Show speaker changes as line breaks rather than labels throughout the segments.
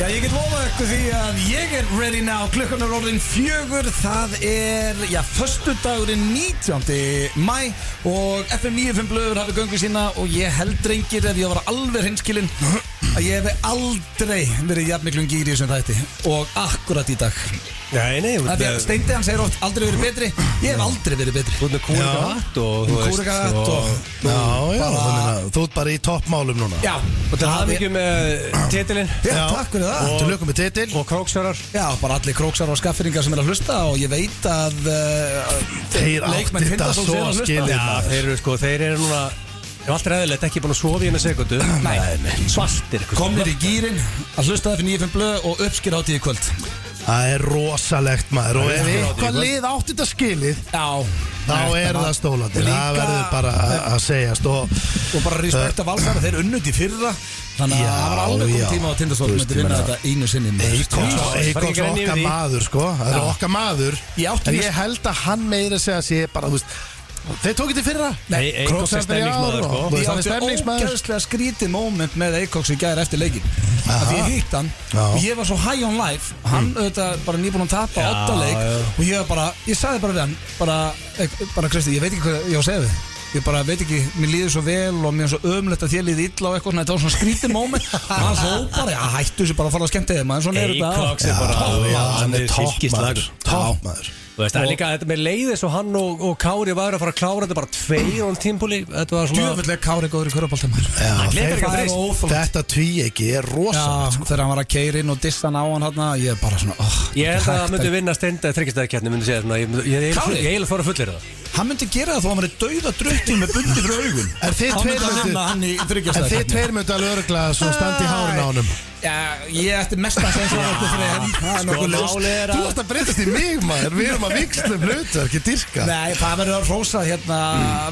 Já, ég get lofa ykkur því að ég er ready now Klukkan er orðin fjögur Það er, já, förstu dagurinn 19. mæ Og FM 95 blöður hafi göngu sína Og ég held drengir ef ég var alveg hinskilinn Að ég hef aldrei verið jafn miklum gýri sem þætti Og akkurat í dag
Nei, nei,
Það er því að
þú
Steindi hann segir oft aldrei verið betri Ég hef aldrei verið betri
ert með kúrgatt og þú veist sko-
Kúrikatt og
Já, já,
bara-
þannig að þú ert bara í toppmálum núna
Já,
Og það
er-
hafði ekki með titilinn
Já, takk fyrir það
Til lökum með titil
og króksverðar
Já, bara allir króksar og skaffyringar sem er að hlusta og ég veit að uh,
Þeir
leikmenn
átti þetta
Tindastóls
svo
eru að hlusta.
skilið
Já,
maður.
þeir eru sko, þeir eru núna Ég var alltaf reðilegt ekki búin að sofa í henni sekundu
Nei.
Svartir
komnir í gýrin að hlusta það fyrir 95 blöð og uppskýra átíð í kvöld
Það er rosalegt maður Og ef
Uppskera á
eitthvað
því,
lið átti þetta skilið
Já
Þá er það stólandi Það verður bara að segjast Og
Og bara respekt af valsara, þeir unnut í fyrra Þannig að
Já,
það var alveg
já.
kom tíma á Tindastól
Þú
myndi
veist, ég
vinna
meina-
þetta einu sinni maður.
Já, það er
Eikons
ekki grein yfir
okkar
því.
maður sko Það er
Já.
okkar maður
Ég átti
En
mér-
ég held að hann meira segja að sé bara þú veist, Þeir tók þetta í fyrra
Nei, Eikos er
Króksar fyrir
stemningsmaður,
ár
sko.
og-
Ég
þú veist, Hann er
átti
stemningsmaður
ógeðslega skrítið moment með Eikoks í gæri eftir leikin Af því ég hitt hann
Já. Mm.
og ég var svo high on life Hann auðvitað bara nýbúin að tapa
Já,
otta leik
já.
Og ég var bara, ég sagði bara við hann Bara, ek- bara Kristi, ég veit ekki hvað ég á að segja við Ég bara veit ekki, mér líður svo vel og mér er svo ömlegt að þér líði illa og eitthvað svona, þetta var svona skrítið moment og hann hló bara, já hættu þessu bara að fara að skemmta þig maður, svona er
Eikoks
þetta
er bara
Já, já,
hann
Hann
er
er toppmaður
fylkislagur.
Toppmaður
Þú veist, það er líka þetta með leiðis og hann og, og Kári var að fara að klára þetta bara tveir án tímpúli Þetta var svona
Djöfull er Kári góður í körubáltamar
Já,
gleypir
þeir-
ekki að þrýst.
óþólandi.
Þetta tví ekki er rosalegt
Já,
sko.
þegar hann var að keira inn og dissa hann á hann hann, ég er bara svona, oh,
Ég held að það myndi vinna stenda þryggjastæðarkjarni myndi segja svona, ég, ég, ég, ég,
Kári?
ég eiginlega fór að fullir það
Hann myndi gera það þó að hann væri dauða drukkin með bundi fyrir augun
En
Þá
þið tveir
myndi hann
myndu-
hanna hann í
En þið
þryggjastæð
tveir myndu alveg örgla Svo standi í hárun á honum
Já, ég ætti mest að segja svona okkur fyrir henn Það er nokkuð ljóst
málið er
Þú
að
ert að breytast í mig maður Við erum að viksla um hlutur, ekki dyrka
Nei, það verður að rósa hérna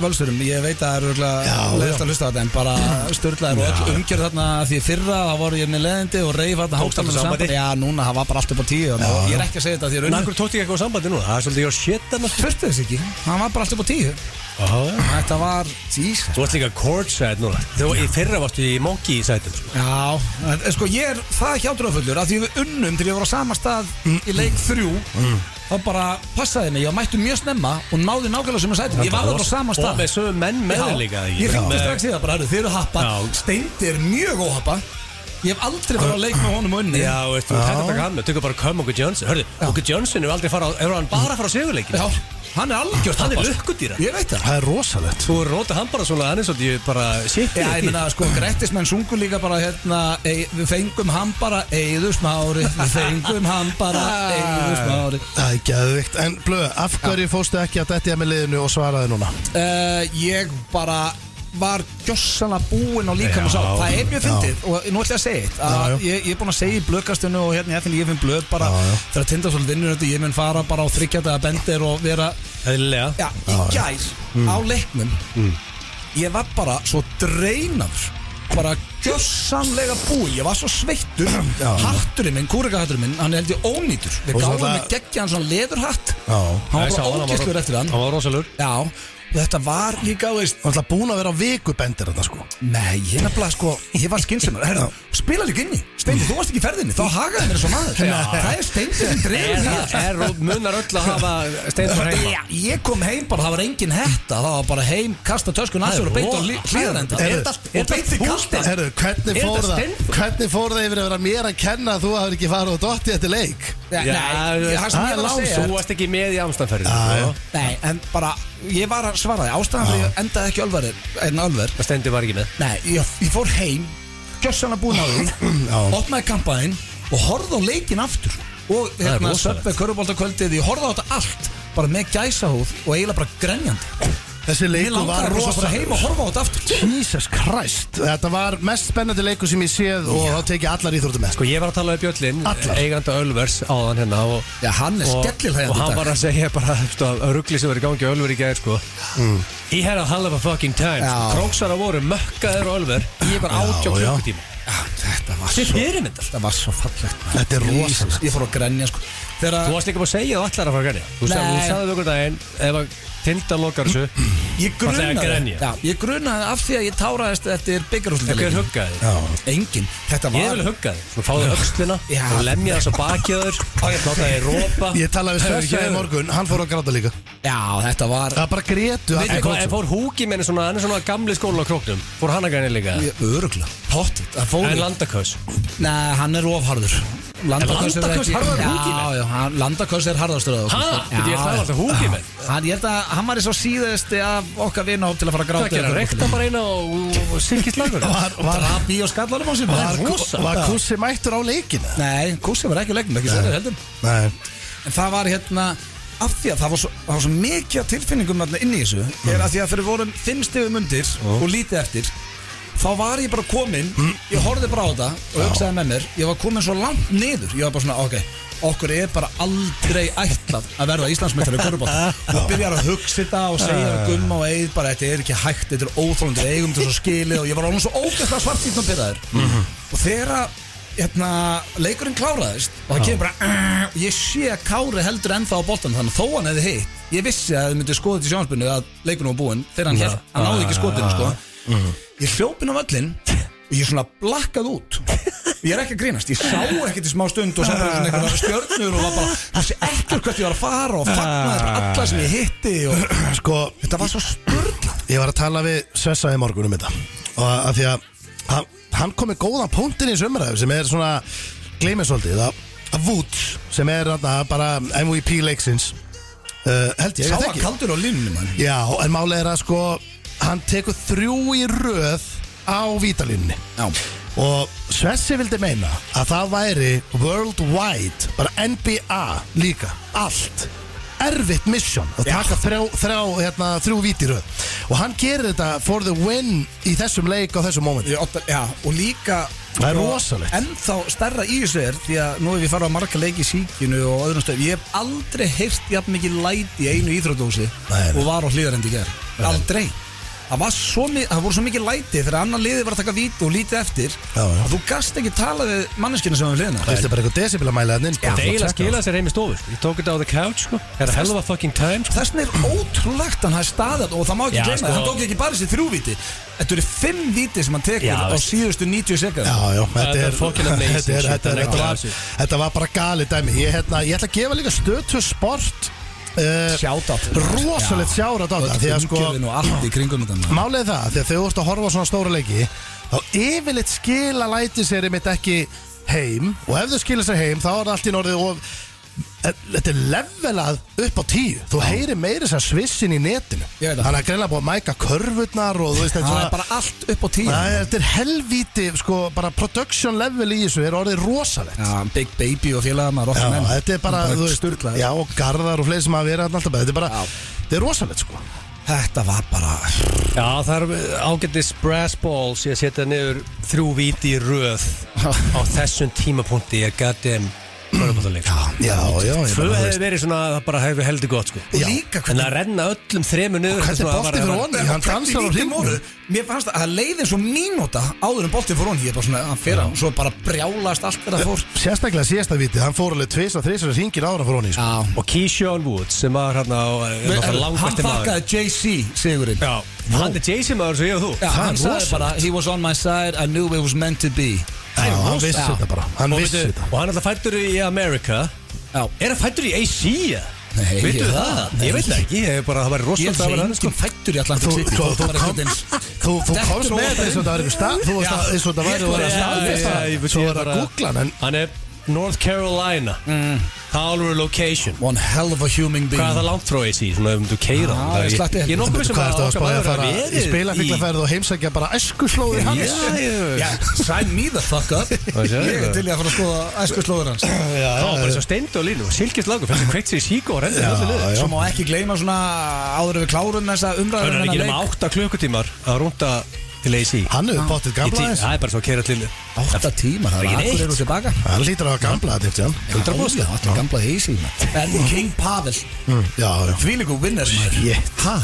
völsturum Ég veit að það eru
Mm. Já,
örugglega leiðist að hlusta á þetta En bara störlaðir og öll umgjörð þarna Því fyrra það voru ég með leiðindi og reyf þarna Hákstafnum
Sambandi.
saman Já, núna það var bara allt upp á tíu þannig að Ég er ekki að segja þetta því að
En
raunum
akkur tótt ég eitthvað á sambandi núna, það er svolítið ég á shit annars
Þurfti þess ekki, hann var bara allt upp á tíu Þetta var, Jesus
Þú ert líka courtside núna Þú, í fyrra varstu í monkey sætum sko.
Já, en, sko ég er það hjátrúðafullur að því við unnum til ég var á sama stað
Mm,
í leik þrjú þá bara passaði mig, ég mættu mjög snemma og náði nákvæmlega sem ég sætum, ég var það á sama
Og
stað
með sömu menn með
Já,
þér líka eða ekki?
Ég ringdi
Með-
strax í það bara, heyrðu, þið eru happa
Já.
Steindi er mjög óhappa Ég hef aldrei farið að leik með honum og unni
Já, veist, þú hætti að taka hann með, tökur bara Köm okkur Johnson Hörðu, okkur Johnson hefur aldrei fara á, hefur hann bara fara á sigurleikin
Já, hann er algjört
Hann er
happa, sko.
lukkudýra
Ég veit það
Það er rosalegt
Þú eru notað hann bara svona, hann er svolítið bara shit
Já, ég meina sko, grættismenn sungu líka bara hérna, ei, við fengum hann bara Eður smári, við fengum hann bara Eður smári
Það er geðvikt En blöð, af hverju fóstu ekki að dettja með liðinu og svaraði núna?
uh, ég bara var gjössanlega búinn á líka
Já.
með sá það er mjög fyndið og nú ætla ég að segja eitt að
Já, já.
ég, ég er búinn að segja í blöðkastunni og hérna í FN ég finn blöð bara
Já, já.
þegar Tindasól vinnur þetta ég mun fara bara á þryggjardaga bendir og vera
Eðlilega
já, í gær
Mm.
á leiknum ég var bara svo dreinaður bara gjössanlega búi ég var svo sveittur
Já.
hatturinn minn, kúrikahatturinn minn, hann er held ég ónýtur við
Og svo
gáðum
það-
með geggja hann svona leðurhatt
Já
hann var
Ég sá
bara
hann,
ógæstlur eftir hann
Hann var rosalur
Já, og þetta var líka, þú veist
Það er alltaf búin að vera á vikubendir þetta sko
Nei, ég nefnilega sko, ég var skynsumur Herra, spila líka inn í Steindi, þú varst ekki í ferðinni, þá hagaði mér svo maður Það er Steindi sem dreifir
Er,
það
er, munar öll að hafa steindur heima
Já, Ég kom heim bara, það var engin hetta Það var bara heim, kasta töskun að
Það
sér
er
og beint á
rosa.
hlýðarenda
Er
Og
þetta-
er þetta
beint í kastan
Herru, hvernig
Er
fór
þetta
það?
Steindór?
Hvernig fór það yfir að vera mér að kenna að þú hafur ekki farið og dotti eftir leik?
Nei, ég- það sem
það
ég var
er
að
lán,
segja
Þú varst ekki með í sko. amstanferðinu
Já, já.
Nei, en bara, ég var að svara því Ástæðan fyrir ég endaði ekki ölverið, en ölver
Það stendur var ekki með
Nei, ég, ég fór heim Gjössan að búin á
Já.
því Opnaði kampaðinn Og horfði á leikin aftur Og
er
hérna
rosalegt.
söpvei körubóltakvöldið Ég horfði á þetta allt Bara með gæsahúð Og eiginlega bara grenjandi
Þessi
Ég
leiku var
langaði bara svo bara
rosa
heim og horfa á þetta aftur
Jesus Christ Þetta var mest spennandi leiku sem ég séð og þá tekið allar íþróttum með
Sko ég var að tala við Björlin,
Allar.
eiganda Ölvers áðan hérna og,
Já, hann er
og,
skellilhægjandi
og hann
í dag.
var að segja bara stu, að ruggli sem var í gangi á Ölver í gæðir sko He had a hell of a fucking time
Mm. Já.
Króksara voru mökkaður á Ölver í eitthvað
Já,
átjá
já.
klukkutíma
Já, þetta var
Þið
svo
fyrir þetta
Þetta var svo fallegt maður.
Þetta er
Jesus,
rosalegt.
Ég fór að grenja sko
Þú
Þegar
varst líka búin að segja að þú ætlar að fara að gæði Þú sagði,
Nei.
þú sagði við okkur daginn ef að tinda lokar þessu
Ég
Var það að
grunaði
grenja?
Já, Ég grunaði af því að ég táraðist eftir
Hver
byggarúslega
huggaði þig?
Engin Þetta
Ég
var
vil hugga þig Svona fáðu högslina
Já.
og lemja þess að bakja þér Láta þig rópa
Ég talaði við Sverri hér í morgun, hann fór að gráta líka
Já, þetta var
Það bara grétu
En hvað, en fór húki menni svona, hann er svona gamli skóla á króknum Fór hann að græni líka
Örugla Pottit Það fór
En
í-
landakaus
Nei, hann er ofharður Landaköss er
Landaköss
ekki-
harðar en Húki,
Já,
menn?
já, hann- Landaköss er harðastur að okkur,
Ha?
sko.
Bíddu, ég
Já,
þarf alltaf Húki, menn.
Hann, ég held að, hann var í svo síðasti af okkar vinahóp til að fara að
Hvað
gráta
gerir hann? Rekta bara eina og, og, og sylkist lagur
Var, var,
Drap í og skallanum á sér
var,
maður.
var, var kussi mættur á leikina?
Nei, kúsi var ekki leggum, ekki sér heldum
Nei
En það var hérna af því að það var svo, það var svo mikið af tilfinningum þarna inn í þessu er að því að fyrir vorum fimm stigum undir og lítið eftir þá var ég bara kominn, ég horfði bara á þetta og hugsaði með mér, ég var kominn svo langt niður ég var bara svona, ok, okkur er bara aldrei ætlað að verða Íslandsmeistar í korrubátt og byrjar að hugsa þetta og segja að gumma og eigð bara, þetta er ekki hægt þetta er óþólandi, við eigum þetta svo skilið og ég var alveg svo ógæslega svartýtt og byrjaður og þegar að hérna, leikurinn kláraðist og það kemur bara "Ah," og ég sé að Kári heldur ennþá á boltan þannig að þó hann hefði hitt ég vissi að þið myndi skoða þetta í sjónspunni að leikurinn var búinn þegar hann, hélt, hann náði ekki skotinu sko. ég hljópin á völlin og ég svona blakkað út ég er ekki að grínast, ég sá ekkert í smá stund og samt var svona einhverja stjörnur og var bara, ég sé ekkert hvert ég var að fara og fagnaði bara alla sem ég hitti og
Sko,
þetta var svo stjörn
ég var að tala við Svessa í morgun um þetta Og að af því að hann, hann kom með góðan punktin í sömurhæðu sem er svona Gleimir svolítið að, að Woods sem er þarna bara MVP leiksins uh, Held ég,
sá
er það
að
ekki?
kaldur á línunum hann
Já, en málið er að sko Hann tekur þrjú í röð á vítalínni
já,
Og Svessi vildi meina að það væri worldwide, bara NBA líka, allt erfitt mission að taka þrjá, þrjá, hérna, þrjú vítiröð og hann gerir þetta for the win í þessum leik á þessum moment
Ég átta- Já, og líka
Það er
sko,
rosalegt.
Ennþá stærra í þessu er Því að nú hef ég farið á marga leiki í síkinu og öðrum stöðum Ég hef aldrei heyrt jafn mikið læti í einu íþrótdósi
Nei, nei.
Og var á hlýðarendi í gerð Aldrei Það, var svo, mi- það voru svo mikið læti þegar annar liði var að taka víti og lítið eftir
Já, já.
að þú gast ekki tala við manneskina sem við hliðina
Það er bara eitthvað decibel að mæla þannig
Það eiginlega skilaði sér heim í stofu sko. Ég tók þetta á the couch sko Það er hell of a fucking time sko
Þess vegna er ótrúlegt að hann hafi staðat og það má ekki
Já,
gleyma
sko.
sko. hann tók ekki bara sér þrjúvíti Þetta eru fimm víti sem hann tekur
Já,
á
veist.
síðustu 90 sekund
Já, já, þetta
er
er,
fucking amazing
þetta, er,
shit,
þetta,
það er
er, þetta, var,
ekki-
þetta var bara gali dæmi Ég, hérna, ég ætla að gefa líka stötu sport uh,
Shoutout.
Rosalegt
Já.
sjárat á
Og
þetta Því að sko
umgjörðin og allt í kringum þetta
Málið er það, því að þegar þú ert að horfa á svona stóra leiki þá yfirleitt skila læti sér einmitt ekki heim og ef þau skila sér heim þá er það allt í norðið og e, þetta er levelað upp á tíu þú heyrir meira sér svissin í netinu
Ég veit það.
þannig að greinlega búið að mæka körfurnar og þú veist þetta
Það er
svona
bara allt upp á tíu
Æ, þetta Ah. er helvíti, sko, bara production level í þessu er orðið rosalegt
Já, Big Baby og félagum að
Já,
rokka menn
þetta er bara, þú veist,
sturglað.
já, og garðar og fleiri sem að vera þarna alltaf, þetta er bara,
Já.
þetta er rosalegt, sko
Þetta var bara
Já það er ágættis brass balls Ég setja niður þrjú víti í röð Á þessum tímapunkti Ég gæti þeim Körubóttaleik
Já, já, ég
Tvö
bara, þú
hefði verið svona Það bara hefði heldur gott sko
Og
Já.
líka
En
hvernig
að renna öllum þremur niður
Hvernig
þetta er svona
bolti
bara-
fyrir honum? Hann dansar á
Hvernig vítin
hringnum.
voru? Mér fannst að það leiði eins og mínúta áður en boltið fór hún Ég er bara svona, hann fyrir hann Svo bara brjálast allt þegar það fór
Sérstaklega síðasta viti, hann fór alveg tvis og þrisar hringir ára fyrir honum sko.
Já
Og Keyshawn Woods Sem var hérna á- er náttúrulega
Hann
langbesti maður.
þakkaði JC sigurinn
Já, Hann er Jay-Z maður svo ég og þú
Já, hann sagði
rosalegt.
bara He was on my side, I knew it was meant to be
Já,
Já,
hann vissi
já.
þetta bara, hann
Og
vissi
veitu,
þetta
og hann er alltaf fættur í America
Já.
Er hann fættur í Asia?
Nei,
Veitu
ég-
það?
Nei.
Ég veit það ekki, ég hef bara, það væri
Ég
rosalega
held að
vera
enginn fættur í Atlantic
sko. Þú,
City
þú, þú,
bara
kom,
einhvern veginn-
þú, þú
Þetta
komst
er
með þetta eins og þetta var einhver stað Þú veist
Já.
að eins og þetta væri
Ég
að
bara-
vera
Já,
staðfesta
já,
ég-
Svo
ég
er að
bara-
googla hann en
Hann er North Carolina Það er alveg location
One hell of a human being
Hvað er það langt frá AC? Svona ef þú keira
Já, ég slatti
Ég er
hérna.
nokkuð sem
Hvað ertu að spája að
okkar
fara
maður
í
verið
spilafiklaferð og heimsækja bara eskuslóðir
Já,
hans
ég-
Já, sign me the fuck up
Hvað sérðu?
Ég er til í að fara að skoða æskuslóður hans
Já,
Það var bara
já,
svo steind og línu Silkist lagu, fyrst að kveikt sér í síku og renndi þessu liður
já
Svo má ekki gleyma svona áður en við klárum þessa
Það
umræður
er ekki nema 8 klukkutímar að rúnda til AC
Hann hefur bóttið
Í
gamla
tí-
aðeins
Það er bara svo að keira til
Átta tíma, það
Það er
er
ekki
akkur eru
neitt.
tilbaka
Hann lítur að hafa gamla aðeins Já,
Hundra búst Það er gamla heisi En King Pavel
já, já
Þvílíku vinnur
Jétt
Ha?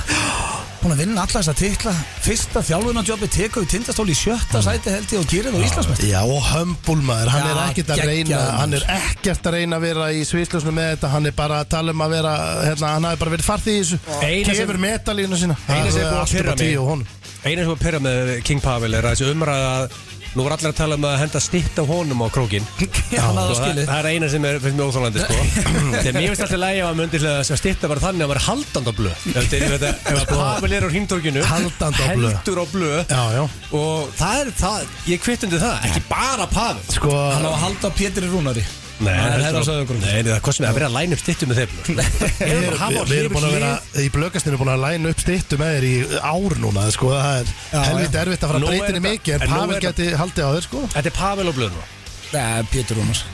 Búin að vinna alla þessa titla Fyrsta þjálfunarjobbi teka við tindastóli í sjötta sæti held ég og kýrið og Íslandsmest
Já, og hömbul maður, hann
Já,
er ekkert að
geggjaður
reyna
maður.
Hann er ekkert að reyna að vera í svislösnu með þetta Hann er bara að tala um að vera hérna, Hann hafi bara verið farþið í þessu
Eina sem-
Kefur metalínu sína
Eina sem er
Það
búið að
allt upp
pirra
á
mig.
tíu og honum.
Einu sem að pyrra með King Pavel er að þessi umræða að Nú voru allir að tala um að henda stitt á honum á krókin
Já, hann hafði
Og
það
það,
skilið
það er eina sem er fyrir mjög óþálandi sko. Þegar mér finnst alltaf lægi á að myndi að stitta var þannig að maður haldand á blöð Ef þetta er- ef þetta- ef að Pavel er á hringtorkinu
Haldandi á blöð.
Heldur Sko, á blöð
Já, já
Og það er það, ég kvittundi það Ekki bara Pavel
Sko,
Hann á að halda á Pétri Rúnari
Nei,
Það er
heldur
herra
á-
sögur
Nei, það kostum við að vera að læna upp stittum með þeim
við, við, við erum búin að vera Í blökastinu búin að læna upp stýttu með þér í ár núna Sko, það er helviti erfitt að fara
Nú
að
er
breyta henni
þetta-
mikið
en
En
nú
Pavel
er þetta-
geti haldið á þér, sko
Þetta er Pavel á blöð nú
Nei, Pétur Rúnars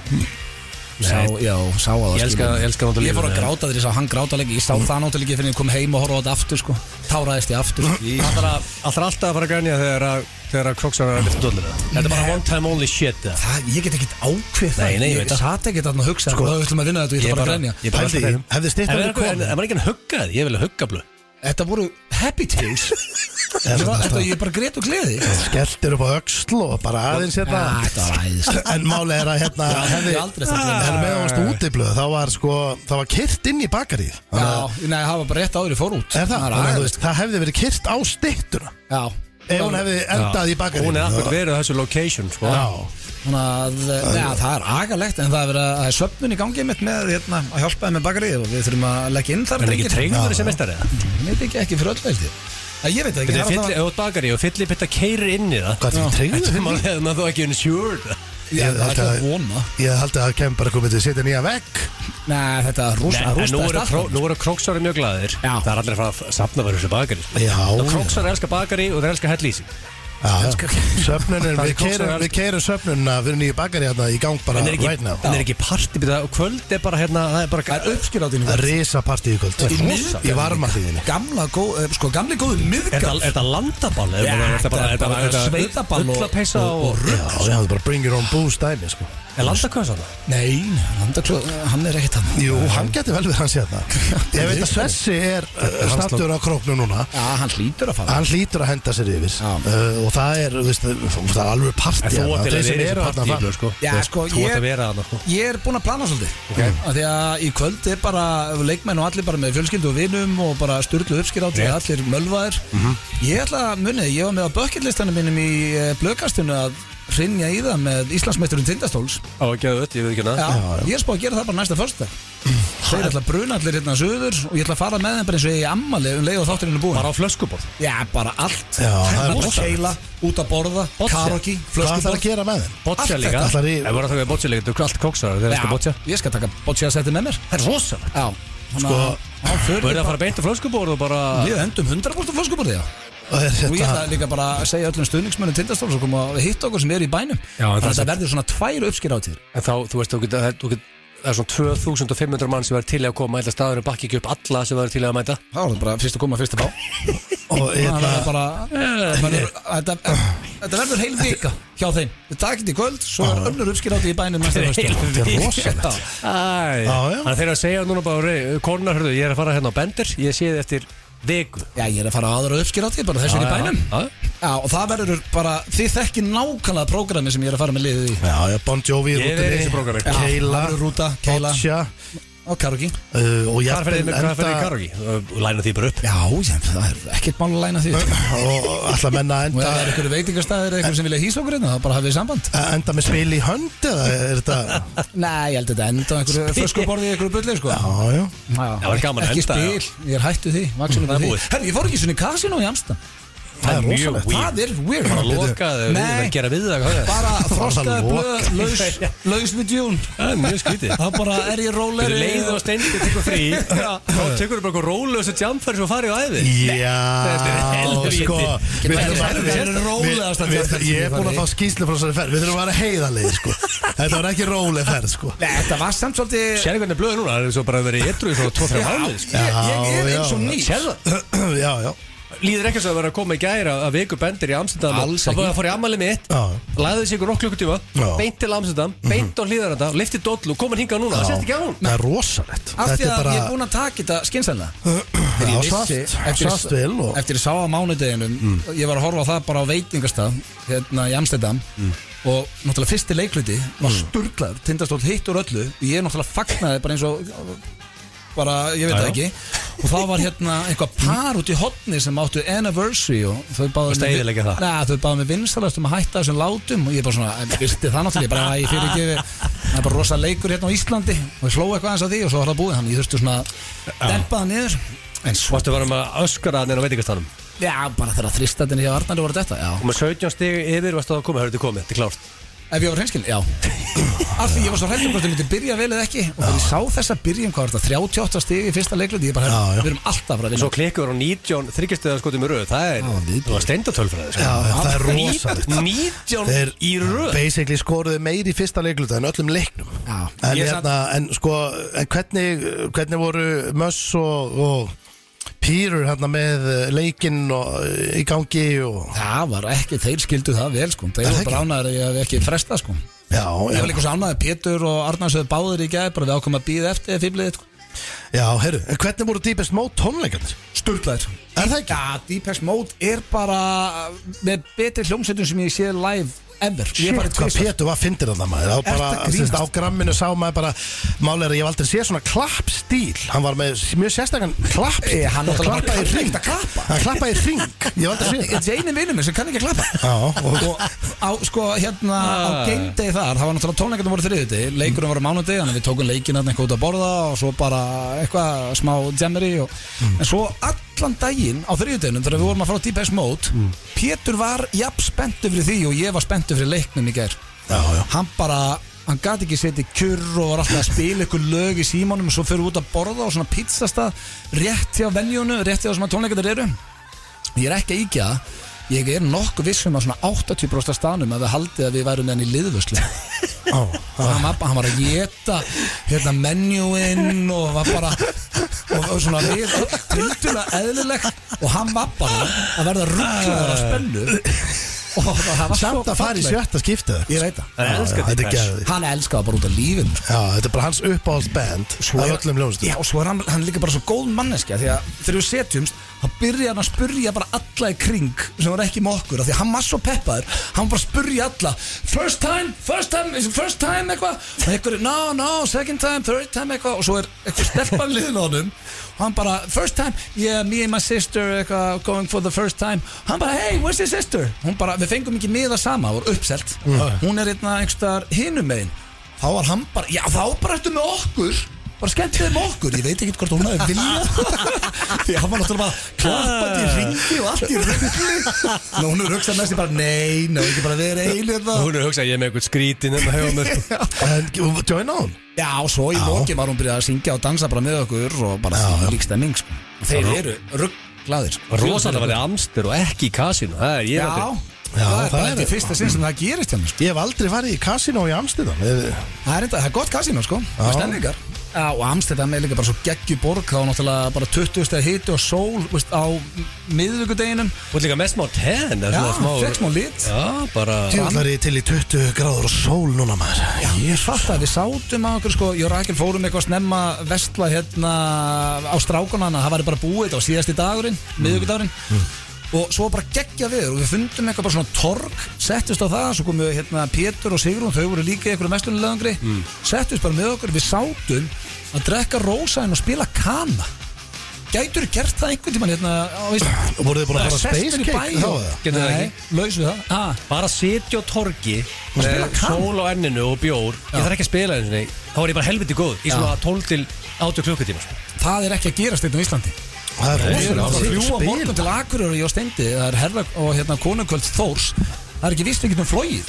Sá, já, sá að það
Ég elska-
skilið.
ég elska hann á
Ég fór að
lífinu.
gráta þegar ég sá hann gráta leik Ég sá það náttúrulega ekki fyrir ég kom heim og horfa á þetta aftur sko Táraðist ég aftur sko.
Það þarf að- það þarf alltaf að fara að grænja þegar að Þegar að kroksar er að lyfta dollina Þetta er bara one time only shit eða?
Það, ég get ekkit ákveð það
Nei, nei, ég veit
Ég
það.
satt ekkit þarna að hugsa Sko, það ætlum að vinna þetta og ég ætla bara að grenja
ég bara
Pældi,
alltaf-
hefði styttan
En er
verið
eitthvað-
komin?
en- En var ekki að hugga þið, ég vil að hugga blöð
Þetta voru happy tales Þetta var- Þetta ég bara grét og gleði
Skelltir upp á öxl og bara aðeins hérna
Ah, þetta var æðislegt.
En máli er að hérna hefði,
ég aldrei sagt það.
En meðan varst útiblöð þá var sko Það var kyrt inn í bakaríð Þannig að-
Já, nei, það var bara rétt áður í fór út
Er það?
er
Þannig að þú
aðeins.
sko.
veist, það hefði verið kyrt á styttuna
Já
Ef hún hefði endað í bakaríð
Hún er akkur verið á þessu location sko.
Já,
Þannig að, neða, það er agalegt En það er verið að það er söfnun í gangi mitt með hérna, að hjálpa þeim með bakarið og við þurfum að leggja inn þar
En er ekki
drengir.
treyður
Já,
sem mestar eða?
Ég veit ekki, ekki fyrir öll veldi Ég veit það ekki
Þetta er
það er
fyllir,
alltaf-
ef þú bakar í og fyllir pitta keirir inn í það
hvað er því
Þetta er
treyður?
maður hefði maður þó ekki insured
Ég það
Ég
er
held
ekki
að-
að vona
Ég held að það kemur bara komið til að setja nýja vegg
Nei, þetta
Nei,
rústa-
En nú
rústaðist
eru
allt.
kró- nú eru kroksari mjög glaðir
Já.
Það er allir að fara að sapna fyrir þessu bakari sko.
Já,
Kroksari elskar bakari og þeir elskar hellísi
já, já. Söfnunin,
Það er
við keirum,
kóksar-
við keirum söfnunina Við erum nýja bakaríð hérna í gang bara
En er
right
ekki,
now
en er ekki partibita og kvöld er bara hérna Það er bara
Það er uppskýrátin í kvöld
Risa partíð í kvöld
Í miðbænum.
Í varmatíðinni
Gamla, góð, eh, sko, gamli góðu
Er
miðgall
það- er það landaball? Er
Já,
bara- er
þetta
það bara-
er
er það
bara
er það-
sveitaball og-
Ullapeysa
og-
og
Já, já, það er bara bring your own booze dæmi sko.
Er landakvæðs hann?
Nei, landakló, hann er ekkert hann
Jú, hann getur vel verið hans hérna Ég veit að Svessi er
Eh,
uh, stattur á króknum núna
Já, hann hlýtur að
Ah.
fara
Hann hlýtur að henda sér yfir
Já.
uh, Og það er, þú veist, það er alveg partí
En þú
hérna.
átt til
Þeir
að
sem
vera í
eru
þessu
þarna fram-
partíblu sko
Já, sko,
Þú átt
ég-
að vera hann sko
Ég er búinn að plana svolítið okay. Því að í kvöld er bara leikmenn og allir bara með fjölskyldu og vinum og bara styrlu uppskýrátt og
Rétt. Mhm.
allir mölvaðir Ég ætla að munið, ég var með á bökkillistanum mínum í eh, blökastinu að hrinja í það með Íslandsmeisturinn Tindastóls
Á, ekki að öll, ég veit ekki hérna.
Já,
hana
ég er spáð að gera það bara næsta fyrsta Þeir ætla að bruna allir hérna söður og ég ætla að fara með þeim bara eins og ég er í ammali um leið og þátturinn er búin
Bara á flöskuborð
Já, bara allt
Já, það er
Hérna
rosalegt.
keila, út að borða,
Bolla.
karaoke,
Hvað þarf að
flöskuborð
gera með þeim?
Boccia
Allt
líka
þetta ætlar í-
Það voru að taka boccia líka Þú er allt kóksar Þeir elskar boccia
ég skal taka boccia að setja með mér
Það er rosalegt
Já,
Sko,
Þú verður
Börja
að fara beint á flöskuborð og bara
Við endum 100% flöskuborðið, já.
Og hérna, er
Og ég ætla
þetta
líka bara að segja öllum stuðningsmönnum tindastóls og koma að hitta okkur sem eru í bænum.
Já, en það
Þannig að
sem-
það verður svona tvær uppskýr átýr.
En þá, þú veist, þú getur það- þú getur- það er svona 2500 mann sem verður til í að koma Ætla staðurinn bakki ekki upp alla sem verður til í að mæta
Þá er það bara fyrst að koma, fyrst að fá.
Og
Þannig
hérna
að bara, maður er- þetta þetta verður heil vika hjá þeim. Við takum þetta í kvöld, svo er önnur uppskýr átýr í bænum næsta höstu.
Þetta er rosalegt
Æ,
Já, já.
þannig að þeir eru að segja núna bara "Rey, Konar, hörðu, ég er að fara hérna á Bender Ég sé þið eftir viku
Já, ég er að fara á aðra uppskýr átýr, bara þessu er í bænum.
Já,
Já, og það verður bara, þið þekkir nákvæmlega prógrami sem ég er að fara með liðið í.
Já, já, Bon Jovi í
Ég er í þessu
rútinni
prógrami.
Já,
Keila,
það verður rúta, keila
Boccia
og karaoke.
uh,
Hvað
Og jafnvel
fyrir þið með
enda
karaoki? Þú Læna því bara upp
Já, já, það er ekkert mál að læna því upp.
Og alltaf menna
Og ef það er
enda
einhverju veitingastæðir eða einhverju sem vilja hýsa okkur hérna, þá bara hafið við samband.
Enda með spil í hönd eða er þetta
Nei, ég held að þetta enda á einhverju flöskuborði í einhverju bulli, sko.
Já, já
Já,
það var gaman að
Ekki
enda, já.
spil, ég er hættu því, vaksunum
Það er
við því.
búið.
Herri, ég fór ekki svona í kasinu í Amstam.
Það er mjög
rosalegt.
weird
Það er weird.
Bara lokaðu, við erum
Nei.
að gera við það hvað er það?
Bara
Það
froskaði
var
blöð,
lokað.
laus, laus við djún.
Það er mjög skrítið
Þá bara er ég
Þú
róleri.
leiðu og steindir tekur frí Þá tekur þú bara eitthvað rólu og svo jamfari svo farið á æði
Já,
helviti.
sko
Getur
við
þetta
þurfum að-
verið
við-
þetta rólegasta
við-
ferð sem ég
Ég er búin
farið
að
í?
fá skýslu frá þessari ferð Við þurfum að vera heiðarlega, sko Þetta var ekki róleg ferð, sko
Nei, þetta var samt svolítið...
Sérðu hvernig blöður núna, það er svo bara verið ytru í svo
Já,
2-3 mánuði sko.
ég, ég er
Já,
eins og
já.
nýtt.
Sérðu það?
Já, já
líður ekki eins og að vera að koma í gæra að viku bendir í Amstendam
Alls
Það
ekki.
var að fór í ammali mitt
Já.
Læði sig ykkur nokk klukkutíma
Já.
Beint til Amstendam, beint á hlýðaranda Lifti dollu, komin hingað núna, það sést ekki á hún
Það er rosalegt
Af því
Þetta
að
er bara
ég er búinn að taka þetta skynsælna Þegar
Já,
ég vissi
svart,
eftir,
svart vel og
eftir ég sá á mánudeginum Ég var að horfa á það bara á veitingastað Hérna í Amstedam Og náttúrulega fyrsti leikluti Var sturglaður, tindastóll hitt úr öllu Ég náttúrulega fagnaði bara eins og Bara, ég veit
Já,
það
já.
ekki Og þá var hérna eitthvað par út í hotni Sem áttu anniversary Og þau báðu
Varstu að eyðileggja það?
Nei, þau báðu mig vinsalast um að hætta þessum látum Og ég bara svona, virti það náttúrulega Ég bara, æ, fyrir það er bara rosa leikur hérna á Íslandi Og ég sló eitthvað eins að því og svo var það búið Þannig ég þurfti svona að dempa það niður En svo,
Varstu að vera með öskara neina á veitingastanum
já, bara þegar að þristættin hjá Arnaldi voru þetta, já
Komið 17 stig yfir, varstu að koma, hörðu komið, þetta er klárt
Ef ég var hreinskilin, já Af því ég var svo hrættum hvort ég myndi byrja vel eða ekki Og þegar ég sá þessa byrjun, hvað var þetta, 38 stig í fyrsta leikluti Ég bara,
Já, já.
við erum alltaf að
En
vinna
svo klikkuður á 19, þryggjastuðan skotum í röð Það er,
Já, viðbjóður.
það var steindatölfræði sko.
Já, já, það er rosalegt.
19 í röð
basically skoruðu meiri í fyrsta leikluta en öllum leiknum
Já.
en,
Ég
hérna, en, sko, en hvernig, hvernig voru Möss og, og Pírur hérna með eh, leikinn og, eh, í gangi og
Það var ekki, þeir skildu það vel sko Þeir
Er það
voru
ekki?
bara ánæður að ég hef ekki fresta sko
Já,
Ég var
já,
líka svo ánæður, Pétur og Arnars hefur báðir í gæð Bara við ákomum að býða eftir fýrliðið sko.
já heyrðu, en hvernig voru dýpest mót tónleikarnir?
Sturlaður
Er það ekki?
Já, Deepex Mode er bara með betri hljómsveitum sem ég sé live ever Ég er bara
Shit, hvað Pétur var fyndir þarna maður Það var
Ertu
bara,
að
þú veist,
grínast?
á gramminu sá maður bara Málega er að ég hef aldrei séð svona klappstíl Hann var með mjög sérstakann klappstíl
Eh, hann náttúrulega
klappaði
bara kann
í
ekkert að klappa.
Hann klappaði í ring, ég hef aldrei séð það
Þetta er eini vinnum sem kann ekki að klappa
Já, og
Og á, sko, hérna á
Ah.
gamedegi þar, það var náttúrulega tónleikarnir voru þriðið Leikurinn voru mánudegi, þannig að við tókum leikinn þarna eitthvað út að borða og svo bara eitthvað smá jammeri og,
Mm.
En svo allan daginn á þriðiðinu þegar við vorum að fara á Deepex Mode
Mm.
Pétur var jafn spenntu fyrir því og ég var spenntu fyrir leiknum í gær
Já, já
hann bara, hann gati ekki setið kjurr og var alltaf að spila ykkur lög í símánum og svo fyrir út að borða á svona pizzastað rétt hjá venjónu, rétt hjá sem að tónleikar eru ég er ekki að íkja það ég er nokkuð vissum að svona 80% af stanum að við haldið að við værum með hann í liðvöslu
Á,
og hann var, bara- hann var að geta hérna menjúinn og var bara og, og svona við tildulega eðlilegt og hann var bara að verða rugglaður af spennu og það var svo
Samt að fara í
fallegt.
sjötta skiptið
ég veit það
Það er elskar
Þetta er gæðið
hann elskaði bara út af lífinu sko.
Já, þetta er bara hans uppáhald band Það er öllum ljónstum
já, og svo er hann, hann er líka bara svo góð manneskja því að þegar við setjumst þá byrja hann að spurja bara alla í kring sem var ekki með okkur af því að hann var svo peppaður hann var bara að spurja alla first time, first time, is it first time eitthvað og einhverju, no, no, second time, third time eitthvað og svo er eitthvað stelpan liðin á honum og hann bara, first time, yeah, me and my sister eitthvað, going for the first time hann bara, hey, where's your sister? hún bara, við fengum ekki miða sama, voru uppselt hún er einhverja einhverstaðar hinum megin þá var hann bara, já þá bara ertu með okkur bara skemmt þið með okkur, ég veit ekki hvort hún hafi vilja því að hann var náttúrulega bara klappandi
Ah.
í ringi og allt í ringi og hún er hugsað næst í bara nei, nei, ekki bara verið einu hérna.
Hún er að hugsa að ég er með eitthvað skrítin en það hefur mér sko.
En join on
já, og svo í
Já.
lokin var hún byrjað að syngja og dansa bara með okkur og bara
Já, já.
því lík stemming sko. þeir eru rugglaðir sko.
Rosalega var þið amstur og ekki í kasinu Það er ég
já,
aldrei
Já,
það er
það
bara
er-
þetta fyrsta sinn sem það gerist hjá mér sko.
Ég hef aldrei farið í kasino í Amstidam Já,
það er, enda, það er gott kasino sko, það er stemningar Já, og Amsterdam er líka bara svo geggjuborg þá er náttúrulega bara 20 steg hiti og sól veist, á miðvikudeginum
Þú ert líka með smá ten það er
Já,
svona smá-
fekk smá lit.
Já, bara
Tjóðlar ég til í 20 gráður og sól núna maður Já,
Ég fatt að við sátum að okkur sko, ég og Rakel fórum eitthvað snemma vestla hérna á strákunana, það væri bara búið þetta á síðasti dagurinn,
Mm.
miðugudagurinn og svo bara geggja við og við fundum eitthvað bara svona torg, settist á það, svo komum við hérna Pétur og Sigrún, þau voru líka í eitthvað mestlunulöðangri, mm. settist bara með okkur, við sátum að drekka rósaðin og spila kana. Gætur gert það einhvern tímann hérna á Íslandi?
Voruð þið búin að fara space cake þá eða?
Getur það ekki? Laus við það? Ah.
Bara sitja á torgi
spila
með
kann.
Sól á enninu og bjór Ég þarf ekki að spila einu sinni Þá var ég bara helviti góð Í svona 12 til 8 klukkutíma sko.
Það er ekki að gerast þetta á Íslandi.
Það er
Nei,
rosalega
það
að
var
Þrjú á
spila.
morgun til Akureyri og Steindi Það er herra og hérna konungvöld Þórs Það er ekki vist ekki um flóið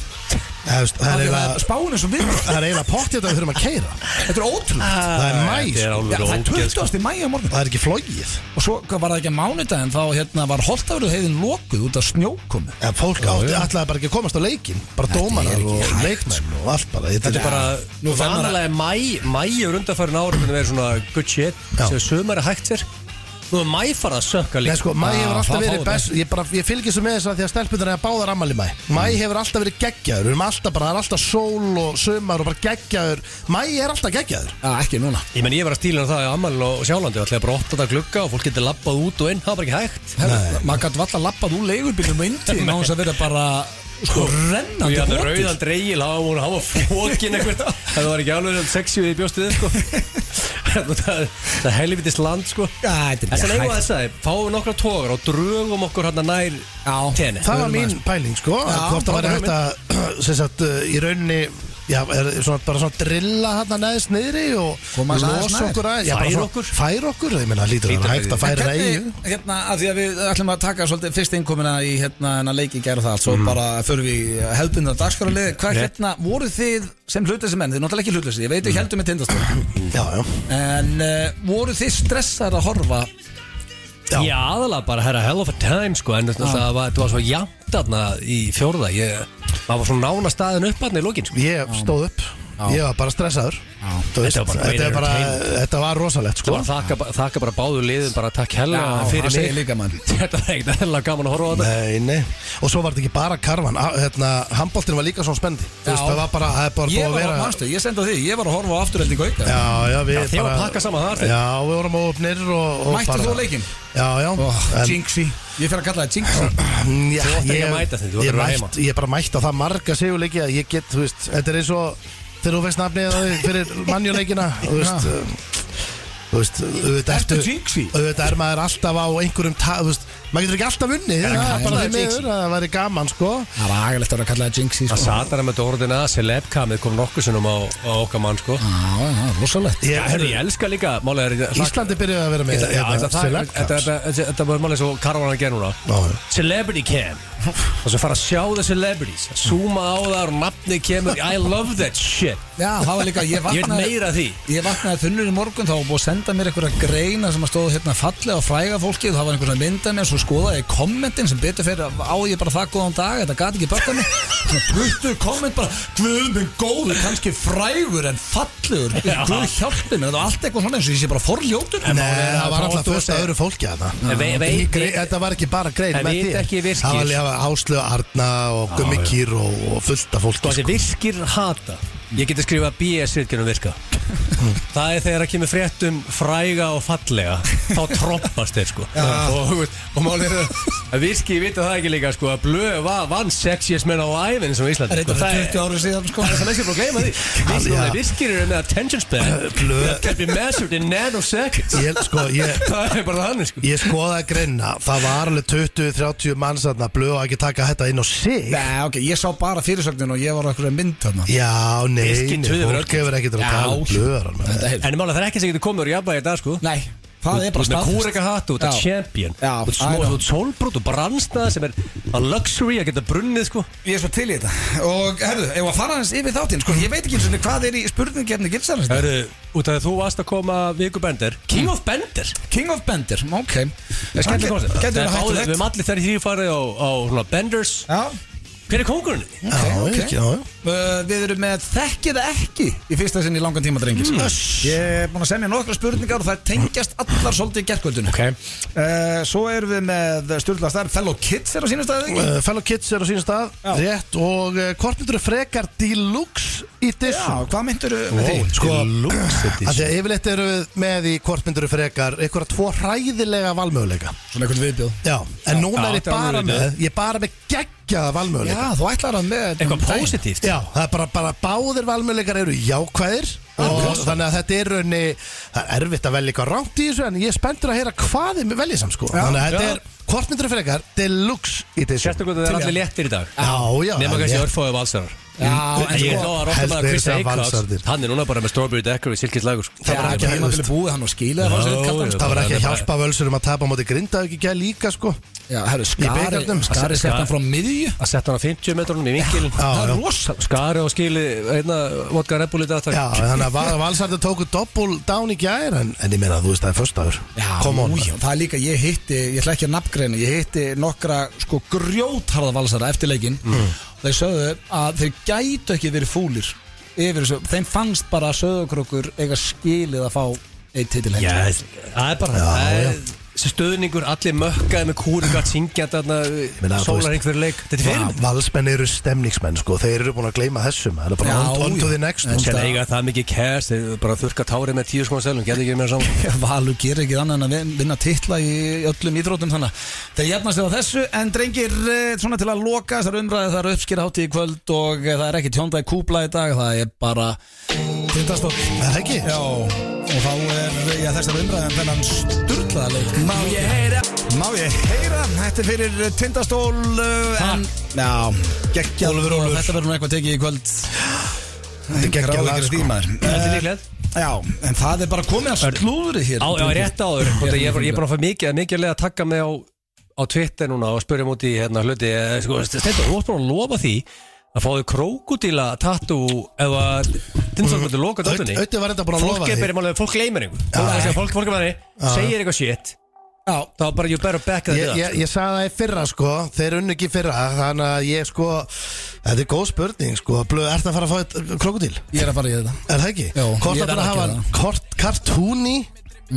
Það er- það
Það
er
er
eiginlega-
spáinu sem við
það er eiginlega pottið að við þurfum að keira
Þetta er ótrúlega
Það er mæ,
Þetta er
sko.
Já,
alveg
það er
ógeð, sko.
20. mæja morgun
það er ekki flogið
Og svo hvað var það ekki að mánudaginn Þá hérna, var holtafröðu heiðin lokuð út af snjókomu
En fólk átti alltaf bara ekki að komast á leikin Bara dómarar
ekki
og
hægt,
leikmenn og allt bara
Þetta er bara, nú
fer maður
vanalega mæ, mæ er undanfærin ára hvernig verið svona good shit
Já.
sem sumar er hægt sér Nú er mæ farað að sökka líka
Nei sko, mæ
Ah,
hefur alltaf
það
verið
fáið
best Ég, bara, ég fylgir svo með þess að því að stelpunar er báðar ammali mæ Mæ hefur alltaf verið geggjaður Við erum alltaf bara, það er alltaf sól og sömar og bara geggjaður Mæ er alltaf geggjaður
Já, ekki núna
Ég menn ég var að stíla um það í Amalinn og Sjálandi Það ætlaði bara að opna þetta glugga og fólk getur labbað út og inn Það var bara ekki hægt
Herra, Maður gæti valla lappað úr leigurbílum og indi Ná þess að vera bara sko
Og
rennandi
ég hafði
hotið.
rauðan dreigil, hann var hann var fókin eitthvað Það var ekki alveg sexy við bjóstið sko. Það það er helvitist land sko
Já, þetta er
Þess að
ekki
eigum
hægt
þess að fáum nokkra tógar og drögum okkur hann nær
Já,
tenni
Við
Það var
erum
mín pæling sko að Hvort það
frábær
væri hægt að sem sagt, uh, í rauninni Já, er svona, bara svona drilla hérna neðist niðri og
Koma aðeins
losa
nær.
okkur aðeins Já,
Færa
bara svona-
okkur.
Færa okkur, ég meina, lítur
Hlýtur
það
að
hægt
vera
að færa reyju
Hvernig, hérna, að því að við ætlum að taka svolítið fyrst innkomina í hérna hennar leiki gæra það, allt, svo bara förum við í hefðbundna dagskrálið, hvað
Rétt.
hérna voru þið sem hlutleysi menn, þið er náttúrulega ekki hlutleysi ég veit ekki heldur með tindastóð
Mm. Já, já
en uh, voru þið stressar að horfa
Já.
Ég aðalega bara herra hell of a time sko En þetta það var, þetta var svo jæmt aðna í fjórða Ég, maður var svona nána staðin upp aðna í lókin sko.
Ég stóð upp, ég var bara stressaður Þú veist,
Þetta var bara meira
Þetta er bara,
entertainment.
þetta var rosalegt
Það
sko
var að þakka, ba- þakka bara báðu liðum bara takk hella fyrir
það segir
mig
líka mann
Þetta er ekkert eðlilega gaman að horfa á þetta
Nei, nei Og svo var þetta ekki bara karvan A- hérna, Handbóltin var líka svona spendi Þú veist,
Já.
það var bara, það er bara
ég
búið að
var,
vera
manstu, ég sendi á því, ég var að horfa á afturhelding auka
Já, já, við
Já, þið var
bara-
að pakka saman þar, þið.
Já, við vorum óöfnir og, og
Mættir
bara-
þú á leikinn?
Já, já
oh,
en-
Jinxi, ég fer að kalla það Jinxi
Mm, Já,
Þú átt ekki
ég,
að mæta þeim, þú átt
ég,
að vera
mætt, ég er bara mætt á það marga sigurleiki að ég get, þú veist, þetta er eins og þegar þú veist nafnið á þig fyrir mannjuleikina þú veist um, þú veist, auðvitað
Ertu
ertu
jinxi?
auðvitað er maður alltaf á einhverjum ta, þú veist, maður getur ekki alltaf unnið það
kalla
er bara
það
því miður
jinxi?
að það væri gaman sko
það var agalegt að vera að kalla það Jinxi
Það
sko.
satar hann með dórðina, celebkamið kom nokkuð sinnum á, á okkar mann sko
Já, já, rosalegt
Já,
Mm. ég,
herri, ég elska líka Málega er
Íslandi byrjuði að vera með hérna,
Já, þetta- það-
select
þetta-
cards.
þetta- þetta- Þetta var málega svo karvan að gera núna
Já, já.
Celebrity Cam Og svo fara að sjá the celebrities Zooma á það og nafni kemur I love that shit
já, það var líka, ég
Ég vil
vaknaði
meira af því
Ég vaknaði þunnur í morgun þá var búið að senda mér einhverja greina sem að stóðu hérna fallega og fræga fólki og það var einhverja mynda mér svo skoðaði ég kommentin sem betur fyrir á ég bara það góðan dag þetta gati ekki börta mig Bruttu komment bara Guð minn góður kannski frægur en fallegur Guð hjálpi mér þetta var allt eitthvað svona eins og ég sé bara forljótur
Nei, það var alltaf
þú
fullt af
veist-
öðru fólki að
En
það
vei- vei-
Þetta var ekki bara greið
En
með
veit
þér
ekki virkir.
Það var alveg Áslöð Arna og Gummi Kýr og og fullt af
Sko þessi
fólki
virkir hata Ég geti skrifað BS virkjunum virka Það er þegar að kemur fréttum fræga og fallega Þá trompast þeir sko Og, og máli er að virki, ég veit að það ekki líka sko Að blöð var vann sexiest menn á ævinn sem Íslandi sko.
Þetta er
Það er
20 árið síðan sko
Það er það mest ég búið að gleyma því Virkir,
Já.
ja. virkir eru með attention span
blöð.
That can be measured in nanoseconds
Ég, sko, ég,
Það er bara þannig sko
ég skoðaði greinna Það var alveg 20-30 manns þarna Blöð að ekki taka þetta inn á sig
Nei, ok, ég sá bara fyrirsögnin og ég var á einhverja mynd þarna
Já, nei,
Birkir
nei,
tuður
fólk
öll.
hefur ekkert verið að
Já.
tala um blöðar alveg.
Þetta hefur
En mála það er ekki sem getur komið úr jafnvægi í dag sko
Nei, það er bara
staðfest
staðfest.
Þú ert hatt, þú ert að
Já.
champion
Já,
Þú ert
I
smóð,
know.
þú ert sólbrot og brannstað sem er a luxury að geta brunnið sko
Ég er svo til í þetta Og herðu, ef að fara hans yfir þáttinn Sko, ég veit ekki eins og hvað er í spurninggefni gilsarins
Hörru, út af því að þú varst að koma viku Bender Eh, King of Bender
King of Bender, ok Það er
Skemmtileg
skemmtileg
koncept.
Gæti
Það er
verið
báðið- Við
hættulegt
erum allir þær í því farið á, á svona, Benders
Já,
Hver er kongurinn?
Já,
ok,
ekki, já, já.
Uh, Við erum með þekkið ekki Í fyrsta sinn í langan tíma drengis Ég er búin að semja nokkra spurningar Og það tengjast allar svolítið gerkvöldun okay. Svo erum við með Sturla starf Fellow Kids er á sínum staðið ekki?
Uh, Fellow Kids er á sínum stað
Já.
Rétt og uh, hvort myndur frekar Deluxe í
Já,
dissu
hvað myndur með því?
Sko,
Deluxe
af því að yfirleitt eru við með í hvort myndur frekar einhverja tvo hræðilega valmöguleika
Svona einhvern viðbjóð
Já, en
Já,
núna er ég
þetta er
bara
alveg
með Ég er bara með geggjaða
Já,
valmöguleika
þú ætlar að með
Eitthvað positíft
Já, það er bara, bara báðir valmöguleikar eru jákvæðir og þannig að þetta er raunni það er erfitt að velja eitthvað rámt í þessu en ég er spenntur að heyra hvað þið veljið samt sko
Já,
þannig að
já.
þetta er hvort myndur frekar deluxe í þessu
Sérstaklega það er allir léttir í dag
Já, já
Nefna
það er
kannski
rétt.
örfóðu valsarar
Já, en
En ég er
sko,
þó að rokka
helst
bara að
meira
Chris
segja
Acox
Valsararnir.
Hann er núna bara með Strawberry Decker við Silkislagur
Það var ekki
ekki-
heima til búið hann og skilið
Nó,
no,
já.
Það var ekki að
Þetta er
hjálpa völsurum að tapa á móti grindaðu ekki gæð líka sko
Já, herru, skari,
bikarnum.
skari sett hann frá miðju
Að setja hann á 50 metrunum í vinkil
Já,
Það er
já.
rosalega
Skari og skili einna vodka Red Bull í dag takk.
Já, þannig að Val- valsarnir tóku doppul dán í gæð en, en ég meina þú veist það er föstaður
Já,
Come on
ú, já, það er líka, ég hitti, ég ætla ekki að nafngreina Ég hitti nokkra sko grjótharða valsara eftir leikinn
Mm.
Þeir sögðu að þeir gætu ekki verið fúlir yfir þessu Þeim fannst bara söðokrokur eiga skilið að fá eitt titill
Já, það er bara
Já,
það
já.
er- sem stöðningur, allir mökkaði með kúru gatt syngjant þarna,
meina, þú
sólarhing
veist-
fyrir leik þetta er
Va-
fyrirmynd
Valsmenn eru stemningsmenn sko Þeir eru búin að gleyma þessum Það er bara
Já,
on, on to
já.
the next
En
sko.
Sen eiga það mikið kæst, þeir eru bara að þurka tárið með tíu skoðan selum, getur ekki meira saman
Valur gerir ekki annað en að vin- vinna titla í öllum íþrótum þannig að það jæfna sig á þessu en drengir eh, svona til að loka þessar umræði það eru uppskýra hátíð í kvöld og eh, það er ekki tjóndaði kúpla í dag það er bara tindastók
Er Það ekki?
Já, og þá er já, þessar umræði en um þennan sturlaða leik Má ég heyra Má ég heyra, þetta er fyrir tindastól eh, en, Já, geggjað
Ólfur, Ólfur.
Þetta verður nú eitthvað tekið í kvöld
er geggjað
Engar
lag,
áhyggjur af því,
sko.
maður.
Þetta er
Eh,
líklegt
Já, en það er bara komið að slúðri hér
Já, já, rétt áður Ég er bara- ég er bara að fá mikið, mikið leið að taka mig á, á Twitter núna og spyrja múti hérna hluti eh, sko, Stendur, þú varst bara að lofa því að fá þau krókudíla tattu eða dimmsakvöldu loka
Ödd-
dötunni
Öddi var þetta bara að
Fólk
lofa
er
því
bara málega, fólk gleymir einhver Fólk er að segja, Fólk, fólk er bara, segir eitthvað shit
Já,
þá bara you better back that
Ég,
up
ég, ég sagði það í fyrra sko Þeir unnu ekki í fyrra Þannig að ég sko Þetta er góð spurning sko Blöð, ert að fara að fá eitt krokodil?
ég er að fara í þetta
Er það ekki?
Jó,
Hvort
ég
að
verð
það
að
hafa
gera Mm.
kort, kartúni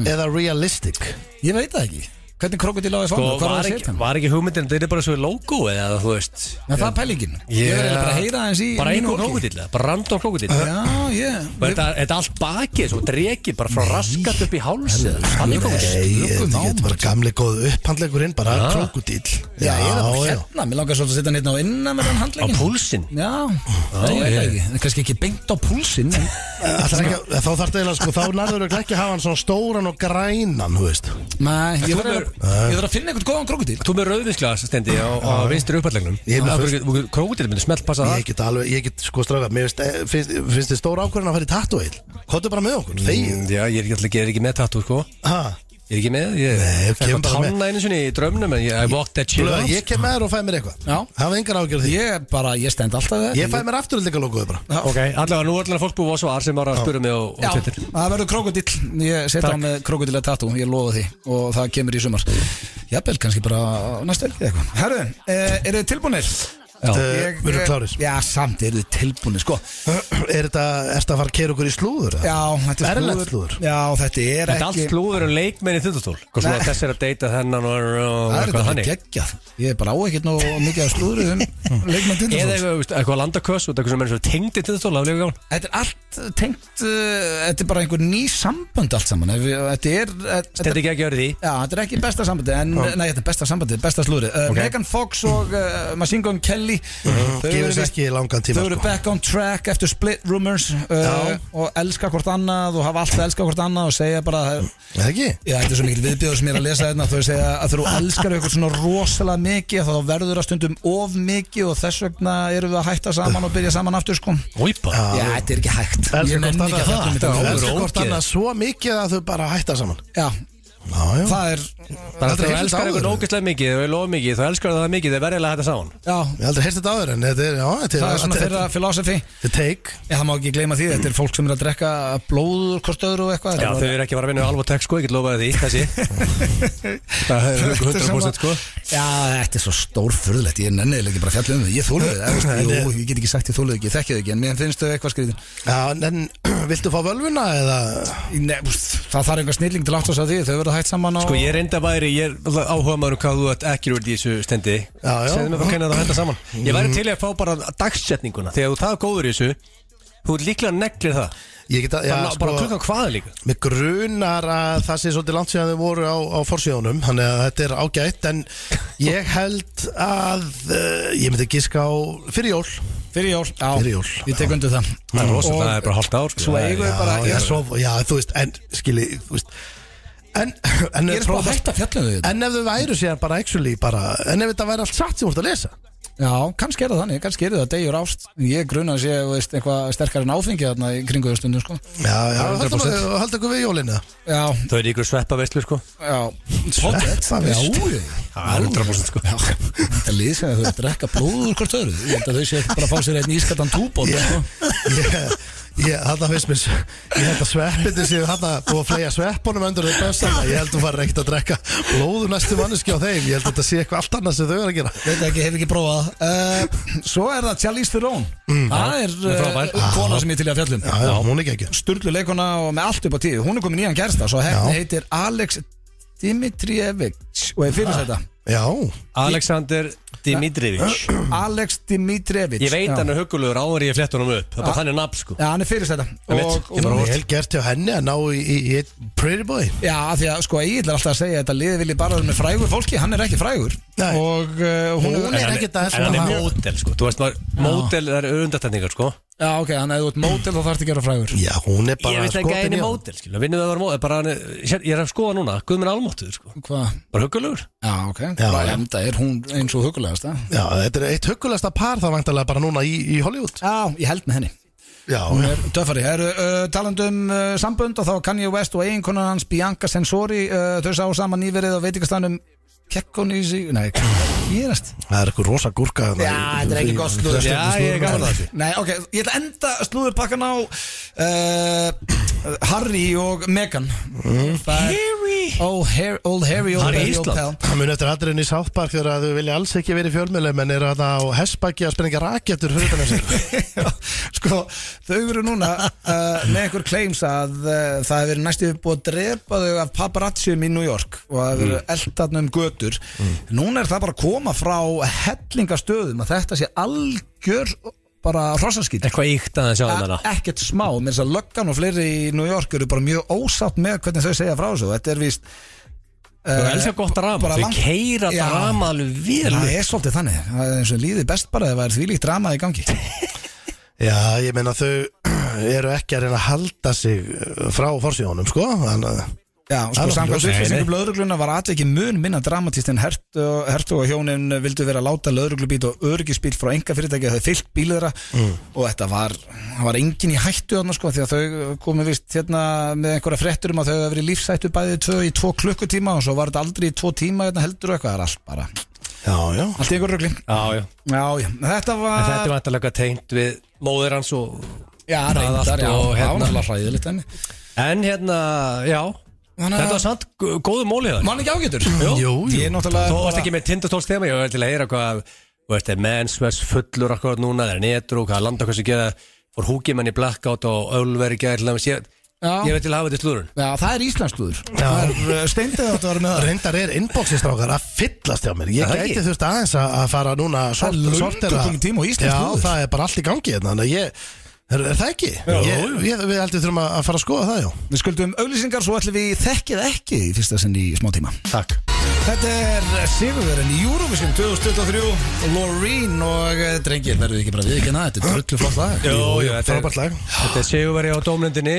Eða realistic
Ég veit það ekki Hvernig krokodil á ég
Sko,
fóna? Hvað
var
var
ekki,
það að
var ekki hugmyndin þetta er bara svo í logo eða þú veist
En það er pælingin Ég
Ég-
verði bara að heyra eins í mínu
bara einhver
fólki.
krókudíla, bara random krókudíla
Já, ég
Og Þetta þetta er allt bakið, svo drekið, bara frá raskat upp í hálsið Þannig
Nei.
krókudíl
Nei, þetta
Slökum á,
getur bara gamli góð upphandlegurinn Bara krokodil
Ah. Já, ég er það bara
já.
hérna Mér langar svolítið að setja hann hérna á innan með þann
Á
handlegin
púlsinn
Já, það ég veit það
ég-
ekki En Kannski ekki beint á púlsinn en-
Ætlar ekki að- Þá þarf það sko Þá nærður ekki að hafa hann svona stóran og grænan Þú veist
Nei, ég verð
Þú
að- ég verð að finna einhvern góðan krokodil
Þú með rauðvinsglas stendi á, á vinstri uppallegnum
Ég er með fullt.
Krókudíl myndi smelt passa
Ah.
Ég
það
get alveg, ég get sko strafa Mér finnst, eh, finnst, finnst þið stóra ákvörðin að fara í tattooil Kottu bara með okkur, þegið
Mm, Já, ég er ekki, alltaf- ég er ekki með tattu, sko
Ha,
Ég er ekki með, ég
Nei,
er
ég kem bara með.
tanna einu sinni í draumnum en ég, I walked that shit
Blöð,
off
Ég kem með þér og fæ mér eitthvað
Já.
Hafa engar ágjörð því
Ég bara, ég stend alltaf það
Ég fæ mér afturöldingar logoðu bara
Já.
Ok, allavega nú er allavega fólk búið á svar sem var að spura mig á, á
Já,
Twitter
það verður krokodil Ég setja
Takk.
hann með krokodila tattoo, ég lofa því Og það kemur í sumar Jafnvel, kannski bara á næstu helgi eða eitthvað Herðu, eh, eru þið tilbúinir?
Já.
Eh, við erum klárir.
Já, samt, eru þið tilbúinir, sko
Er þetta, er þetta að fara að kera okkur í slúður? eða?
Já, þetta er
Erlent slúður.
Já, þetta er
Þetta er allt
ekki
slúður um leikmenn í þundastól
Nei.
Þess er að deyta þennan og
Það er
og eitthvað
þetta alveg
þannig
geggjað Ég er bara á ekkert nú mikið að slúðru um leikmann
Eða
tindastól
eitthvað, veist, eitthvað landaköss og eitthvað sem er svo tengd í tindastól af líka gáðan
Þetta er allt tengt uh, Þetta er bara einhver ný sambönd allt saman Ef við- Þetta er þetta-
Þetta er ekki að gera því
Já, þetta er ekki besta sambandi en, Nei, þetta er besta sambandi, besta slúri uh, Megan Fox og uh, Machine Gun Kelly Þau
Mhm. Gefur
eru
þess
vist-
ekki langan
Þau
tíma sko.
eru back on track eftir split rumors uh,
Já.
og elska hvort annað og hafa alltaf elska hvort annað og segja bara
Er það ekki?
Já, þetta er svo mikil viðbjöður sem ég er að lesa þetta þau segja að þegar þú elskar eitthvað svona rosalega mikið þá verður það stundum of mikið og þess vegna erum við að hætta saman og byrja saman aftur sko
Újpa
Já, þetta er ekki hægt
Elskar
Ég
hvort
nenni
annað
ekki að fjalla um þetta núna.
Já.
það. Elskar
Ógeð.
hvort annað svo mikið að þau bara hætta saman
Já,
Já, já
það er
Bara
Aldrei
þegar þú
heyrst
elskar
áður.
eitthvað nógislega mikið og lofa mikið þá elskar það mikið þegar verðilega þetta sáan
Já,
Ég aldrei heyrst þetta áður en þetta er, já, þetta er
það er svona
þetta-
þeirra filosofi
Þetta er take
Já, það má ekki gleyma því, þetta er fólk sem er að drekka blóður hvort öðru og eitthvað
Já,
Þetta
þau
er
eru ekki að fara að vinna alveg tek sko, ég get lofaði því, þessi Það er
bara- Þetta er sem
100%
að-
sko
Já, þetta er svo stórfurðlegt, ég nenniði ekki bara fjallið um þau Ég þóluði það, jú, ég get ekki sagt ég þóluði ekki, ég þekki þau ekki En mér finnst þau eitthvað skrýðin
Já, en viltu fá völvuna eða
Það þarf einhver snilling til aftur á því, þau verða hægt saman á
Sko ég reynda væri, ég er alltaf áhuga maður um hvað þú ert ekki úr þessu stendi
Já, já.
Segðu mér bara hvernig það hætta saman Ég væri til í að fá bara dagsetninguna Þegar þú það er góður í þessu Þú ert líklega neglir það
Ég get að, já,
bara, sko, bara klukkan hvað líka
Mér grunar að það sé svolítið langt síðan þau voru á, á forsíðunum Þannig að þetta er ágætt En ég held að uh, Ég myndi giska á fyrir jól
Fyrir jól, já,
Fyrir jól,
ég tek undir það
Það er rosa,
Og-
það er bara hálft ár sko.
Svo eigum við bara,
já,
ég
svo, já, þú veist, en skili þú veist, En, en
ég er bara hægt að fjallið um þau
En ef þau væru síðan bara actually bara En ef þetta væri allt satt sem þú ert að lesa
Já, kannski er það þannig, kannski er það degjur ást Ég gruna að sé, þú veist, eitthvað sterkar en áfengi þarna í kringu þau stundum, sko
Já, já, höldum
100%.
við- höldum við jólinu
Já,
Þau eru ykkur sveppa veistlu sko
já,
Sveppa, veist.
Já, já
Það er 100% sko
Þetta lið sem þau drekka blóður hvort öðru Ég held að þau sé ekki bara að fá sér einn ískatan túbót
Ég,
sko.
ég, ég, þarna finnst mér svo- Ég held að sveppinni séu þarna Búið að flega sveppunum undir þeir besta Ég held að þú farir ekkert að drekka blóðu næstu manneski á þeim Ég held að þetta sé eitthvað allt annað sem þau eru að gera
Veit ekki, hef ekki prófað það. uh, Svo er það Charlize Theron Það
er
er
frábær.
uh, kona sem ég til í að fjallum
Já, já, hún er ekki ekki
Sturlu leikona og með allt upp á tíu Hún er komin nýjan gersta Svo hefni
Já.
heitir Alex Dimitrijevic og ég fyrir þetta
Já,
Alexander Dimitrievich
Alex Dimitrijevic
Ég veit
Já.
hann er hugulegur áður en ég flett honum upp Það er bara þannig nafn sko
Já, hann er fyrir þetta
Ég veit,
og,
ég bara
og,
vorst.
vel gert hjá henni að ná í, í, í eitt pretty boy
Já, af því að sko ég ætlar alltaf að segja að Þetta liði vilji bara vera með frægur fólki Hann er ekki frægur
Nei.
Og uh, hún,
Hún er
En hann
ekkert
En
að
hann
svona-
er mótel sko Þú veist maður, mótel það eru undartendingar sko
Já, ok, hann er út mótel þá þarf að gera frægur
Já, hún er bara
Ég veit ekki að
skotin
henni
í honum.
mótel skilur Vinnum við að vera mótel bara, hann er- sér- Ég er að skoða núna, Guðmund Almáttuður sko
Hvað?
Bara hugulegur
Já, ok, já,
Já, já.
bara enda er hún eins og hugulegast Já,
Já, þetta er eitt huggulegasta par það vantarlega bara núna í, í Hollywood
ég held með henni
Já,
Hún
já,
er Töffari, er uh, taland um uh, sambönd og þá Kanye West og eiginkona hans Bianca Sensori uh, þau sá saman nýverið á veitingastanum Kekkonísi, nei, hvað gerast?
það er eitthvað rosa gúrka þarna í- í- í-
Já, ég er gaman að þessu.
Nei, ok, ég ætla að enda slúðurpakkan á uh, Harry og Meghan Harry? Oh, Harry, old Harry old
Harry
Harry,
Ísland.
old pal.
Það mun eftir aðriðin í South Park þegar þau vilja alls ekki verið fjölmjölu menn eru þarna á hessbakki að spenninga rakettur fyrir utan þessu
Já, sko, þau eru núna uh, með einhver claims að uh, það hefur næstu búið að drepa þau af paparazzium í New York og það hefur mm. eldatna um götur núna er það bara að koma frá hellingastöðum að þetta sé algjör bara hrossaskýt
Eitthvað íkt að hann sjá hann hana
ekkert smá, með þess að löggan og fleiri í New York eru bara mjög ósátt með hvernig þau segja frá þessu, þetta er víst
Þú elskar gott drama,
eh, bara
þau
langt-
keira
Já.
drama alveg vel
það er svolítið þannig, það er eins og líði best bara ef það er þvílíkt dramað í gangi
Já, ég meina þau eru ekki að reyna að halda sig uh, frá forsíðunum, sko Þannig að
Já, og
Það
sko
er
samkvæmt
ljóst. Nei,
upplýsingum löðrugluna var atvikið mun minna dramatist en hert og, hert og hjónin vildu vera að láta löðruglubít og öryggisbíl frá enga fyrirtæki að þau fyllt bíl þeirra
Mm.
og þetta var, það var engin í hættu þarna sko því að þau komu vist hérna með einhverja frettur um að þau hefði verið í lífsættu bæði tvö í tvo klukkutíma og svo var þetta aldrei í tvo tíma hérna heldur og eitthvað, það er allt bara
Já, já
allt í einhver rugli.
Já, já
Já, já, þetta
En
var
þetta er vantarlega tengt við móðir hans og
Já,
það allt
reyndar, já,
og
það
hérna.
var náttúrulega hræðilegt henni
En hérna, já
Þannig að-
Þetta var samt gó- góður mólið þar
Mann ekki ágætur
Jú, jú.
Ég er náttúrulega
Þú varst
bara-
ekki með tindastóls tema Ég var til að heyra hvað Þú veist, er mennsvers fullur akkurat núna Það er netur og hvað landa hvað sem geða Fór húkimenn í blackout og ölveri gæði til dæmis. Ég
Já.
ég veit til að hafa þetta í slúrun
Já, það er íslensklúður Það er uh, steindið átt að vera með það
Reyndar er inboxistrákar að fyllast hjá mér Ég
Það
gæti
ekki.
þurft aðeins að að fara núna
Það
að
er
sort-
löngu
sortera-
kominn tími á íslenskt
Já,
klúður.
það er bara allt í gangi hérna Þannig að ég, er, er það ekki? Ég, ég, við heldur þurfum að að fara að skoða það, já
Við skuldum auglýsingar svo ætlum við þekkið ekki í fyrsta sinn í smá tíma.
Takk
Þetta er eh, Sigurverðin í Eurovision 2023 Loreen og eh, drengir verður ekki bara viðkjöna, þetta er drullu flott lag
Jú, jú, þetta er-
Frábært lag
Þetta er seguveri á domlendinni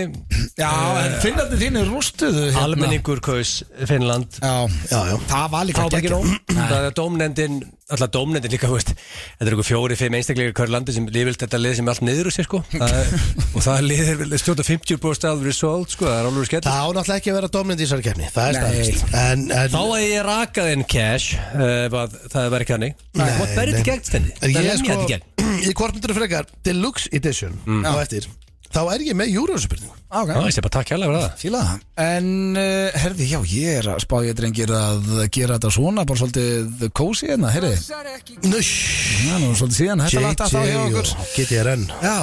Já, en finnandi þínu rústuðu hérna
Almenningur kaus Finnland
Já,
Já, já
það var líka
Það var ekki
geggjað.
nóg Það er domnendin, alltaf domnendin líka þú veist, Þetta er eitthvað fjóri, fimm einstaklega í hverju landi sem lifir þetta lið sem er allt niður úr sér sko það er, Og það liðir vel stjóta 50% af result sko, það er alveg skell
Það á náttúrulega ekki að vera domnind í þessari kefni Það er
Nei.
staðist En, en
Þá að ég rakað inn cash uh, var, Það var ekki hannig What berrið þetta gegn stenni?
En
Það
ég
lemja
er sko
þetta gegn
Í hvort myndur frekar Deluxe Edition
Mm.
á eftir Þá er ég með júruvísspurningu
Ok,
Já, ég sé bara takk hérlega fyrir það
fíla það En, uh, herði, já, ég er að spá ég drengir að gera þetta svona bara svolítið kósi hérna, herri Já,
Nush
nú, svolítið síðan, þetta lagt að þá hjá
JJ
okkur
og GTRN
Já,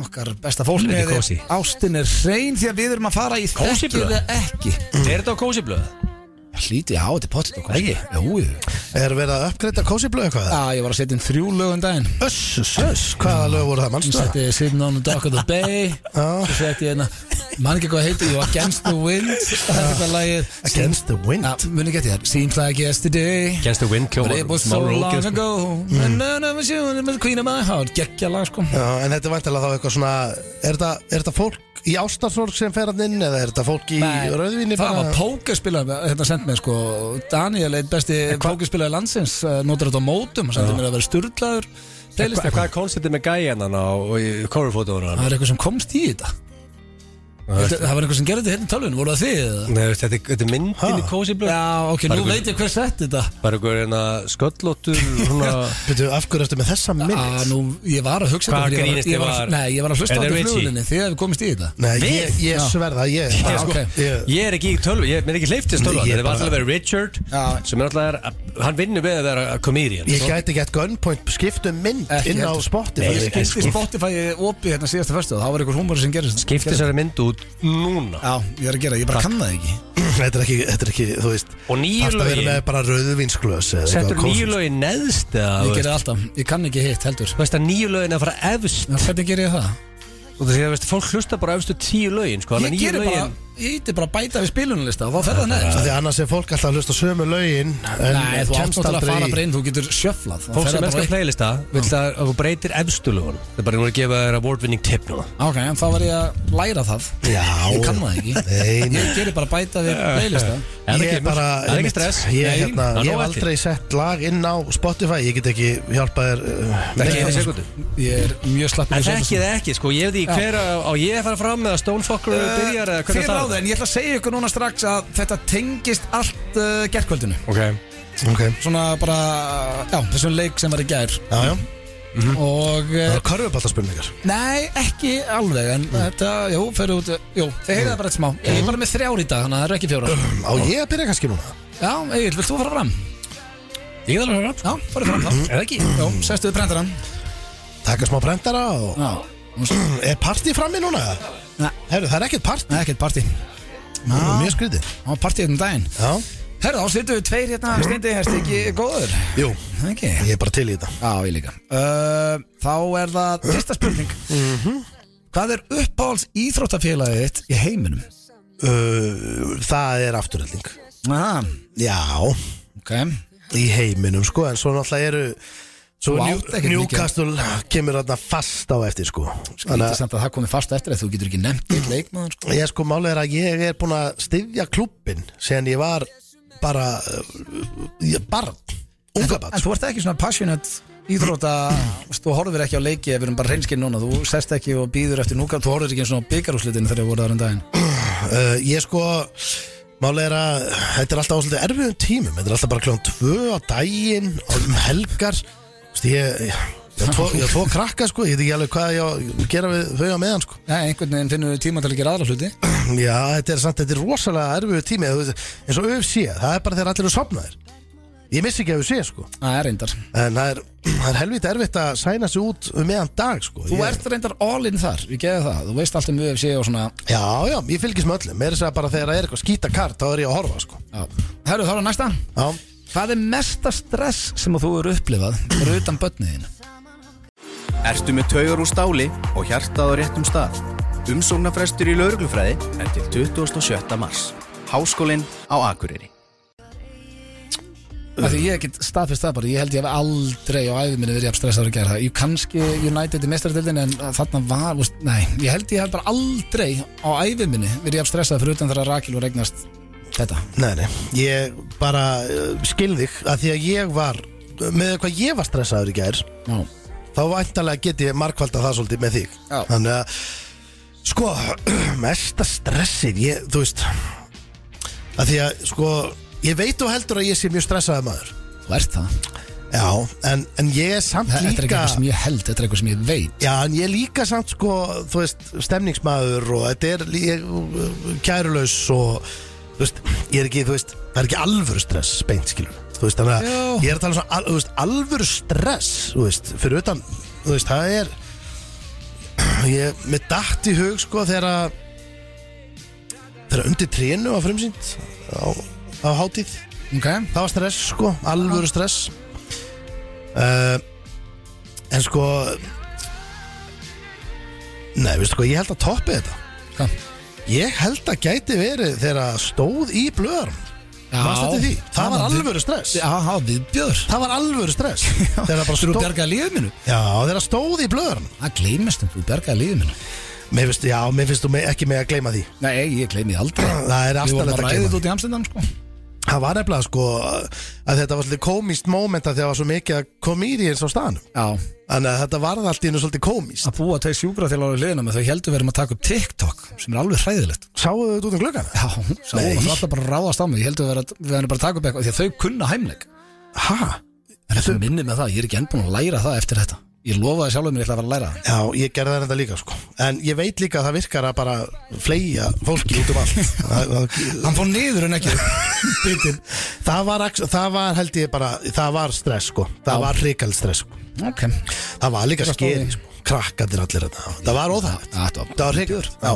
okkar besta fólk
Þetta er
með
kósí.
Ástin er hrein því að við erum að fara í
Kósí
þekkið
blöð.
eða ekki
Er þetta á kósi blöð?
Hlítið á, þetta er pottet og kósí Jú, jú.
Er verið að uppgreita Cozy Blue eitthvað?
Já, ég var að setja inn þrjú lög um daginn
Öss, öss, hvaða lög voru það
Ég
mannstu?
setti Sitting on the Dock of the Bay Svo setti ég hérna Man ekki hvað heitir, ég var Against the Wind Það er þetta lagið
Against the Wind
Já, muni geti þér Seems like yesterday
Against the wind
But
kjóma
it was so long
sko.
ago And none of us you And it was the queen of my heart Gekkja lag sko
Já, en þetta er vantilega þá eitthvað svona Er þetta, er þetta fólk í ástarsorg sem fer hann inn eða er þetta fólk í
Nei,
rauðvinni
Það var pókerspilar, hérna send mér sko Daniel, einn besti pókerspilar landsins eh, notar þetta á mótum og sendir mér að vera styrlaður
Hvað hvað er konceptið með hérna gæjan hann á
Það
kórufótóður?
er eitthvað sem komst í þetta Þetta- Það var eitthvað sem gerði þetta hérna í tölvun, voru það þið? eða?
Þetta er- þetta er myndin í kósi blöð
Já, ok,
Bara
nú
eitthvað-
veit ég hver sett þetta
Bara einhver hérna sköllóttur svona...
Býtu, af hverju ertu með þessa
Að
mynd?
Ah, nú, ég var að hugsa
Hvað
þetta fyrir ég
grínist
ég
þið var?
Nei, ég var að hlusta á
Er
þetta
það
í
Richie?
fluguninni Þið hefði komist í þetta
Nei, ég, ég sverða, ég,
Já,
sko,
ok.
ég
Ég er ekki í tölvu, ég mér er ekki hleyftist tölvu
Nei, ég
Þetta var
bara-
alltaf að vera Richard
Já.
sem er alltaf, að- hann vinnur við að vera comedian
Ég gæti gett gunpoint, skiptum mynd
Ekki
inn á
heldur.
Spotify
Ég
Nei, en
skipti
sko-
Spotify opið hérna síðasta fyrstu Það var eitthvað húmori sem gerist
Skipti þessari mynd út núna
Já, ég er að gera, það, ég bara kann það ekki
vegna þetta er ekki, þetta er ekki þú veist
Og nýju
þarftu að vera
lögin.
með bara rauðvinsglös eða eitthvað
Settur nýju
kósí.
lögin neðst
Ég
eða þú
gerði
veist,
það alltaf, ég kann ekki hitt heldur
Þú veist að nýju lögin að fara efst
Já, Hvernig gerði ég það?
Og þú veist, fólk hlusta bara efstu tíu lögin sko,
Ég
þannig að nýju
gerði bara,
lögin-
ég ítti bara að bæta við spilunlista og þá fer það neðst
Af Því að annars er fólk alltaf að hlusta á sömu lögin en
Nei, þú átt
kemst
náttúrulega að
aldrei
fara
í-
bara inn, þú getur sjöflað Þá
Fólk
fer
sem
það
elskar
bara-
playlista vil það að þú breytir efstu lögun Það er bara núna að gefa þér award winning tip núna
Ok, en þá var ég að læra það
Já.
Ég kann það ekki
Nei, nei.
Ég gerði bara að bæta við playlista
það
Ég
ekki-
er bara
það er ekki stress
Ég,
Nei,
hérna,
það er
ég
nóg
hef
eftir.
aldrei sett lag inn á Spotify Ég get ekki hjálpað þér uh,
Það er
neitt annað,
ekki
sko.
sekundu
Ég er mjög slappur
En þekki það ekki, sko, ég veit ekki
Já.
hver á á ég að fara fram með að Stonefucker
Uh,
byrjar eða hvernig
Eh, Fyrir á það, en ég ætla að segja ykkur núna strax að þetta tengist allt uh, gerkvöldinu
Ok
Ok,
Svona bara, já, þessum leik sem var í gær
já, já
Og,
Það
uh,
Eh.
eru körfuballarspurningar
nei, ekki alveg
Mm.
En þetta, jú, fyrir út Jú, þið heyrið það bara eitt smá Ég er bara með þrjár í dag, þannig að það eru ekki fjórar
Mm.
Á ég að byrja kannski núna?
Já, Egil, vilt þú fara fram?
Ég þarf að fara fram Mm.
Já, farið fram þá
Er það ekki?
Jú, sestuðu brendaran
Taka smá brendara og
Já,
Er partí frammi núna?
Nei.
Herru, það er ekkert partí
Nei, ekkert partí
Það er mjög skrítið
Það var partí hérna um daginn
Já,
Herra, þá slitum við tveir hérna
Mm.
Steindi, herst ekki góður
jú,
Það ekki
ég er bara til í þetta
Já, ég líka uh, Þá er það fyrsta spurning
Mhm.
Hvað er uppáhalds íþróttafélagið þitt í heiminum?
uh, Það er afturhaldning
Aha,
Já,
ok
í heiminum sko En svo náttúrulega eru Svo
Þú
Njú-
átt ekkert mikið.
Newcastle kemur þarna fast á eftir sko
Þannig
Þannig
að
að
samt að það komið fast eftir að þú getur ekki nefnt eitt leikmaður sko.
ég sko málið er að ég er búin að styðja klubbin Sen ég var bara uh, ég- Barn, unga barn
En þú ert ekki svona passionate íþrótta Þú horfir ekki á leiki ef við erum bara reynskinn núna Þú sest ekki og býður eftir núka Þú horfir ekki eins og byggarúslitinu þegar þú voru þar en daginn
uh, Ég sko Málega er að þetta er alltaf á svolítið erfiðum tímum Þetta er alltaf bara kljóðan tvö á daginn um helgar Þú veist, Ég ég- ég á tvo, ég á tvo krakka sko Ég veit ekki alveg hvað ég á að gera við þau á meðan sko
Nei, einhvern veginn finnum við tíma til að gera aðra hluti
Já, þetta er samt, þetta er rosalega erfiðu tími þú veist, eins og UFC, það er bara þegar allir eru sopnaðir Ég missi ekki að UFC sko
Það er reyndar
En það er, það er helvítið erfitt að sæna sig út um meðan dag sko
Þú
ég,
ert reyndar all in þar, ég geði það Þú veist allt um UFC og svona
Já, já, ég fylgis með öllum Mér er þess að bara þegar það er eitthvað skýta kart, þá er ég að horfa sko
Já. Herru, þá er það næsta
Já,
Hvað er mesta stress sem að þú eru upplifað fyrir utan börniðin?
Ertu með taugar úr stáli og hjartað á réttum stað? Umsóknarfrestur í lauruglufræði er til 27. mars. Háskólinn á Akureyri.
Af því ég get staðfist það bara, ég held ég hef aldrei á æfið minni verið jafn stressaður að gera það Ég kannski United í mestardeldin en uh, þarna var, úst, nei, ég held ég hef bara aldrei á æfið minni verið jafn stressaður fyrir utan þegar Rakel var eignast þetta
Nei, nei, ég bara uh, skil þig að því að ég var með hvað ég var stressaður í gær
Já,
þá væntalega get ég markvalda það svolítið með þig
Já.
þannig að sko, mesta stressið ég, þú veist að því að sko, ég veit og heldur að ég sé mjög stressaður maður
þú ert það
Já, en, en ég er samt
Þetta er ekki
líka
eitthvað sem ég held, þetta er eitthvað sem ég veit
Já, en ég er líka samt sko, þú veist, stemningsmaður og þetta er lí- ég, uh, kærulaus og þú veist, ég er ekki, þú veist, það er ekki alvöru stress beint, skilur. Þú veist, þannig að
Já.
ég er að tala um svona, al, þú veist, alvöru stress, þú veist, fyrir utan, þú veist, það er, ég, mér datt í hug sko þegar að, þegar að undir trénu var frumsýnd á, á hátíð,
okay.
það var stress sko, alvöru stress uh, En sko Nei, veistu hvað, ég held að toppi þetta
Hvað?
Ég held að gæti verið þegar að stóð í blöðarum
Já,
Varstu eftir því? Það var
við-
alvöru stress
Já, það var viðbjör
Það var alvöru stress Þegar að bara
Þú
stóð,
bjargaði lífið minu
já, þegar að stóð í blöðarum
Það gleymist um, þú bjargaði lífið minu
Mér finnst, já, mér finnst þú me- ekki með að gleyma því
Nei, ég gleymi því aldrei
Það er
Við
aftalegt
vorum
að
að
gleyma
ræða
því.
þetta út í Amstendam sko
Það var nefnilega sko að þetta var svolítið komíst moment að því að það var svo mikið að komíriðins á staðanum
Já
Þannig að þetta varð allt í hennu svolítið komíst
Að búa tveir sjúkraþjálfara í liðina með þau heldur við erum að taka upp TikTok sem er alveg hræðilegt
Sáuðu þetta út um glöggana?
Já, sá,
Nei.
það var alltaf bara að ráðast á mig ég heldur við erum, við erum bara að taka upp eitthvað því að þau kunna hæmleik
Hæ?
En þetta minni með það, ég er ekki enn búin að læra það eftir þetta Ég lofaði sjálfur mér ég ætla að fara að læra það
Já, ég gerði þetta líka sko En ég veit líka að það virkar að bara fleia fólki út um allt það, það,
Hann fór niður en ekki
bitinn. það, var, ax- það var held ég bara Það var stress sko Það var hrikald stress sko
Ok,
Það var líka
Það stóð
skeri
í.
sko krakkaðir allir þetta Það var óþægt
Þetta var-
Það var hreikjur Já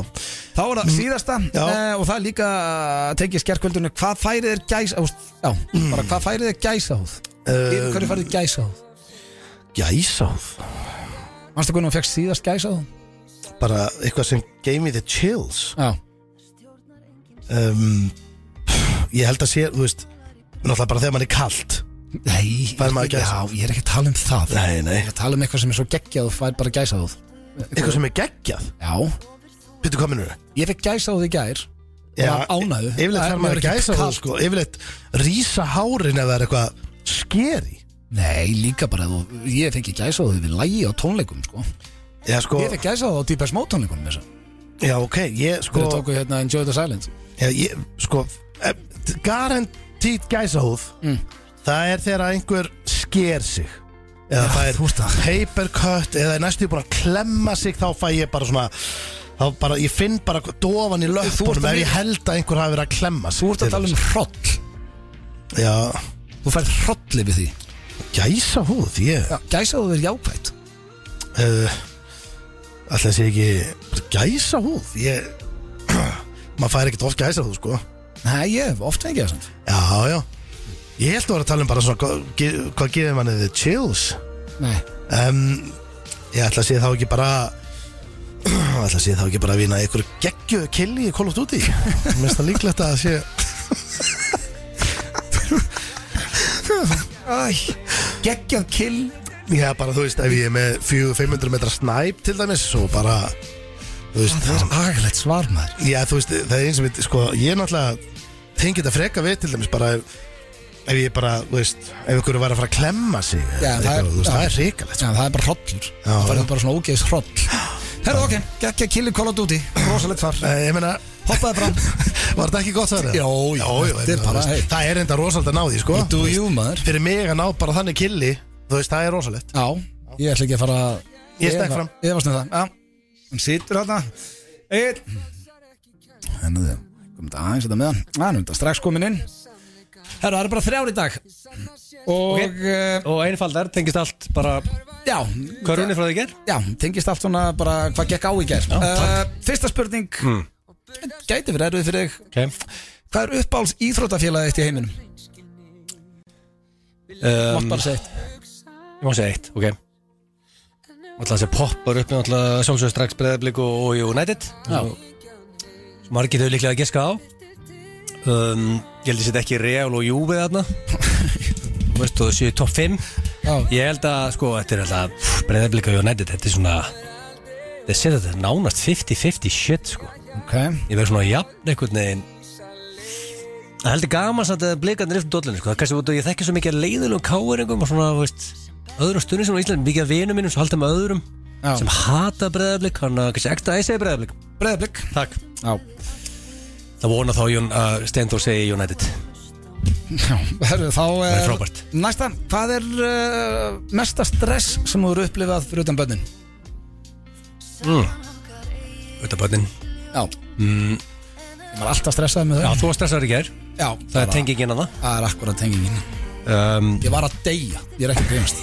Þá er það síðasta
Já.
eh, og það er líka eh, tekið skjærkvöldunni hvað færið er gæsa þú veist, Já, bara hvað færið er gæsa húð Yfir hverju færið gæsa húð
Gæsáð
Manstu hvernig hún fekk síðast gæsa húð
Bara eitthvað sem gave me the chills
Já,
um, pff, Ég held að sé, þú veist Náttúrulega bara þegar mann er kalt
nei,
Fær maður
já,
gæsahúð?
ég er ekki að tala um það
Nei, nei
Ég er að tala um eitthvað sem er svo geggjað og fær bara gæsa húð
Eitthvað sem er geggjað
Já,
Pytu, hvað minnur þau?
ég fekk gæsa húð í gær Var ánægðu.
Yfirleitt
Að
þarf maður
vera ekki
gæsáð,
kalt.
sko Yfirleitt rísa hárin ef það er eitthvað skeri
Nei, líka bara, þú, ég fengi gæsa húð við lægi á tónleikum sko.
Já, sko
Ég fekk gæsa húð á Deepest Mode tónleikunum þess að
Já, ok, ég, sko
Þeir tóku hérna Enjoy the Silence
Já, ég, sko eh, Guaranteed gæsahúð
Mm.
Það er þegar einhver sker sig Eða það
þú ert
er
að-
papercut Eða er næstu búin að klemma sig Þá fæ ég bara svona Þá bara, ég finn bara dofan í löpunum
að
Ef
mi-
ég held að einhver hafi verið að klemma sig
Þú ert að tala um hroll
um Já,
Þú færð hrolli við því
gæsahúð, ég
Já, Gæsa húð er jákvætt
uh, Alltaf sé ekki bara Gæsahúð, ég Maður fær ekkert oft gæsahúð, sko
Nei, ég hef oft fengið það samt
Já, já Ég held að vera að tala um bara svona hvað- ge- Hvað gefið manni the chills
Nei
um, Ég ætla að sé þá ekki bara Ég ætla að sé þá ekki bara að vína einhverju geggjöðu killi í Call of Duty Mér finnst það líklegt að það sé
Æ, geggjað kill
Já, bara þú veist, ef ég er með 400-500 metra snæp til dæmis og bara Þú veist,
Það er agalegt svar maður
já, þú veist, það er eins sem við, sko, ég náttúrulega tengi þetta freka við til dæmis bara ef, ef ég bara, þú veist, ef ykkur var að fara að klemma sig
Já, það er-
eitthvað, þú veist,
já.
það er reikalegt
Já, það er bara hrollur Það færð bara svona ógeðis hroll Herra, ok, geggjað kill í Call of Duty Rosalegt svar
Ég meina,
Hoppaði fram
var þetta ekki gott það?
Jó, jó, þetta er bara, hey.
Það er enda rosalega að ná því, sko
Do you, maður
fyrir mig að ná bara þannig killi þú veist, það er rosalegt
Já, ég ætla ekki að fara að-
Ég stekk
var-
fram.
Ég var snöða Já, hann situr hérna Einn Hennu Hérna, þið Komum þetta aðeins þetta með hann Já, hann er þetta strax komin inn Herra, það eru bara þrjár í dag Og, okay.
Og einfaldar tengist allt bara
já,
Körunni frá því ger
Já, tengist allt svona bara hvað gekk á í gerð uh, Fyrsta spurning Gæti verið erfið fyrir þig
okay.
Hvað er uppáhalds íþrótafélagið þitt í heiminum? Mátt
um,
bara sett
Ég má segja eitt Ok Alltaf þessi poppar upp Alltaf sjálfsögur strax breyðablík og, og United
Já.
Og- sem Margir þau líklega að geska á um, Ég held að þetta ekki Real og Juve þarna Þú veist þú séu top 5
Já,
Ég held að sko Þetta er alltaf breyðablík og United Þetta er svona Þetta setja þetta nánast 50-50 shit sko
ok
Ég verð svona jafn einhvern veginn Það heldur gaman samt að blikarnir eftir dollinu sko. Það er kannski út og ég þekki svo mikið að leiðilegum káeringum og svona, þú veist, öðrum stundum sem á Íslandi mikið að vinum mínum sem halda með öðrum
Já.
sem hata breðablik, hann að kannski ekta að ég segi breðablik
Breiðablik
Takk
Já,
Það vona þá Jón að Steindór segi United
já herru, þá
Það er
er
frábært
Næsta, hvað er uh, mesta stress sem þú eru upplifað fyrir utan bönnin?
Þetta bönnin
Já mm. Ég var alltaf stressað með
Já,
þau
þú var stressaður í gær
já
Það er tengingin að
Það er akkurat tengingin
það um,
Ég var að deyja, ég er ekki að grínast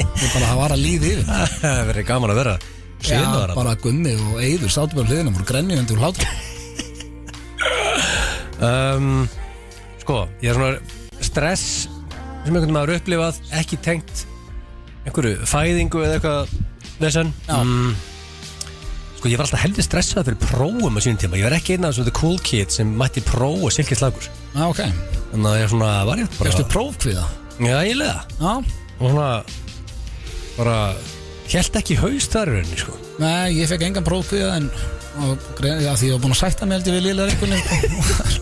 Ég bara, það var að líði yfir
Það verður gaman að vera
Já,
Hliðnaðar
bara gummi og eyður sátu bara hliðina voru grennið undir úr hlátur
um, Sko, ég er svona stress sem einhvern maður upplifað ekki tengt einhverju fæðingu eða eitthvað lesan
Já.
mm, Sko, ég var alltaf heldur stressað fyrir prófum á sínum tíma Ég var ekki einn af þessum the cool kid sem mætti próf og silkið slagur
Já, ok,
Þannig að ég svona var ég bara
fyrstu prófkviða
Já, ég leða
Já,
Og svona bara Helt ekki í haust þar í rauninni, sko
nei, ég fekk engan prófkviða en og, grein- já, því ég var búin að sætta mig held ég við liðlega eitthvað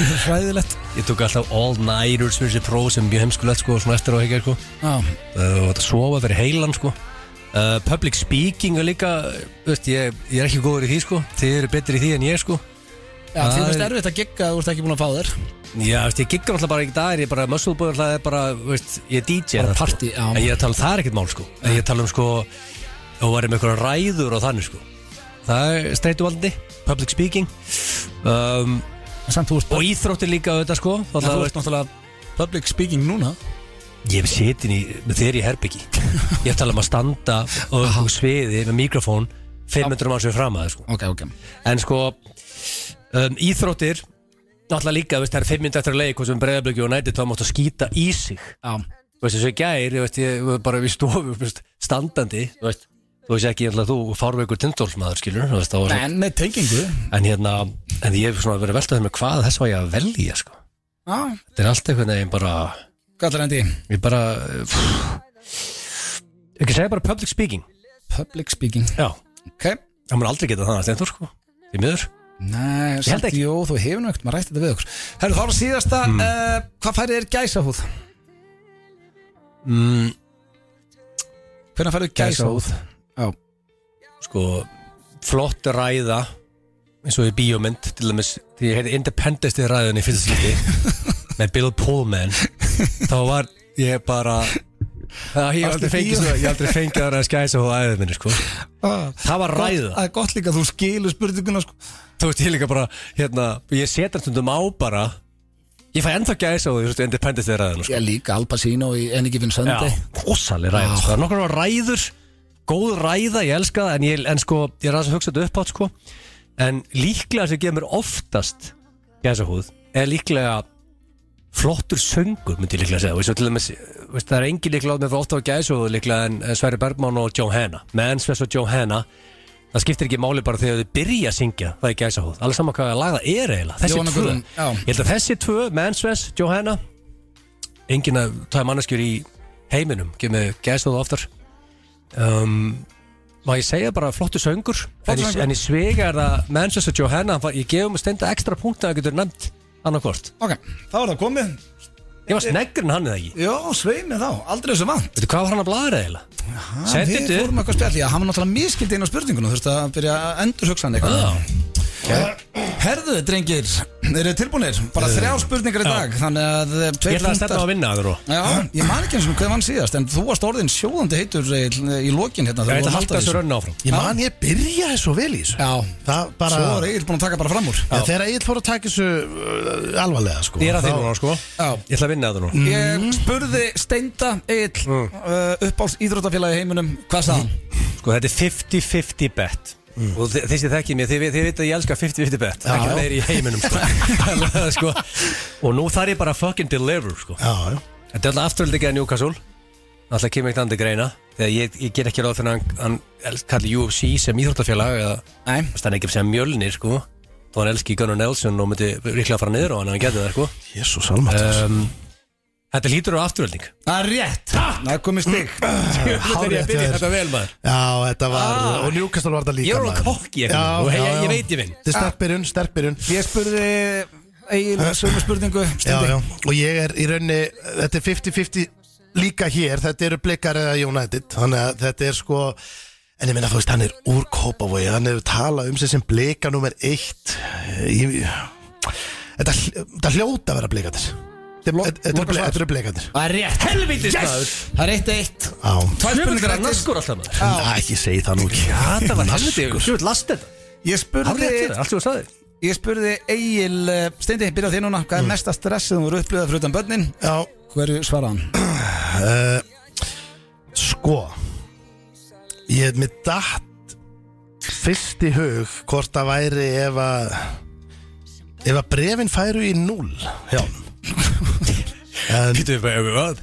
Hræðilegt
Ég tók alltaf all-nighters fyrir þessi próf sem mjög heimskulegt, sko, svona eftir á hekja, sko
Já,
Það var að sofa fyrir heilan sko uh, Public speaking er líka þú veist, ég, ég er ekki góður í því sko Þið eru betri í því en ég sko
já því
Það
finnst
er-
erfitt að gigga að þú ert ekki búin að fá þér
Já, þú veist, ég giggar alltaf bara ekki dagar Ég er bara muscleboy alltaf er bara, þú veist, ég er DJ
Bara
þar,
party, já.
sko. En ég er að tala um það er ekkert mál sko En ég er að tala um sko Og varum einhverja ræður og þannig sko Það er streituvaldandi, public speaking um,
En samt þú ert
Og íþróttir líka auðvitað sko
en
Það
þú
er
ert náttúrulega public speaking núna
Ég hef setin í, þegar ég herbyggi Ég hef talað um að standa og, og sviði með mikrofón 500 mann sem er fram að það sko.
Ok, ok
En sko, um, íþróttir Náttúrulega líka, þú veist, það er 5 minnir eftir að leik Hvað sem breyðablöki og nætti, þá máttu að skýta í sig
Já,
Þú veist, þessu gær, ég veist, ég var bara við stofu þú veist, Standandi, þú veist Þú veist ekki, ég ætla að þú fárveikur tindólsmaður skilur Þú veist, þá var svo
En með tengingu
En hérna, en ég hef svona verið að velta þeim með hvað þess var ég að velja, sko
já
Þetta er allt einhvern veginn bara
Gallar endi
Ég bara pff, Ekki segja bara public speaking
Public speaking
Já,
Ok
það mun aldrei geta þannig að stendur, sko Í miður
Nei,
held
samt
ekki.
jú, þú hefur nögt, maður rætti þetta við okkur
Herru, þá er það síðasta
Hmm.
uh, Hvað færið er gæsahúð?
mm,
Hvernig færðu gæsahúð?
Sko, flott ræða eins og í bíómynd til dæmis, því ég heiti Independence í ræðunni í fyrsta skipti með Bill Pullman þá var ég bara það, ég hef
Varstu
aldrei fengið
bíó?
svo, ég hef aldrei fengið að ræða skæsa og aðeins minni sko. það var ræða
Ah, Það er gott líka að þú skilur spurninguna sko.
þú veist ég líka bara hérna, ég setja stundum á bara ég fæ ennþá gæsa á því, þú veist, Independence er ræðan sko.
Ég líka Al Pacino í Any Given Sunday Ah.
rosaleg ræða, sko, það er nokkur ræður góð ræða, ég elska það en, ég, en sko, ég er aðeins að hugsa þetta upp átt sko en líklega sem gefur mér oftast gæsa húð, er líklega flottur söngur myndi ég líklega segja, veist, og til dæmis veist, það er engin líklega átt með ofta á gæsa húð líklega en en Sverri Bergman og Johanna með enn Svers og Johanna það skiptir ekki máli bara þegar þau byrja að syngja það er gæsa húð, alveg saman hvað að laga er eiginlega þessi
Jóhanna
tvö,
Guðrún, já.
ég held að þessi tvö með enn Svers, Johanna engin að það er manneskjur í heiminum kemur gæstóð oftar um, má ég segja bara flottu söngur en, ég,
söngur.
en í svega er það Manchester Johanna, hann var- ég gefum stenda ekstra punkt að það getur nefnt annarkort
Ok,
Þá er það komið
ég var sneggur en hann eða ekki
Jó, svei mig þá, aldrei þessu vant
veitu hvað var hann að bladra eiginlega
við
sendi
fórum
þetta upp.
eitthvað spjalli Hann var náttúrulega miskildi inn á spurninguna Þú veist að byrja að endur hugsa hann eitthvað
Já.
Herðu, drengir, eru þið tilbúinir? Bara þrjár spurningar í dag Þannig að eh,
Eh, ég
tveir
ætla að stefna á að vinna það rú
Já,
Ég man ekki eins og hvað vann síðast En þú varst orðin sjóðandi heitur í, í lokin hérna
ég
þegar við
ætla að
vorum
halda
alltaf
þessu
í
rönn áfram
Ég man ég byrjaði svo vel í þessu
Já,
Það bara
svo er Egil búin að taka bara fram úr
Já, Þegar Egil fór að taka þessu uh, alvarlega sko
ég er að því
þá-
núna sko
Já.
ég ætla að vinna það nú
Ég spurði Steinda Egil mm. uh, uppáls íþróttafélagi í heiminum Hvað sagði hann?
sko þetta er 50-50 bet og þi- þið sem þekkið mér, þið, vi- þið veit að ég elska 50-50 bet ekki
já.
að í heiminum sko. Þannig að, sko. og nú þarf ég bara að fucking deliver sko.
Já, já
Þetta er alltaf afturöldi að Newcastle Alltaf kemur eitt andri greina Þegar ég, ég ger ekki ráð fyrir hann, hann elst- kalli UFC sem íþróttafélag eða
Nei.
Þú veist, hann er ekki sem mjölnir sko Þó hann elski Gunnar Nelson og myndi ríklega fara niður á hann ef hann getur það sko
Jésu salmat
Uh,
um, Þetta lítur á afturölding
Það er rétt Það er komið stig
Þetta er ég að byrja þetta vel maður
Já, þetta var Og Newcastle var þetta líka
Ah. Ég er
maður.
alveg kokki
Já,
eitthvað og hey,
já,
ég,
já.
ég veit ég vinn Ah.
Þetta er sterkbyrjun, sterkbyrjun
Ég spurði Egil sömu spurningu
Já,
Steindi
já Og ég er í rauninni Þetta er 50-50 líka hér Þetta eru blikar eða United Þannig að þetta er sko En ég minna, þú veist, hann er úr Kópavogi Hann hefur talað um sig sem blika nummer eitt Ég- Þetta hl- þetta hljóta að vera blikandir Þetta eru ble- þetta eru blikandir
Það er rétt
Helvítis maður
Það er eitt eitt
Já
Tvær
Spurningar
spurningar
að
eftir
naskur alltaf maður
Næ, ekki segi það nú ekki
Þetta var helviti, þú veit last þetta
Ég
Hárið
spurði
eftir það, allt sem þú sagði
Ég spurði Egil uh, Steindi, byrja á þér núna Hvað er mesta stressið þú voru upplifað fyrir utan börnin?
Já,
Hverju svaraði hann?
sko Ég hef mér datt Fyrst í hug Hvort það væri ef að Ef að brefin færu í null Já en,
Pítu, öll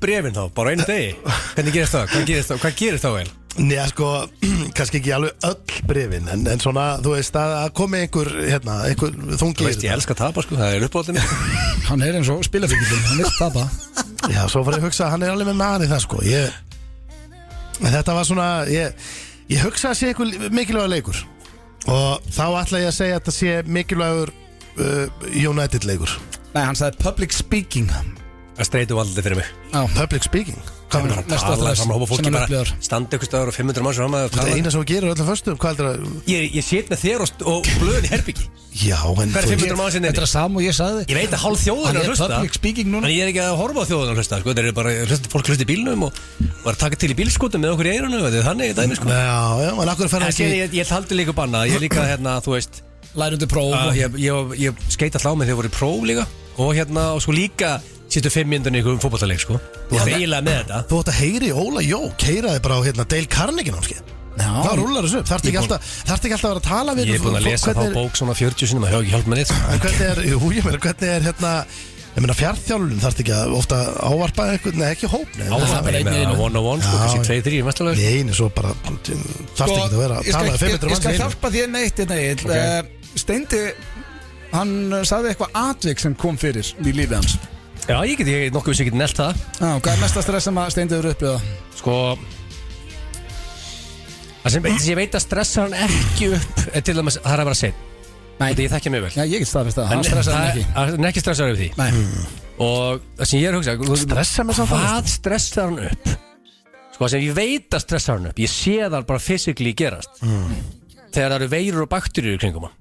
brefin þá, bara á einu degi Hvernig gerist það, hvað gerist það, hvað gerist það vel?
Nýja sko, kannski ekki alveg öll brefin En, en svona, þú veist, að, að komi einhver hérna, einhver
Þú
þungi í
veist, ég
þetta.
elska að tapa sko, það er uppáhaldinni
Hann er eins og spilafíkildin, hann vil tapa
Já, svo fór ég að hugsa að hann er alveg með maður í það sko ég, en Þetta var svona Ég, ég hugsa að sé eitthvað mikilvægur leikur Og þá ætla ég að segja að þetta sé mikilvægur uh, United leikur
Nei, hann sagði public speaking
Það streytum aldrei fyrir mig
Public speaking Hvað er það?
Mesta
Alla
stress
saman hópa fólki
sem hann
bara
upplifar
Standa ykkur staður og 500 mann sem hann maður
Þetta
tala
er eina sem þú gerir á öllum föstum Hvað er það?
Ég, ég set með þér og, og blöðin í herbyggi
Já,
Hver um
en
er
þú-
500 mann sem
Þetta
er
er sam og ég sagði
Ég veit að hálf þjóðin
Hann er
er að hlusta
public speaking núna
En ég er ekki að horfa á þjóðin að hlusta sko. Þeir eru bara, hlusta, fólk hlusta í bílnum og var að taka til í bílskotum með okkur í eirunum þetta er Þannig er dæmi sko
Já, já, en akkur fer
En
hann
sér,
ekki
ég, ég taldi líka banna Ég líka hérna, þú veist
Lærundu próf
að ég, ég, ég skeita alltaf á mig þegar ég voru í próf líka og hérna, og svo líka Sýttu fimm myndunni ykkur um fótballaleik sko Þú er eiginlega með þetta
Þú ætti að heyri í Óla Jó Keiraði bara á hérna, Dale Carnegie námskeið Það rúlar þessu upp. Þarftu ekki, alltaf- þarftu ekki alltaf að vera að tala við
Ég er búin að lesa þá
Hvernig er-
bók svona 40 sinum Það hefur ekki hjálp með neitt sko.
En hvernig er, jú, ég meina, hvernig er hérna Ég meina fjárþjálun þarf ekki að ofta ávarpa eitthvað, nei ekki hóp nei,
Áfram bara einu einu One on one sko,
Já,
kannski
já.
2-3 í mestalega
Nei, einu svo bara þarf
Sko,
ekki að vera að
ég skal-
tala við
ég- Ég skal
500 manns í einu.
hjálpa þér neitt hérna Egil
Ok.
okay. Steindi, hann uh, sagði eitthvað atvik sem kom fyrir í lífi hans
Já, ég get, ég nokkuð viss ég get nelt það
Já, Hvað er mesta stress sem að Steindi eru upplifað?
Sko Það sem ég veit að stressa hann ekki upp er Til dæmis, það er að vera sein
Nei.
Þetta ég þekki mig vel
Já, ég get staðfist það, hann
En
stressaði Hmm.
það-
hann ekki
að- Hann er ekki stressaður yfir því
Nei,
Og það sem ég er að hugsa þú-
Stressa mig samt alveg,
Hvað stressar hann upp? Sko það sem ég veit að stressar hann upp Ég sé það bara fysikli gerast
Mm.
Þegar það eru veirur og bakterjur í kringum hann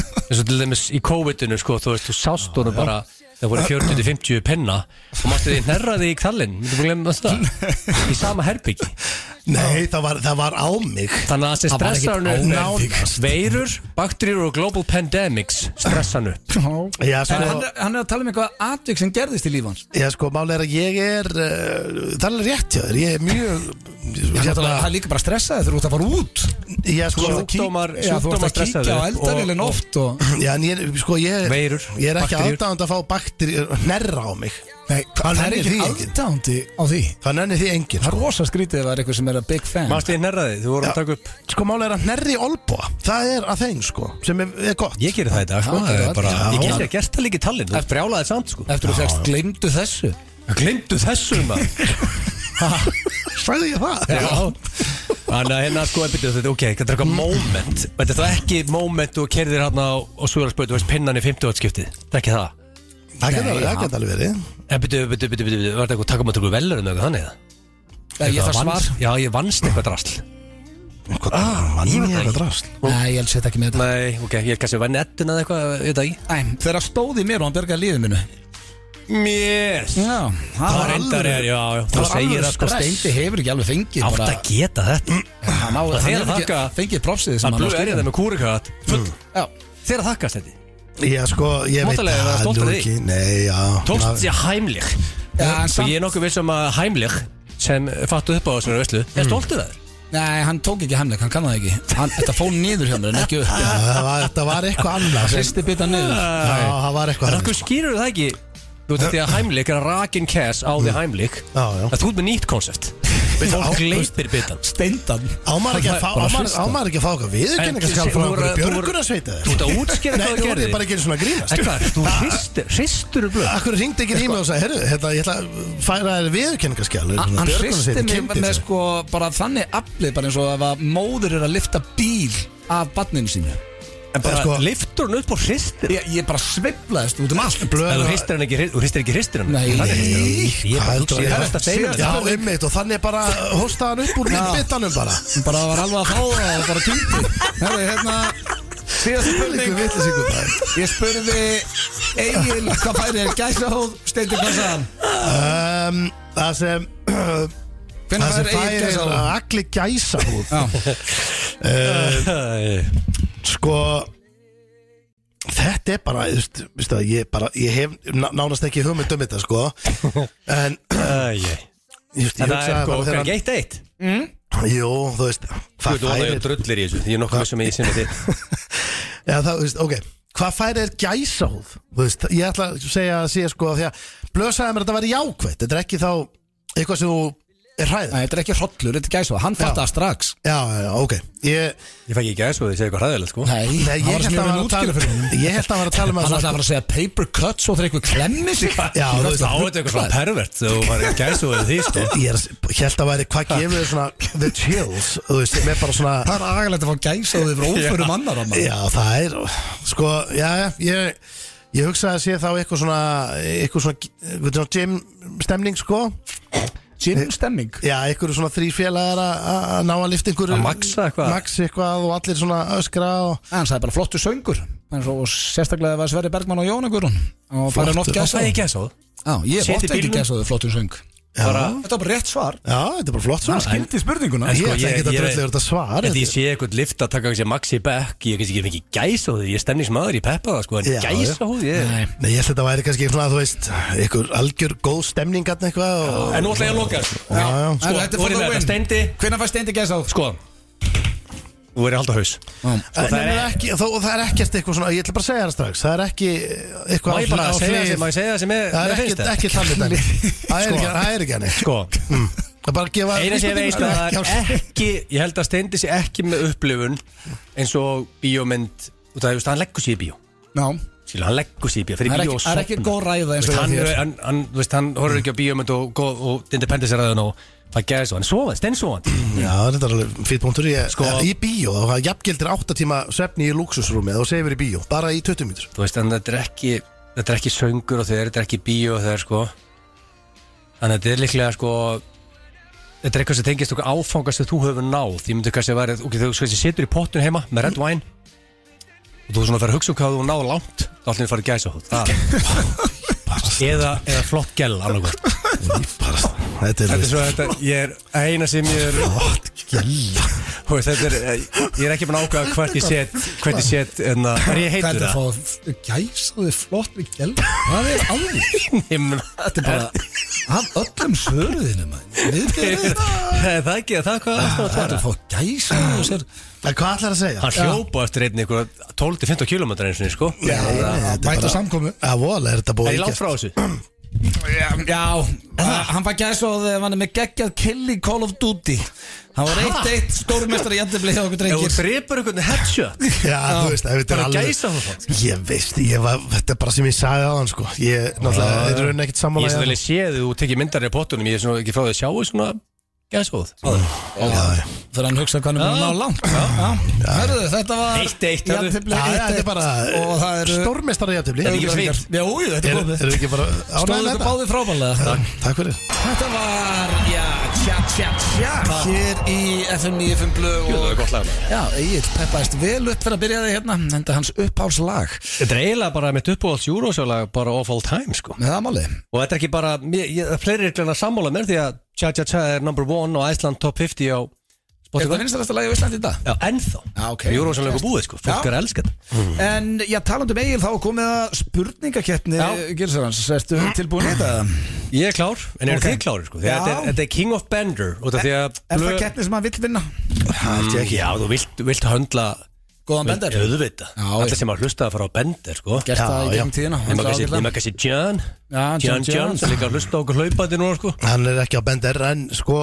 eins og til dæmis í COVID-inu sko, þú veist, þú sást honum bara það voru 40-50 penna og mástu því nærraði í kallinn myndum við glemma það í sama herbyggi
Nei, það var, það var á mig
þannig að þessi
Það var
stressar hann
ekkert
upp
nánast.
veirur, bakterjur og global pandemics stressa hann upp
Já,
En hann,
sko,
er- hann er að tala um eitthvað atvik sem gerðist í lífi hans
já, sko máli er að ég er uh, Það er alveg rétt hjá þér Ég er mjög Ég,
Það
hérna,
er líka bara stressaði þegar þú ert að fara út
ég sko
sjúkdómar
Já, þú ert
sjúkdómar
að
stressa
kíkja á
þau upp
eldarvelin
og-
oft og...
Já, en ég, sko, ég,
Veirur,
ég er ekki
bakteríur.
aðdáðan að fá bakterjur Nerra á mig
Nei, það er
nennir
ekki
því enginn.
aðdándi á því
Það nenni því sko. engin
Það er rosa skrítið ef það er eitthvað sem er að big fan
Mástu því nærraði, þú voru að taka upp
Sko máli er að nerri olbúa Það er að þeim sko Sem er, er gott
Ég gerir það í dag, sko,
Já,
það
já,
er bara
já.
Ég gerir það gert það líka í tallinn, þú brjálaði samt, sko
Eftir þú fegst, gleymdu þessu
Glimtu þessu, maður
Sæði ég það?
Já Þannig að hérna, sko, byrju, þetta, ok, þetta er eitthvað moment Þetta er það ekki moment þú kerðir hérna á, á Súðarsböld, þú veist, pinnan í 50 skiptið Það er ekki það
Það geta alveg, það geta alveg verið
En byrju, byrju, byrju, byrju, var þetta eitthvað takkum að tökur velur um eitthvað þannig eða?
Ég
Eitthvað
þarf svar
vannst- Já, ég vannst eitthvað drasl
Hvað ah, mann ég eitthvað drast
Nei, ég held sér ekki með þetta
Nei, ok, ég er kannski vann ettin að eitthvað, ég veit það ekki
Æ, þegar stóði mér og hann bergaði lífið minu
Mjess
Já,
Það
það
var reyndar,
alvöru-
er- já, já,
Það
þú
var
segir
alveg
það, sko,
stress Steindi hefur ekki alveg fengið
átt að geta þetta
hann á, hann
Það er að
hefur ekki
þakka-
fengið propsið sem
Það
hann á
blöð Mm, er
skilið.
þetta með kúrikat Full,
Já,
þeir að þakkast þetta
Já sko, ég veit
Notalega er það stolt af
nú
því.
ekki, Nei, já
Tókst
maður-
sér heimlich
Já, en
Og
samt-
ég er nokkuð vissum að heimlich sem fattu upp á þessari veslu er stoltið það
nei, hann tók ekki hemleik, hann kann það ekki hann, Þetta fór niður hjá mér en ekki upp
Já, það var- Þetta var eitthvað annað sem-
Risti bita niður
Já, það var eitthvað
En
annað
okkur skýrur það ekki Þú veit því að heimlik er að rakin cash á því heimlik
Já, já.
að þú ert með nýtt koncept Fólk gleipir bitan
Steindan
Ámar ekki að fá
Bara
ámar-
fyrsta.
á maður ekki að fá eitthvað viðurkenningar skal
En- þú
frá
voru-
einhverju
þú voru-
björgunarsveita
Þú ert að útskýra
Nei,
hvað
þú
það
voru
gerði
bara ekki eins og grínast
Ekkert, þú hristur, hristur um blöð
Akkur ringdi ekki í mig og sagði, herru, hérna, ég ætla að færa þér viðurkenningarskjál
Hann hristi
björgunarsveitin
mig
kynnti
með
sig.
sko bara þannig aflið bara eins og ef að móður er að lifta bíl af barninu sínu
En bara
sko-
liftur hann upp og hristir
Ég, ég bara sveiflaðist út um allt
Blöð-
En þú hristir hann ekki, þú hristir ekki hristir hann
Nei.
Það er hristir hann Ég er
Hvað
bara
heldur
hugsa, ég
að
er þetta að
ég
segja
Já,
þetta
einmitt og þannig bara hósta hann upp úr lífbitanum bara
Bara var alveg að fá það og bara týndi Herri, hérna Síðast
Líku
spurning
vitlis ykkur bara
Ég spurði Egil hvað færi er gæsahóð Steindi hvað sagði hann
um, Það sem Það
Hvernig
sem
færi Egil
færir að
gæsahóð
allir gæsa húð
Já.
Sko Þetta er bara, þú veist, veist það, ég, bara, ég hef ná- nánast ekki hugmynd um þetta sko En
Þetta
ég, veist, ég
er
hugsaði
sko,
bara
hvað
þegar
er geitt eitt?
hann- Jú, þú veist
Þú
Hvað
veit, Óla, ég
færir
drullir í þessu Ég er nokkuð vissum að ég sinna þitt
Já, það, þú veist, ok Hvað færir gæsa húð? Þú veist, ég ætla að segja að sé sko Því að blösaði mér að þetta væri jákvætt Þetta er ekki þá eitthvað sem þú er hræð
Nei, þetta er ekki hrollur, þetta er gæsahóð Hann fatt það strax
Já, já, já, ok Ég,
Ég fæk ekki aðeins og þið segja eitthvað hræðilegt sko
Nei,
Nei, ég held að hann var að tala Ég held að hann var að tala um
Hann
að
ætlaði að fara að segja paper cut svo þegar eitthvað klemmi sig
Já, þú veist,
Þá er þetta eitthvað svona pervert Þú var ekki aðeins og þið sko
Ég er, held að væri hvað gefur þér svona The chills, þú veist, með bara svona
Það er agalegt að fá gæsahóð yfir óförum annar á maður
Já, það er, sko, já, já, ég Ég hugsaði að sé þá eitthvað svona eitthvað svona, eitthvað svona gym stemning sko,
Gym stemming
já, eitthvað svona þrý félagar að- að að ná að lifta einhverju
Að maxa eitthvað.
Maxa eitthvað og allir svona öskra og
Hann sagði bara flottu söngur En svo og sérstaklega ef að Sverri Bergmann og Jóna Guðrún Og fara
Flottur.
hann oft
Það
gæsahóð
fæ ekki aðeins og
Já, ég
Sit
er
í
oft ekki
bílnum.
gæsahóð flottu söng
bara,
Þetta var bara rétt svar
Já, þetta er bara flott svar
Hann skildi spurninguna
En
Ég
sko,
ætla
ég-
ekki að
ég-
drölla yfir þetta svar
Þetta ég
þetta-
sé eitthvað lift að taka kannski Maxi Beck Ég kannski ekki gæs á því, ég er stemningsmaður, ég peppa það sko En
Já, já.
gæs á því
Nei, ég held að þetta væri kannski svona, þú veist, ykkur algjör góð stemningarn eitthvað og...
En nú ætla ég að loka sko.
Já, já.
Sko,
Þetta er
voru
for the
með þetta
win.
steindi
Hvenær fæst eindi gæsa á?
Sko Þú verður alltaf haus
En
það
það
er-
er, ekki, þó, það er ekkert eitthvað svona, ég ætla bara að segja það strax Það er ekki eitthvað
Má ég bara
á
segja
hlið-
það sem- má ég segja það sem er-
Það
mér
er
finnst Sko.
ekki,
það?
ekki þannig dæmi Það er ekki, það er ekki hannig
Sko,
Það er bara að gefa
eina sem ég veit að það
vísbendingu,
er
sko.
ekki Ég held að steindi sé ekki með upplifun eins og bíómynd og það, þú veist, hann leggur sér í bíó
Ná
Skilu, hann leggur sér í bíó, fyrir
Það er ekki,
bíó og
það er ekki
sofnar.
góð ræða eins
Veist,
og
hann,
þér.
hann, hann, þú veist, hann horfður ekki á bíómynd og, og, og Independence er aðeins og það gerði svo, hann er sofandi, stensofandi
Já, þetta er alveg fýtt punktur ég,
Sko-
Í bíó, þá það jafngildir 8 tíma svefni í luxusrúmi og sefur í bíó, bara í 20 mítur
þú veist, en þetta er ekki þetta er ekki söngur og þeir, þetta er ekki bíó og þeir, sko þannig að þetta er líklega, sko þetta er eitthvað sem tengist okkur áfangast að þú hefur náð, ég myndi kannski að vera ok, þú kannski situr í pottun heima með red wine og þú svona fer að hugsa um hvað þú náð langt þá allir farið gæsa hótt eða, eða flott gæl annarkvæmt
Þetta er
þetta er svo, þetta, ég er eina sem ég er Þú veist, þetta er, eh, ég er ekki búin að ákvæða hvert ég set hvert ég set, hérna, en að, er ég heitur það?
fá gæsaði flott við gæl Það er alveg
Ég meina,
Þetta er bara Af öllum svöruðinum Þetta
Það er það ekki, það er hvað Ah, það
er að fá gæsaði og sér
En hvað ætlar að segja?
Hann hljópa eftir einni ykkur 12-15 km eins og sko
Já, þetta er
Mæta
bara-
samkomi
Já, voðalega er þetta
Er
búið
ég
að
langt
gera.
frá þessu?
Um, Já, að- hann fær gæsaði þegar hann er með geggjað kill í Call of Duty Hann var eitt eitt stórmestari jændibli hjá okkur
Ef þú
drengir
drepur einhvern headshot
Já, þú veist, ef þetta er
Bara
alveg
gæsa þú það
Ég veist, ég var, þetta er bara sem ég sagði á hann sko. Ég, náttúrulega, þetta er raunin ekkert
Ég
sammála
er svo vel
hérna.
að sé þú tekið myndar í pottunum Ég er svona ekki frá því að sjáu svona gæsóð
Já,
Þegar hann hugsa hvað hann er búin að ná langt Já. Herðu, þetta var
Eitt eitt hörðu.
Jændibli
Já, þetta er bara
Og það eru
Stórmestara jafntefli
Er þetta ekki
Eru
svín?
Já, jú, þetta er komið
eru ekki bara ánægð
Stóðu
með
ykkur
þetta?
báði frábælega
Takk fyrir
Þetta var, já, tja, tja, tja Hér í FM 95 Blu
Jú, það
og
er gott lag maður.
Já, Egil peppaðist vel upp fyrir að byrja því hérna Enda hans uppháslag
Þetta er eiginlega bara mitt uppáhalds júrósjólag bara of all time sko
Með það máli
Og þetta er ekki bara, mér- ég- það er fleiri reglun að sammála mér því að Cha Cha Cha er number one og Iceland top 50 á
Er
Spotify
þetta finnst þetta lagi á Íslandi í dag?
Já, ennþá
Já, ok.
Júrósjónleiku búið sko, fólk
Já. Mm.
er að elska þetta
En, já, talandi um Egil þá er komið að spurningakeppni
Já.
Gilsarans, ertu tilbúin í þetta?
Ég er klár, en eru
Ok.
þið klárir sko? Því að
Já.
Þetta er, þetta er King of Bender út af því að
Er
blöð-
það keppni sem hann vill vinna?
Mm, Já, þú vilt, vilt höndla
Góðan bender
Öðvita
Já,
Allir
já.
sem að hlusta að fara á Bender sko
Gert það í
Já, já.
gegnum tíðina
Nefna
Þetta
kannski,
ágætlega.
nema kannski John
Já, John
John John
Jones.
sem líka að hlusta á okkur hlaupandi núna sko
Hann er ekki á bender en sko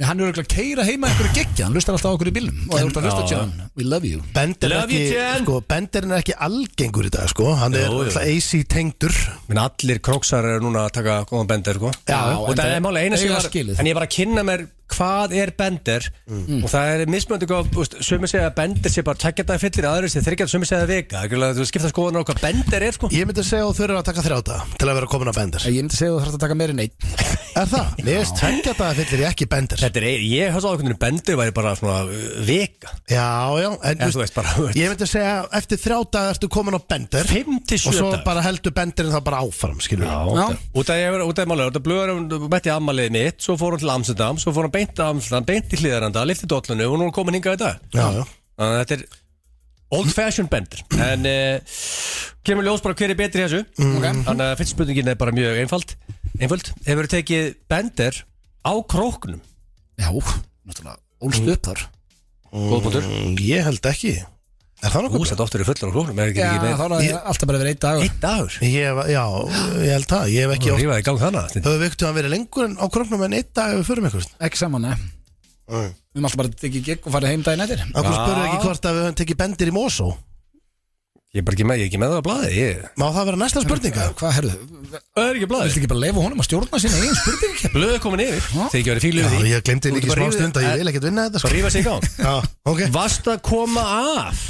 Nei, Hann er auðvitað að keira heima einhverju geggja Hann lustar alltaf á okkur í bílum Og það er auðvitað að
Já.
lusta John We love you
Bender er
Love you,
ekki
Jen.
sko, Bender er ekki algengur í dag sko Hann er
Jú, jú.
alltaf AC tengdur
Menn allir króksar eru núna að taka góðan bender sko.
Já,
og það
en
er málega eina sem
eiga
ég var
skilið. Mm.
En ég var að kynna mér hvað er bender Og það er mismöndi góð þú veist, Sumir segja að bender sé bara tækja dag fyllir Aðrir sem þryggja sumir segja að vika Algjörlega, Þú skipta skoðan á hvað bender er sko.
Ég myndi segja að þau eru að taka þrjáta til að vera komin á bender
Ég myndi segja að þú þarfst að taka meira en einn
Er það? Mér veist tveggja daga fyllir ég ekki bender
Þetta er, ein- ég hans á einhvern veginn bender væri bara svona uh, vika
Já, já en,
En þú veist bara
Ég myndi segja eftir þrjáta ertu komin á bender
5 til 7
Og svo
dagar
bara heldur benderinn það bara áfram skilur við.
Já, út af ég var, út af málega, út af blöður hún um, mætti ammaliðið mitt, svo fór hún til Amsterdam svo fór hún beint til Amsterdam, beint í hlýðaranda lifti dollinu og nú er hún komin hingað í dag
Já, já
þannig að þetta er old fashion bender en uh, kemur ljós bara hver er betri í þessu
Mm.
okay. þannig að fyrst spurningin er bara mjög einfald einföld, hefur þú tekið bender á króknum
Já, náttúrulega Ólst upp þar
góðbundur,
Mm, Ég held ekki Er það nokkuð?
húsat oftur er fullur á króknum er ekki ekki með
er ég... alltaf bara verið einn dag
eitt dagur,
Ég, hef- já, ég held það Ég hef ekki oft
rífaði í gang þannig
Höfum við ekkert að verið lengur en á króknum en einn dag ef við förum ykkur
Ekki saman, ne
Nei.
Við erum alltaf bara að tekið gig og farið heim daginn eftir
Akkur
Já.
spurðu ekki hvort að við höfum tekið bendir í Mosó
ég er bara ekki með, ég er ekki með það á blaði ég...
Má það vera næsta spurninga?
Hvað, herðu,
það er ekki blaði,
viltu ekki bara leifa honum að stjórna sína eigin spurning?
blöðu komin yfir þegar ég verið fílu
Já,
yfir því
ég glemdi
Þú
líka
ert
í
bara
smá
rífið-
stund að
en-
ég vil ekkert vinna þetta
Svo
sko.
rífa sig í gang
Já, ok
Vast að koma af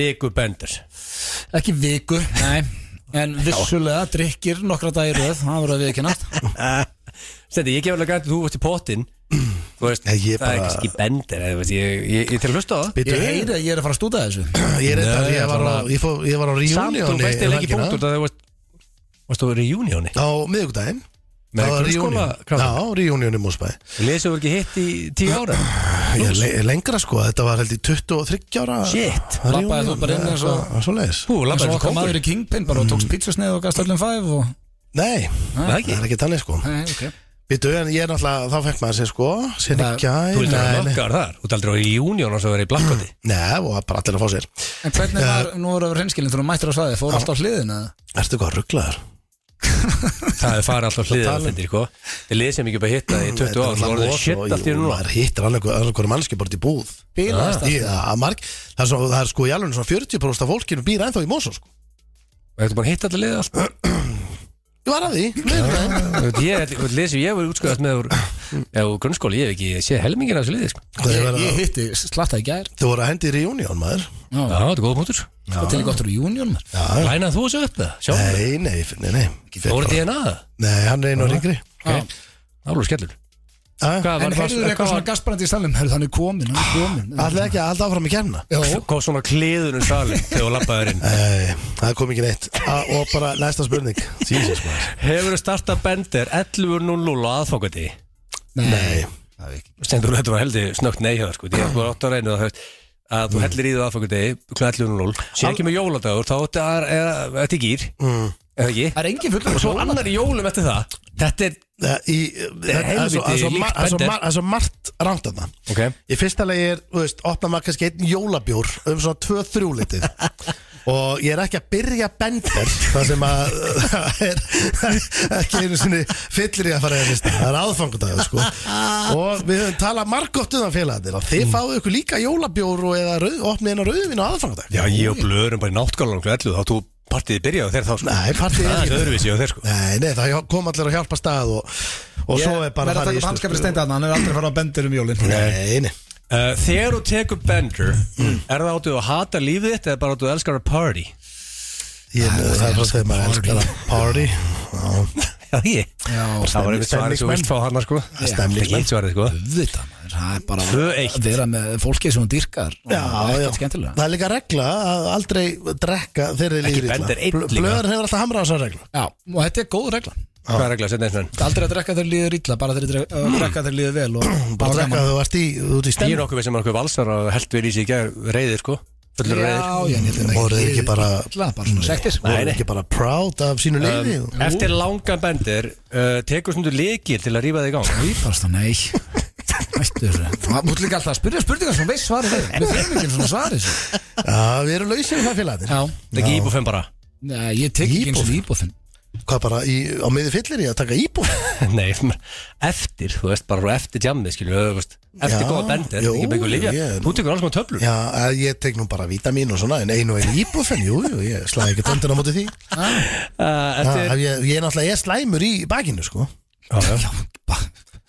Viku Bender
Ekki viku, nei En vissulega drikkir nokkra dagir röð Það verður að við ekki nátt
Stendi, ég gefur alveg gæti þú veist í pottin Þú veist,
Nei,
það er
ég bara-
kannski Bender eða, þú veist, ég, ég, ég til að hlusta á það
Ég
Bittu,
heyri að ég er að fara að stúta þessu
ég, reyndar,
Nei,
ég, var á, ég, fó, ég var á
Samt, þú
reunioni
veist, ég
um
er ekki
helgina,
punkt út að þú veist Varst þú verið í júnióni?
Á miðvikudaginn
Með
Það var
grunnskóla
reunion.
kráka
Já, reunion í Mósbæ
Lesið voru ekki hitt í tíu ára
Ég er le- lengra sko, þetta var held í 23 ára
Shit,
labbaðir þú bara inn eins og-
Svo leiðis
Hú,
eins og
labbaði svo
okkar
kongur
maður í Kingpin bara og tókst pítsusneið og gafst öllum fæf og
Nei,
Það
það
ekki
er ekki þannig sko
Nei, ok
Býtu, en ég er náttúrulega, þá fekk maður sér sko Sér
Það-
ekki
Þú
að
ert aldrei
Nei,
nokkar þar Þú ert aldrei á reunion og svo verið í blakkvöldi
nei, og bara allir að fá sér
En hvernig var, nú voru reynskilin þú mættir á svaði, fór allt á hliðina
Ertu hvað rugglaður?
Það er farið alltaf sko. hliðið
tala um-
að finna Þið lesið mikið upp að hitta í 20 ára Þú voruð shit allt í núna
maður hittir annað hverju mannski bara til búð
Bilaðist
Já, að marg, það, er svo, það er sko í alveg svona 40% af fólkinu býr ennþá í Mosó sko.
Þú ert búin að hitta allir liðið allt
ég var að því meira.
Þú veit, Ég þú veit, lesið, ég voru útskóðast með úr- eða úr grunnskóli, ég hef ekki séð helmingin af þessu liði sko.
Þau
Ég,
verða-
ég hitti slatta í gær
þú voru að hendi í reunion maður
Já, þetta er góða mútur
og til í gottur í júnior
Lænað þú þessu upp það, sjá
nei, nei, nei, nei,
Þú voru
nei,
DNA það,
nei hann er einu og ringri
alveg skellur
allir
En
Hvað var
heyrðu þér eitthvað svona gasparandi í salnum, heyrðu hann er komin, hann er komin
ekki að halda áfram í kemna
Jó,
Hvað svona kliðunum salin þegar þú labbaður inn
nei, það kom ekki neitt A, og bara næsta spurning Jesus, maður.
Hefur þú startað bendir 11.00 aðfókandi
nei,
Stendur þú þetta var heldig snögt neyhjóðar sko Því að þú er 8 að reyna það að þú hellir í þú aðfókandi kl. 11.00 sé ekki með jóladagur, þá áttu að- er er þetta í gýr eða ekki
það er engin fullur
Mm. og svo annar í jólum eftir það þetta er
það í- það er svo- það er svo
Helviti,
mar- það er svo
líkt
mar- það er svo margt ránt að það
okay.
Í fyrsta lagi er, þú veist, opna maður kannski einn jólabjór um svona 2-3 litið og ég er ekki að byrja bender það sem að það er ekki einu sinni fyllir ég að fara í að fyrsta, það er aðfangundag sko. og við höfum talað margótt um það félagarnir að þið fáið ykkur líka jólabjór og eða rauð, opnið einn á rauðvin á aðfangundag
Já, ég og blöðurum bara í náttgálanum kl. 11 þá þú partíði byrjaði og þeir þá sko
Nei, partí
Það er
er ekki
öðruvísi og þeir sko
Nei, nei, það kom allir að hjálpa stað og, og svo er
Verða
bara
að taka
farið í
upp
sturtu.
hanskapir steinda hann, hann er aldrei að fara á bendur um jólin
Nei, nei
Uh, Þegar þú tekur bender Er það áttu að hata lífið þitt eða bara áttu að elskar að party?
Ég, það er bara þegar maður elskar að party Já
Já, ég Það var einmitt svarið sem þú vilt fá hana sko
Stemningsmenn.
Ekki eitt svarið sko
Þetta maður, það er bara að-
2-1.
að vera með fólki sem hún dyrkar og
Já,
það er
já.
ekkert skemmtilega
Það er líka regla að aldrei drekka þeirri lífið
bender einn líka.
Blöður hefur alltaf hamrað á þessar regla
Já, og þetta er góð regla
Hvað er regla að setja eins og enn?
Aldrei að drekka þeir líður illa, bara þeir dre- að drekka þeir líður vel og
Bara
og
drekka
gaman.
þegar þú ert í, þú
Ég
ert í
er
stemning
nokkuð við sem okkur valsar og held við í sig í gær reyðir sko Fullur reyðir
Já, já, en ég held að
Voruð þið
ekki-
ekki bara
illa, bara svona sektir
Voruð þið ekki bara proud af sínu lífi
Um, Eftir langan bender uh, Tekur svona leikil til að rífa þig í gang
Íbarsta, nei Ættur, þú ert líka alltaf að spyrja spurningar sem veist svarið þeir Við þurfum ekki svona svarið svo.
Já, við erum lausir í það félagarnir
Já,
Það er ekki íbúfum bara
nei, ég tek ekki eins og íbúfinn
Hvað bara í, á miði fyllir í að taka íbúð
Nei, maður- eftir, þú veist, bara svona eftir jammið, skilju, þú veist, eftir
Já,
góða bender,
jú,
ekki byggur lífja,
ég-
þú tekur alls konar töflur.
Já, að ég tek nú bara vítamín og svona En einu og einu íbúð fenn, jú, jú, ég slæði ekki töndina móti því Já,
Uh, eftir,
hef ég, ég er náttúrulega, ég er slæmur í bakinu, sko
já, já,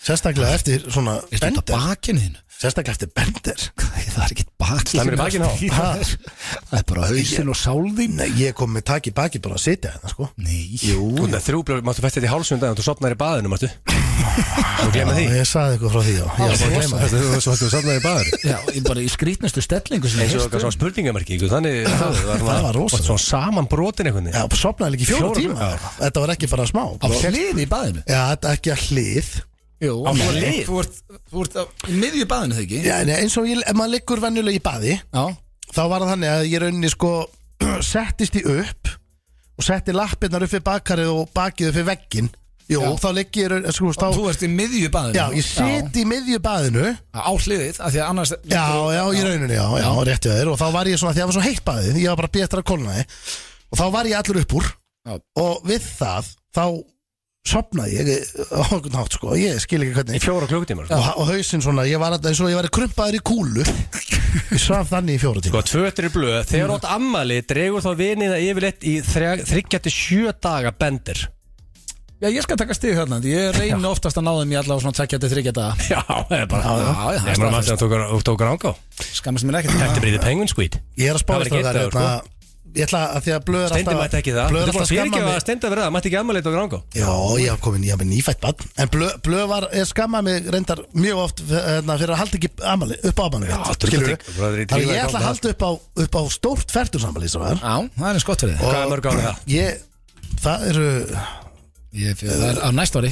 Sérstaklega eftir svona
Þetta
bender
bakinn þinn
Sérstaklega eftir bender
Það er ekki bakinn
Slæmur í bakinu, já.
Það er bara hausinn og sál þín
Nei, ég kom með takk í baki bara að sitja hérna, sko
Nei
þú veist, þrjú blöð, máttu fætti þetta í hálsum daginn, þú sopnar í baðinu, máttu, þú glemir því,
Já, ég saði eitthvað frá því, já. Ég var bara að gleyma
Þú- þú þú sopnar í baðinu.
Já, ég bara í skrítnustu stellingu sem
Eins og
ég
okkar svona spurningamarki, ykkur, þannig, það var,
Það var rosalegt.
Svona saman brotin einhvern veginn.
Já, sopnaði líka í fjóra
Fjóra
tíma.
tíma.
Þetta var ekki bara smá.
Á
Bara-
hliði í baðinu
Já, þetta er ekki að hlið.
Jú,
Á
nei,
hlið?
Þú ert, þú ert á, í miðju baðinu þegar ekki
Já, en eins og ég, ef maður liggur venjulega í baði,
Já,
þá var það þannig að ég rauninni sko settist í upp og setti lappirnar upp við bakarið og bakið upp við veggin. Jú, þá ligg ég, raun- sko,
þú
þá...
ert í miðju baðinu
Já, ég sit í miðju baðinu.
Já, Á hliðið, af því að annars
Já, já, í rauninni, já, já, rétti að þér. Og þá var ég svona, því að það var svo heitt baðið, ég var bara betra að kólnaði. Og þá var ég allur upp úr.
Já.
og við það þá sopnaði ég á okkur nátt sko, ég skil ekki
Í
hvernig
fjóra klukkutímar, sko.
og, og hausinn svona, ég var alltaf eins og ég var krumpaður í kúlu ég svaf þannig í fjóra tíma
Sko, tvö eftir í blöð, þegar átt ammali, dregur þá viniða yfirleitt í þryggja til sjö daga bender.
Já, ég skal taka stig þarna því Ég reyni oftast að ná þeim í allavega svona 23 daga
Já, það er bara,
Já, já,
Nei, maður maður sem tók, tók ránga á
Skammast mér ekkert
Þetta breyði penguin squid
ég er að
Það
spára
var ekki
þetta
eitt dagur,
hérna ég ætla að því að blöður
Steindi mætti ekki það
blöður
Þetta er
alltaf
bara að fyrirgefa að
að skamma mig
Steindi að vera það Mætti ekki ammali tók ránga á
já, ég haf komin, ég haf minn nýfætt bann en blöð blöð var, ég skamma mig reyndar mjög oft hérna, fyrir að halda ekki amali, upp á amali
Já, þetta er
skilur
ekki- bara þeir í
þannig
drífa í
ég
gangi
ætla að halda upp á, upp á stórt færtursamali
Já, það er eins gott fyrir þig
Hvað er mörg árið það?
ég, það eru
Ég, það er á næst ári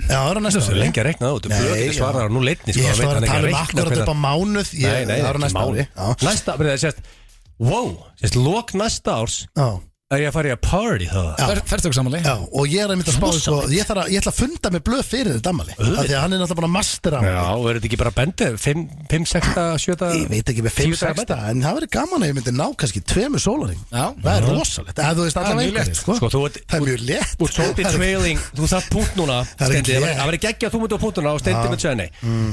Já, það er á næsta
Það er
ári
lengi að reikna það út, þú blöður
Nei,
ekki
já.
svarar nú leitni sko,
Ég
veit
er svo að
hann ekki
tala um
reikna
akkurat upp á
hvenær-
mánuð ég-
Nei, nei,
Það er á
ekki
næsta
máli.
ári Já.
Næsta, bara það sést Wow, sést, lok næsta árs
Já.
er ég að fara í að party þá
Ferðtöku samanlega
Já, og ég er einmitt að spá sko, ég, þarf að, ég ætla að funda með blöð fyrir þetta ammali Af því að hann er náttúrulega búin að mastera hann.
Já, og er þetta ekki bara bendið? 5, 6, 7
Ég veit ekki með 5-6 dag En það verður gaman að ég myndi ná kannski tveimur sólaring
Já.
Það er rosalegt Það þú veist
er
allavega
mjög
einhverjir,
létt.
sko.
Sko, þú ert-
Það er mjög létt
Þú ert svolítið
Það er-
trailing, þú þarf punkt núna
Það er ekki
Steindi,
ég. Mm.
Það verður geggja að þú myndir á punktuna og steindi með tjöðni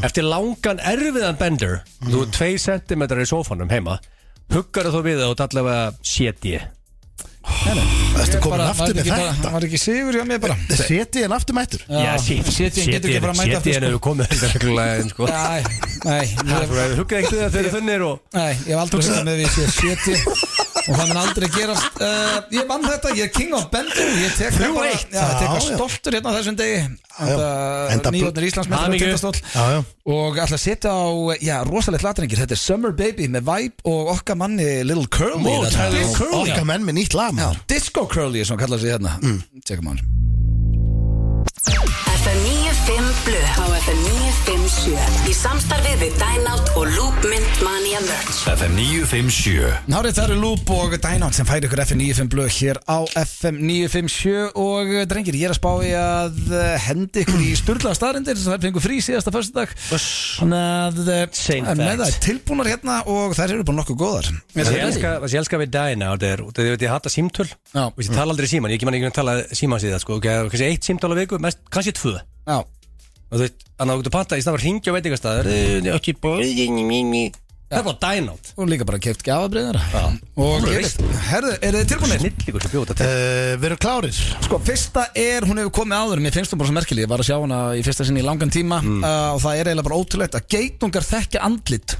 Eftir langan erfiðan bender Þú er 2 cm í sófanum heima Huggar þú við það og allavega Shit ég
Ertu
Ég
komin
bara-
aftur
var
með
ekki bara-
þetta
hann Var ekki sigur hjá mér bara
Seti en aftur mættur
Já, shit,
shit, ég getur ekki bara að mæta
Shit
aftur,
ég en
sko.
ef við komið þetta reglulega inn, sko.
Nei, nei
Ha, Þú
ég-
hefur huggað ekkert við það þegar þið þunnið og
Nei, ég hef aldrei hugsað með því að ég sé 70 og það mun aldrei gerast uh, Ég vann þetta, ég er king of bender Ég tek það bara,
eitt.
já, ég tek það
Já, já.
stoltur hérna á þessum degi
Enda-
Enda nýjóðnir Íslandsmeistar
Hamingju.
Já, já.
og ætla að setja á, já, rosalegt latringir Þetta er Summer Baby með Vibe og okkar manni Little Curly
Mó,
þarna.
Tyler
Little Curly, já.
Okkar menn með nýtt lag maður.
Disco Curly, sem hann kallar sig hérna
Mm.
Tjekum hann
FM 95 Blu á FM 957 í samstarfið við Dynout og Loop Mint Mania Merch
FM 957
Nárið það eru Lúb og Dynátt sem færi ykkur FM 95 blöð hér á FM 957 og eh, drengir, ég er að spá í að eh, hendi ykkur í styrlaða staðrindir sem það fengur frí síðasta föstudag Þannig að eh,
Same
en með
facts.
það tilbúnar hérna og þær eru bara nokkuð góðar
Það ég elska- það sem ég elska við dæna Það er, þú veit, ég hata símtöl
Já.
Þú veist, Ég tala aldrei í síman, ég er ekki mann ekki að tala síman síðan sko. ok, Kannski eitt símtöl á viku, mest, kannski tvö
Já,
Og þú veit, Þannig að þú getur panta í staðar hringja á veitingastæðar Ekki bóðinni minni Það er bara dænátt
og líka bara keft gafabriðar Og
Alveg
ég
veist.
veist, herðu, eru þið tilbúinir?
Snillíkur sem bjóta til
Eh, Við erum klárir
Sko, fyrsta er, hún hefur komið áður Mér finnst hún bara svo merkileg, ég var að sjá hana í fyrsta sinni í langan tíma
Mm.
uh, Og það er eiginlega bara ótrúlegt að geitungar þekkja andlit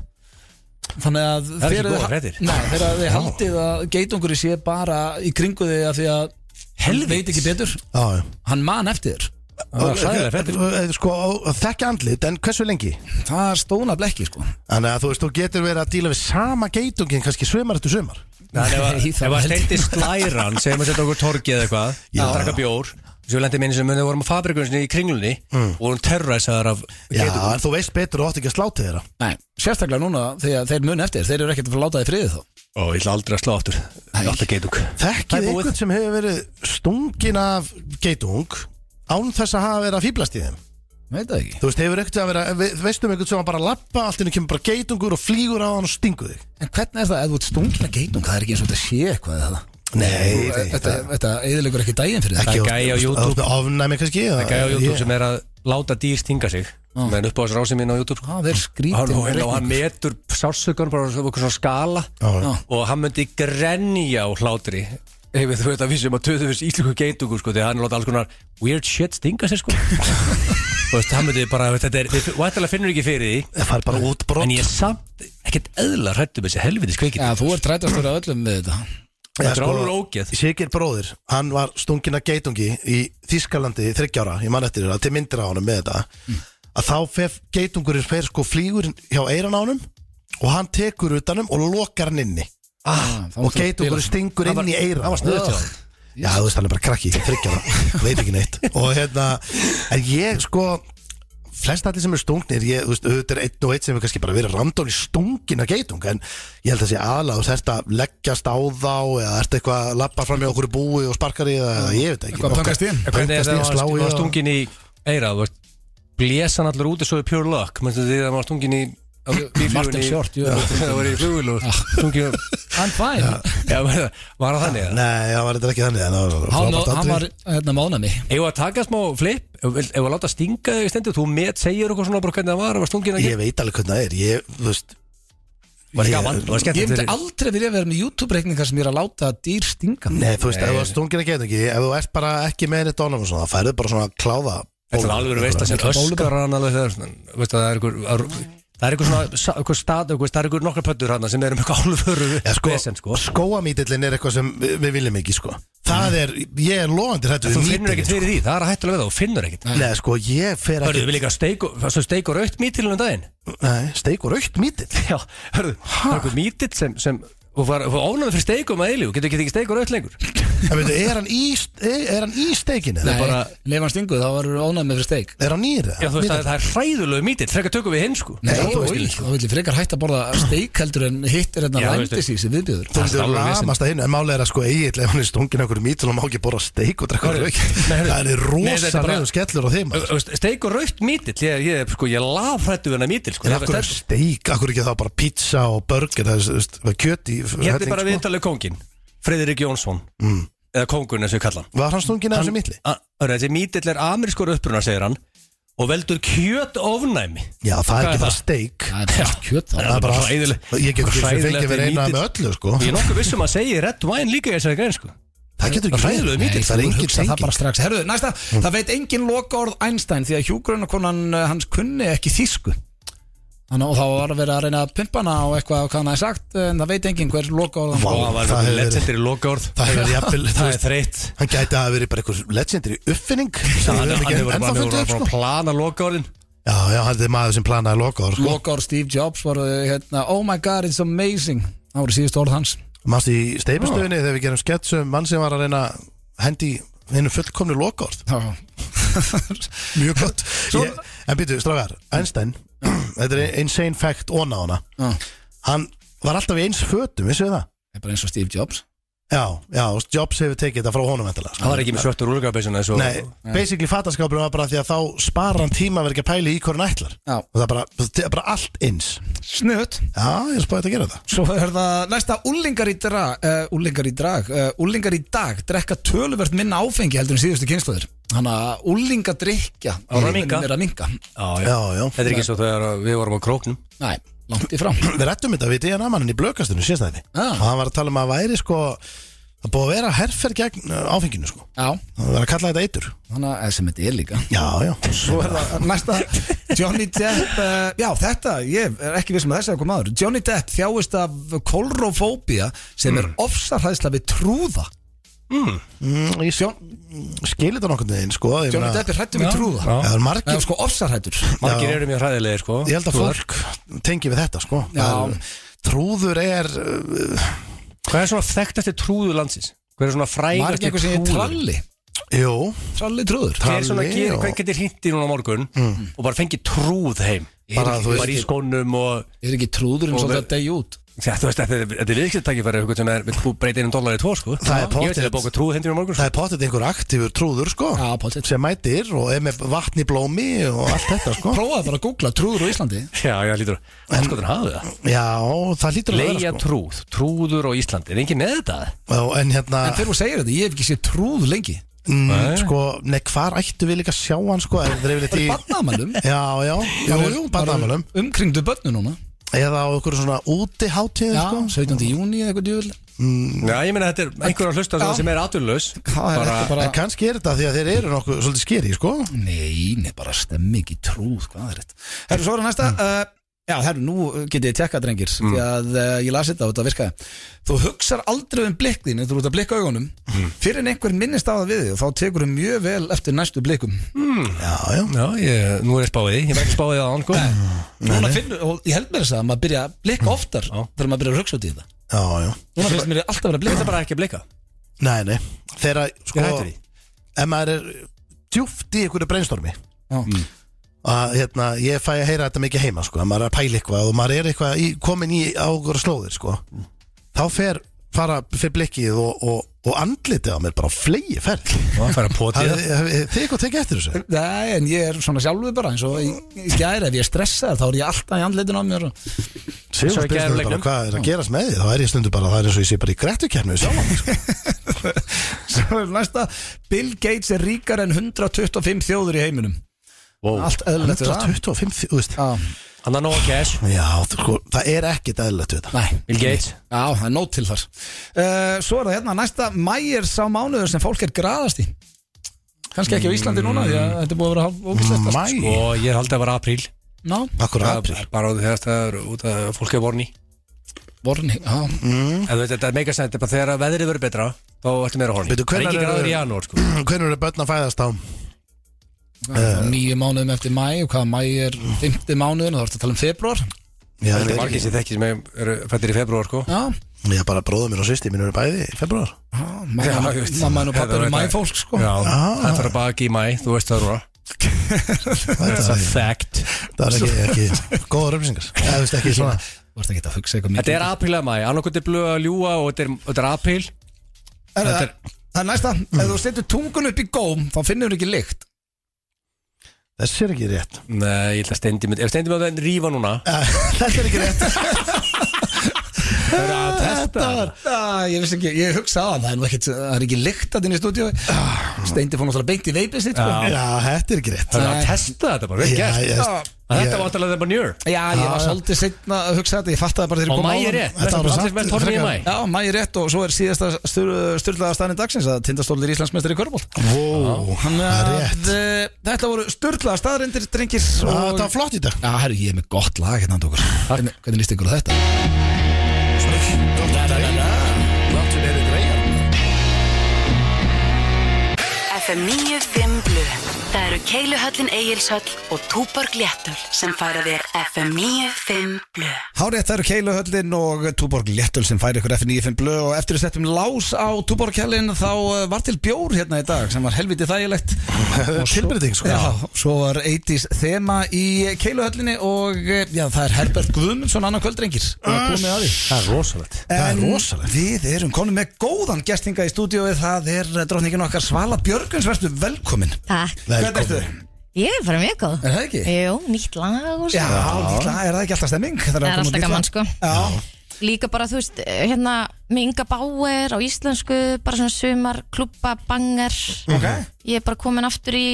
Þannig að
Það er ekki
þegar þið-
góðar fréttir.
Nei, þegar þið haldið að geitungur sé bara í kringu þig af Því að hann veit ekki betur
Já, já.
Hann man eftir þér
Það er sæðilega fættir
Eh, Sko, að þekkja andlit, en hversu lengi?
Það er stóna blekki, sko
Þannig að þú veist, þú getur verið að díla við sama geitungin kannski svimar eftir svimar
Nei,
Ef
það
að
var
steindi slæran segjum að setja okkur torgið eða eitthvað að drakka bjór Svo lendi minni sem við vorum á fabrikunni í kringlunni
Mm.
og vorum terrorisaðar af
Já, en þú veist betur og átt ekki að sláta þeirra
Nei, sérstaklega núna þegar þeir mun eftir þér, Þeir eru ekkert að fara að láta þið friðið þó
Ó, ég ætla aldrei að slá aftur Ég ætla geitung Það
Þekkið
er búið.
einhvern sem hefur verið stungin af geitung án þess að hafa verið að fýblast í þeim
Veit það ekki
Þú veist, hefur ekkert að vera, ve- veistum einhvern sem var bara að lappa, allt inni kemur bara geitungur og flýgur á hann og stingur þig
En hvernig er það, ef þú ert stungin að geitung Það er ekki eins og þetta sé eitthvað eða það
Nei,
Þú- Þetta, þetta eðilegur ekki daginn fyrir
ekki
Það er gæi á YouTube.
Þú veist, ofnæmi kannski eða-
gæja á YouTube
ég-
sem er að láta dýr stinga sig meðan upp á þessu rási mín á YouTube sko.
Það er
hann,
skrítið
og, hann, og hann metur sársökun bara svona okkur svona skala
Já.
og hann myndi grenja á hlátri ef þú veit að við sem að töðu fyrst íslensku geitungu sko, því að hann láta alls konar weird shit stinga sig sko Þú veist, hann myndi bara, þetta er, við vantilega finnur ekki fyrir því
Það fær bara út brott
en ég er samt ekkert eðla hrættu með þessi helvitis kveikið
Já, þú ert rætastur af öllum við þetta
Já, sko.
Þetta er alveg ógeð.
Siggeir bróðir, hann var stungin að geitungi í Þískalandi í 30 ára, ég man eftir þetta, til myndir á honum með þetta
Mm.
að þá fer geitungurinn fer sko flýgur hjá eiran á honum og hann tekur utanum og lokar hann inni
ah,
og geitungurinn stingur inn í eiran Það var
sniðugt hjá
Já, þú veist, hann er bara krakki, 30 ára, veit ekki neitt og hérna, en ég sko flest allir sem eru stungnir ég, þú veist, auðvitað er einn og einn sem er kannski bara verið randóli stungin að geitung en ég held að sé aðlega þú þarft að leggjast á þá eða ert eitthvað að lappa fram í okkur í búi og sparkar í það, ég veit ekki
Eitthvað að pöngast í hann?
En Hvernig er
Pöngast í
það
hann,
að
slá
hann
í
var
hann.
stungin í eira, þú veist blésan allir út og svo er pure luck mennstu því að hann var stungin í á bílflugvélinni-
Martin Short, jú.
Já, það var í flugul og stungin
Hann fæn
Já, var var það þannig? eða?
Nei, það var þetta ekki þannig en það var
Hann,
frábært
hann
atvik.
var hérna mánami
Ef að taka smá flip, ef ef að láta stinga þig stendur, þú met, segir okkur svona bara hvernig það var, var stungin að
Ég veit alveg hvernig það er, ég, þú veist
Var
ég-
gaman, var
Ég
skemmt
myndi aldrei vilja vera með YouTube-reikningar sem ég er að láta dýr stinga mig.
Nei, þú veist, ef þú var stungin að geitungi ef þú ert bara ekki með henni dónum og svona það færðu bara svona kláða
Þetta er alveg veist að sem
Mikla bóluga.
öskar hann alveg þegar svona, veist að það er einhver að- það er einhver svona, sa- einhver stað einhver- það er einhver nokkra pöttur hann sem er um eitthvað álfur
Já, sko,
vesen, sko.
skóamítillin er eitthvað sem við, við viljum ekki sko. Það er, ég er lofandi hættu
Þú finnur ekkert fyrir því, það er að hættulega við það, þú finnur ekkert
Nei, sko, ég fer
Hörðu,
ekki
við líka steik og, svo steik og raukt mítilinu um daginn
Nei, steik og raukt mítill
Já, hörðu, það er einhver mítill sem, sem og var, var ofnæður fyrir steikum að eilíu, getur ekki tekið steik og raukt lengur
En veitu, er hann í, er hann í steikinu?
Nei, bara...
bara-
leif hann stinguð, þá verður ónæð með fyrir steik
Er hann nýr?
Já, þú veist að það er hræðulegu mítill Frekar tökum við hinn sko
Nei,
Já,
þú
þú
veist
veist
ekki
ekki.
Þá vil ég frekar hægt að borða steik heldur en hitt er hérna
Já, þú veist
vændis í sem viðbjöður
Þú
Það er
veist,
alveg vesen.
lamast að hinn, en málega er að sko eiginlega hún er stungin okkur mítil og má ekki borða steik og drekka rauk Það er
Nei, þetta er bara-
rosalega skellur á þeim maður.
Þú veist, Steik og rautt mítill Ég, ég, sko, ég lafrættu hennar mítill sko Það
En af hverju
er
er steik, af hverju ekki þá bara pizza og burger, það er þú veist, það er kjöt í
Hérna er bara
helling, sko.
viðtalið kóngin Freyðurik Jónsson Eða kóngun eins og ég kalla hann
Var hann stungin að þessu mítli?
A- hörru, Þessi mítill er amerískur uppruna, segir hann Og veldur kjöt ofnæmi
Já, það
Hvað
er
er
ekki
það?
það steik
Það er bara kjöt þá
Það er bara
Hræðilegt.
allt Ég get ekki
Hræðilegt
fengið verið eina
lítill.
með öllu, sko
Ég er nokkuð vissum að segja Red Wine líka í þessari grein sko
Það getur ekki
Hræðilegu
verið.
mítill.
Nei, Það
Þú
er engin
hugsa það Mm.
tenging
bara strax Herðu, næsta, það veit engin lokaorð Einstein því að hjúgrunarkonan eh, hans kunni ekki þýsku Þannig og þá var að vera að reyna að pimpa hana og eitthvað og hvað hann hafði sagt eh, en það veit engin hver lokaorð hann
Vá,
Og hann var með
það hefur verið-
legendary lokaorð
Það hefur verið jafnvel, þú
Það er
veist,
þreytt
Hann gæti að hafa verið bara einhver legendary uppfinning
Hann
sem við höfum
hann
ekki
hefur bara
ennþá
hann hefur
fundið
bara
upp
búin
sko.
að plana lokaorðin
Já, já, hann er maður sem planaði lokaður sko.
Lokaorð Steve Jobs var eh, hérna Oh my god, it's amazing Það voru síðust orð hans
Mást í steipistöðinni þegar við gerum skets um mann sem var að reyna að hendi hennu fullkomni lokaður Mjög gott ég, En býtu, strafgar, Einstein Þetta er insane fact on á hana
Já.
Hann var alltaf í eins fötum, vissu það?
Það er bara eins og Steve Jobs
Já, já, og Jobs hefur tekið þetta frá honum endalega, sko.
Það var ekki með svörtur úlgabeysun
Nei, basically fattaskapurinn var bara því að þá sparar hann tíma að vera ekki að pæli í hvernig ætlar
Já.
og það er bara, það er bara allt eins
Snuðt
Já, ég er spáðið að gera það
Svo er það næsta úlingar í drag uh, Úlingar í drag uh, Úlingar í dag drekka töluvert minna áfengi heldur en síðustu kynsluðir Þannig að úlingar drikja
Á, er að minnka.
Er að minka
Þetta
Já, já,
er ekki eins og þegar við vorum á króknum
Nei, langt í frá
við rettum þetta við DNA mannin í blökastunum síðast að
Já.
og hann var að tala um að væri sko að búið að vera herferð gegn uh, áfenginu sko
Já,
það var að kalla þetta eitur
þannig að eða sem þetta er líka
Já, já,
Svo er það næsta Johnny Depp uh, Já, þetta, ég er ekki viss með þess að koma aður Johnny Depp þjáist af kolrofóbía sem er ofsarhæðsla við trúða
mm, ég sjón, skilir þetta nokkurn veginn sko ég
Johnny
meina-
Depp er hrættu við trúða
Það er
Það
margir,
er sko ofsarhættur
Margir
Já.
eru mjög hræðilegir sko
ég held að
Þú þar.
fólk tengi við þetta sko
Já.
Það er- Trúður er uh,
Hvað er svona þekktasti trúður landsins? Hvað er svona
Var ekki
frægasti
einhver sem ég
trúður?
tralli
Jú,
Tralli trúður
Hver svona
Tralli
gerir,
og- Mm.
hvað getur hindi núna á morgun og bara fengi trúð heim
Bara, þú
bara í
veist-
skónum og
Er ekki trúðurinn
Og
svolítið
við-
að degja út?
Já, þú veist, þetta er- þetta er viðskiptakifæri eitthvað sem er, vill þú breyta einum dólar í tvo, sko
Það er
Ég veit
pottþétt.
að það bóka trúð hendur í morgun,
það
sko
er pottet einhver aktífur trúður sko
Já, pottet
sem mætir og er með vatn í blómi og allt þetta sko
Prófaði bara að googla trúður á Íslandi
Já, já, lítur að skoðin hafið það
Já, það lítur að
Leia
vera sko
trúð, trúður á Íslandi, er engin með þetta?
Já, En hérna,
En þegar þú segir þetta, ég hef ekki séð trúð lengi
mm, sko, nei hvar ættu við líka að sjá hann sko ef þeir
Það
eru yfirleitt í
er barnaðamælum
Já, já, jú, jú, barnaðamælum
Umkringdu börnu núna
Eða á einhverju svona útiháttíð
Já,
sko
17. júni eða eitthvað djúvel
Já, ég meina þetta er einhver að hlusta
Já.
svona sem er aturlaus
Það er
Bara-
ekki bara
En kannski er þetta því að þeir eru nokkuð svolítið skeri sko
Nei, nei, bara stemmi ekki trúð Hvað er þetta? Herru, svo er það næsta
Mm.
uh, Já, herru, nú getið þið tjekka, drengir Því að uh, ég las þetta og þetta virkaði Þú hugsar aldrei um blikk þín Þú ert að blikka augunum
Mm.
Fyrir en einhver minnist á það við þig og Þá tekur þau mjög vel eftir næstu blikkum
Já, já
Já, ég, nú er ég spáðið, ég var ekki spáðið að hann, sko
Núna finnur, og ég held mér þess að maður byrja að
Mm.
blikka oftar Þegar maður byrja að hugsa út í það
Já, já
Núna finnst mér alltaf að vera að
Ég
blikka
ætla bara ekki að blika
Nei, nei, þeirra sko
Ég hættur því.
Ef maður er djúft í einhverju brainstormi
Já.
að hérna, ég fæ að heyra þetta mikið heima sko, að maður er að pæla eitthvað og maður er eitthvað í, komin í águr slóðir sko. þá fer, fara, fer blikkið og, og, og andlitið á mér bara flegi ferð
Það fær að poti
Hafið- hafið þið eitthvað tekið eftir þessu?
Nei, en ég er svona sjálfur bara eins og í, í gæri ef ég er stressað þá er ég alltaf í andlitin á mér og-
Sigur
Svo í
spyrir mér bara
gærleiknum.
hvað er að gerast með því þá er ég stundu bara, það er eins og ég sé bara í grættukefni sjálf
Svo er Næsta, Bill Gates er ríkar en 125 þjóður í heiminum
Wow.
Allt eðlilegt við það
125, þú veist
Já,
Hann er nóg að cash,
Já, þú- sko, það er ekkit eðlilegt við það
Nei,
Bill Gates
já, það er nót til þar uh, Svo er það hérna, næsta mæ er sá mánuður sem fólk er graðast í Kannski ekki á Íslandi núna því
Mm.
að þetta er búið að vera ógislegt
Mæ,
Og ég haldið að vera apríl
Ná,
akkur apríl
Bara á því að það er út að fólk er vorni
vorni, já
mm. Þú veit, þetta er meika sænt, bara þegar að veðrið verður betra Þá ertu meira horni
Veitu,
Það er
hvenær
ekki
eru-
græður í janúar, sko
Hvernig eru börn að fæðast á?
Eh.
Nýju mánuðum eftir mæ og hvað mæ er 50 mánuðin og þá ertu að tala um februar
Ég
Það
held
er
ekki.
margir sem þekkir sem eru fættir í februar sko
Já,
Ég bara bróðum minn og sýsti minn eru bæði í februar
já,
Já,
mamma
ég veit.
mamma og pappa
Þetta
eru
veit ég.
mæfólk sko
Já,
Ah.
þetta er að baki í mæ, þú veist það Rúra
Þetta
It's a
er
fact
það er ekki, ekki góða röfsingar Það veist ekki svona
Þú ert ekki að hugsa eitthvað
Þetta
mikið um-
er apríl að mæ, annarkot er blöð að ljúa og þetta er, þetta er apríl
Er Það það er næsta Ef þú setur tungun upp í góm þá finnur þú ekki lykt
Þessi er ekki rétt
Nei, ég ætla að stendi mig, ef stendi mig að það rífa núna
Þessi er ekki rétt
Það er að testa
var ah, Ég vissi ekki, ég hugsa að það er nú ekkit Það er ekki lykt að þinn í stúdíu Steindi fór náttúrulega beint í veipið sitt sko.
Já, þetta er ekki rétt
Það er að testa þetta bara, vel
Já,
gert
ég-
En Þetta var alltaf bara njör
Já, ég var svolítið setna að hugsa þetta Ég fattaði bara þegar ég
Og
kom
mæ er
áðan.
rétt,
Þetta var
þetta
samt
er með tónni í mæ
frekar-
Já, mæ er rétt og svo er síðasta styrlaða staðin dagsins að tindastólir Íslandsmeistar í Körbólt
Vó, það er rétt
eh, Þetta voru styrlaða staðarindir, drengir
Já,
og-
Þetta var flott í dag
Já, herru, ég er með gott lag hérna andur okkur Hvernig, hvernig líst ykkur á þetta?
FM 95 Blu Það eru Keiluhöllin Egilshöll og Túborg Léttul sem færa þér FM 95 Blu
Hárið, það eru Keiluhöllin og Túborg Léttul sem færi ykkur F95 blöð og eftir að settum lás á Túborghellin þá eh, var til bjór hérna í dag sem var helviti þægilegt Og svo-
Tilbreyting, sko.
Já, svo var 80s þema í Keiluhöllinni og eh, já, það er Herbert Guðmundsson annan kvöldrengir og komið að því
Það er rosalegt
Það er
En
rosalegt.
Við erum konum með góðan gestinga í stúdíói það er drotningin okkar Svala Björguns verður velkomin
Takk,
Hvernig ertu?
ég er bara mjög góð
Er það ekki?
Jú, nýtt lag og
Já,
svo
líkla, er það ekki alltaf stemming? Það
Það
að
er
koma
alltaf
út nýtt
gaman,
lag.
sko.
Já,
Líka bara, þú veist, hérna með Inga Bauer á íslensku bara svona sumar, klubba, banger
Ok.
Ég er bara komin aftur í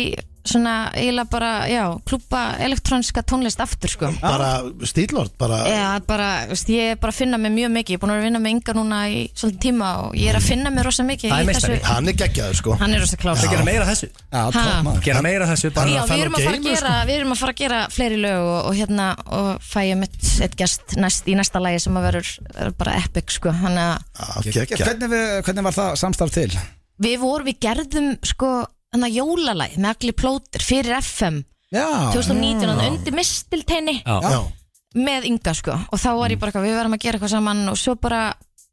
svona, eiginlega bara, já klubba elektróniska tónlist aftur, sko
Bara stílort, bara
Já, bara, þú veist, ég er bara að finna mig mjög mikið Ég er búin að vera að vinna með Inga núna í svolítið tíma og ég er
Mm.
að finna mig rosa mikið
Það er
í
meistari.
þessu-
Hann er geggjaður, sko
Hann er rosa klár
Það gera meira af þessu
já
Ha.
tókmaður
Gera meira af þessu bara
Já,
að
við
fara
erum,
og
að fara að
geima,
gera, við erum að fara að gera fleiri lög og, og hérna og fæ ég mitt eitt gest næst, í næsta lagi sem að verður verður bara epic sko. Þannig að
Ge-
Geggjaður
Hvernig, við, hvernig var það samstarf til?
við vorum, við gerðum sko þannig að jólalæg með allir plótir fyrir FM
Já
2019 mm. undir mistilteini
Já.
Já,
með Inga sko og þá var ég bara eitthvað, við verðum að gera eitthvað saman og svo bara,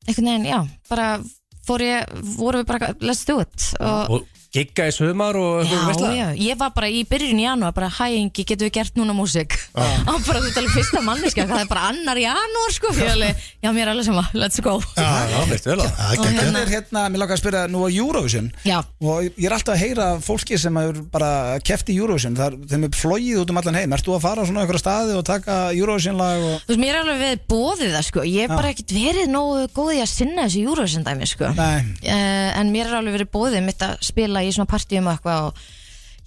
einhvern veginn, já bara fór ég, vorum við bara eitthvað, let's do it og,
Og gigga í sumar og
Já,
veistla
já, ég var bara í byrjun í janúar bara, hæ Ingi, getum við gert núna músík og bara þú talar fyrsta manneska það er bara annar janúar sko Ég alveg, já, mér er alveg sama, let's go
Já, veist vel að
það er geggjað
Hvernig er hérna, mér langar að spyrja nú á Eurovision
Já,
og ég er alltaf að heyra af fólki sem hefur bara keft í Eurovision þar, þeim er flogið út um allan heim Ert þú að fara á svona einhverja staði og taka Eurovision lag og...
þú veist, mér er alveg við bóðið það sko ég er bara ekkert verið nógu góð í að sinna þessu Eurovision dæmi sko uh,
Nei,
en mér er alveg verið bóðið mitt að spila í svona partíum og eitthvað og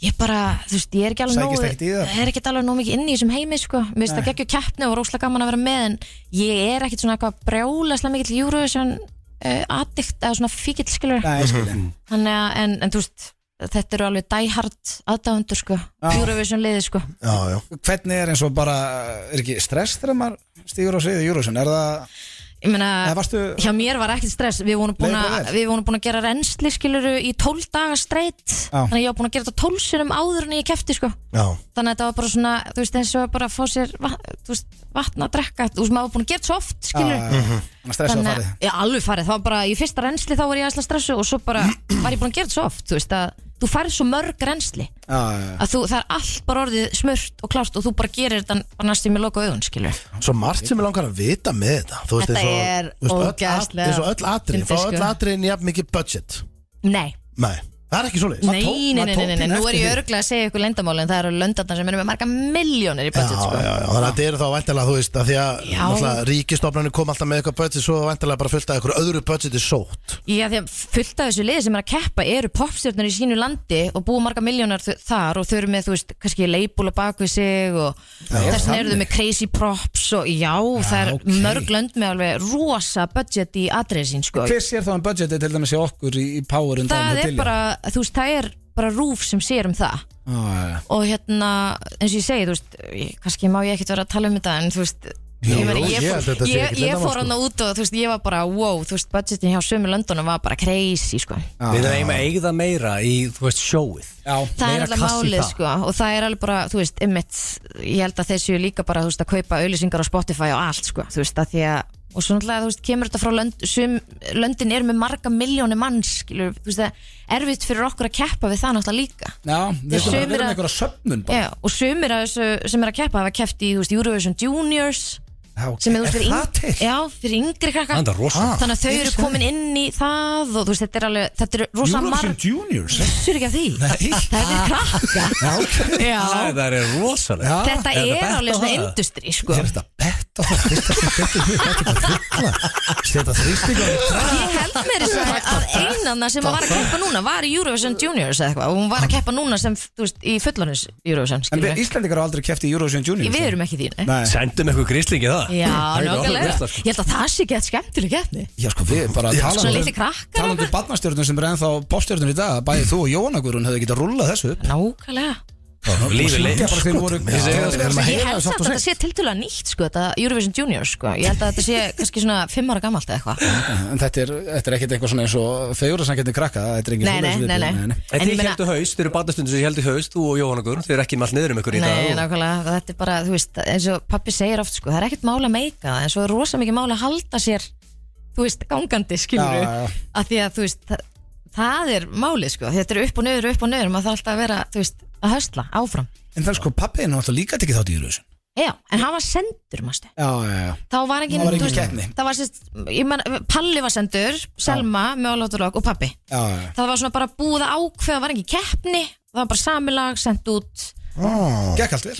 ég bara, þú veist, ég er ekki alveg
Sækist
nógu
ekkert í það?
er ekkert alveg nógu mikið inni í þessum heimi sko mér finnst það geggjur keppni og róslega gaman að vera með en ég er ekkert svona eitthvað brjólaslega mikið til Eurovision uh, addikt eða svona fíkild skilur
nei, sko. ég skilja
þannig að, en, en þú veist þetta eru alveg dæhard aðdáðundur sko Eurovision liði sko
Já, já
Hvernig er eins og bara, er ekki stress þegar maður stígur á sviðið Eurovision? Er það,
ég meina,
eða varstu
hjá mér var ekkert stress við vorum búin
Leið bara
að
vel.
við vorum búin að gera reynsli skiluru í 12 daga streitt þannig að ég var búin að gera þetta 12 sinum áður en ég kefti sko
Já,
þannig að þetta var bara svona, þú veist, eins og bara að fá sér vatn, þú veist, vatn að drekka þú veist, maður var búin að gera þetta svo oft, skilur
stressað að Ah, farið?
já, alveg farið, þá var bara í fyrsta reynsli þá var ég aðsla stressu og svo bara var ég búin að gera þetta svo oft, þú veist, að þú farið svo mörg reynsli,
Já, já, já.
að þú, það er allt bara orðið smurt og klárt og þú bara gerir þetta bara næstum með loka augun, skilur
svo margt sem ég langar að vita með þetta Þú veist,
Þetta
eins og-
er
þú veist, öll at-
ógeðslega
Eins og öll atriðin,
fyndið,
fá
sko.
öll atriðin jafn mikið budget
Nei,
Nei, það er ekki svoleiðis
nei,
tók-
nei,
maður
nei,
tók
nei, nei,
pínu
nú er
eftir
ég
því.
örglega að segja ykkur lendamálin, það eru löndarnar sem eru með marga miljónir í
Já,
budget, sko
já, já, þannig að þetta eru þá væntalega, þú veist, að því að
Já.
náttúrulega ríkistofnarnir kom alltaf með eitthvað budget svo væntalega bara fullt af einhverju öðru budgeti sótt
Já, því að fullt af þessu liði sem er að keppa eru popstjörnur í sínu landi og búið marga miljónar þau- þar og þau eru með, þú veist, kannski leipúla bak við sig og þess vegna eru þau með crazy props og já, það er mörg lönd með alveg rosa budget í atrið sín, sko.
Hver sér þá um budgetið til dæmis í okkur í, í Power um
það
daginn hjá
er
Dilja?
bara, þú veist, það er bara rúf sem sér um það
Já, já, já.
og hérna, eins og ég segi, þú veist, ég- kannski má ég ekkert vera að tala um þetta en þú veist, Ég, meina,
Jú, ég held
ég,
að
fór,
þetta sé
ég,
ekkert
ég
leyndarmál,
fór
sko.
hann út og þú veist, ég var bara wow, þú veist, budgetin hjá sömu löndunum var bara crazy, sko.
Við erum að eigða meira í, þú veist, sjóið
það er
meira kast
alltaf
í
málið
það.
sko og það er alveg bara, þú veist, ymmit ég held að þeir séu líka bara, þú veist, að kaupa auðlýsingar á Spotify og allt sko, þú veist, að því að og svo náttúrulega, þú veist, kemur þetta frá lönd sum, löndin er með marga miljónir manns skilur, þú veist, það er erfitt fyrir okkur að keppa við það náttúrulega líka
Já, við erum bara
sumir
að vera með
að-
einhverja söfnun bara
Já, og sumir af þessu sem er að keppa hafa keppt í, þú veist, Eurovision Juniors
Já, ok.
sem er, þú
Er
veist, fyrir,
það til?
yng- já, fyrir yngri krakka
Það er rosa
þannig að þau eru komin inn í það og þú veist, þetta er alveg, þetta er rosa
Eurovision
marg
Juniors
Vissur ekki af því? Það er fyrir krakka
Já, ok
Já,
Æ, Það er rosalega
Já.
þetta
er
er
þetta bent
alveg
á
svona
það?
industry sko.
Er þetta bett á það? Fyrsta sem betur mér, þetta er bara þrýkla Seta þrýstinga
ég held mér þess að, að einanna sem að var að keppa núna var í Eurovision Juniors eða eitthvað og hún var að keppa núna sem þú veist, í fullonins Eurovision
En
skilur
við
við
Íslandingar hafa aldrei kæft í Eurovision Juniors
við erum ekki í því nei.
Nei,
Sendum eitthvað gríslingi það
já,
Það er alveg
nákvæmlega
veistla, sko.
ég held að það sé gett skemmtileg keppni
já sko við bara talandi
svona
um-
litli krakkar
Talandi um barnastjörnum sem er ennþá popstjörnum í dag Bæði þú og Jóhanna Guðrún hefðu getað rullað þessu upp
nákvæmlega
Lífið leið
Þegar bara þeir voru
Við erum
ég held samt að þetta sé tildulega nýtt sko, þetta Eurovision Juniors sko. ég held að þetta sé kannski svona 5 ára gamalt eða eitthvað
En þetta er, þetta er ekkert eitthvað svona eins og fegurðarsankjarnir krakka, þetta er engin
nei, nei,
svoleiðis
nei,
viðbjóður,
nei.
En
En ég
þið
meina-
heldu haust, þið eru barnastundur sem heldu haust, þú og Jóhanna Guðrún, þið eru ekki með allt niður um ykkur í dag
Nei,
og-
nákvæmlega, þetta er bara, þú veist, eins og pappi segir oft, sko, það er ekkert mál að meika það, en svo er rosa mikið mál að halda sér, þú veist, gangandi, skilur
Já, já, já.
að því að, þú veist, það, það er málið, sko, þetta er upp og nöður, upp og nöður, maður þarf alltaf að vera, þú veist, að höstla áfram.
En það er sko pappiðin var alltaf líka tekið þátt í Eurovision
Já, en hann var sendur, mástu.
Já, já, já
Þá var engin,
Það var engin
þú veist,
keppni.
Það var sérst, ég menn, Palli var sendur, Selma, Mjóláturlokk og pappi.
Já, já.
Það var svona bara búið að ákveða, það var engin keppni, það var bara samilag, sendt út,
Gekk allt vel?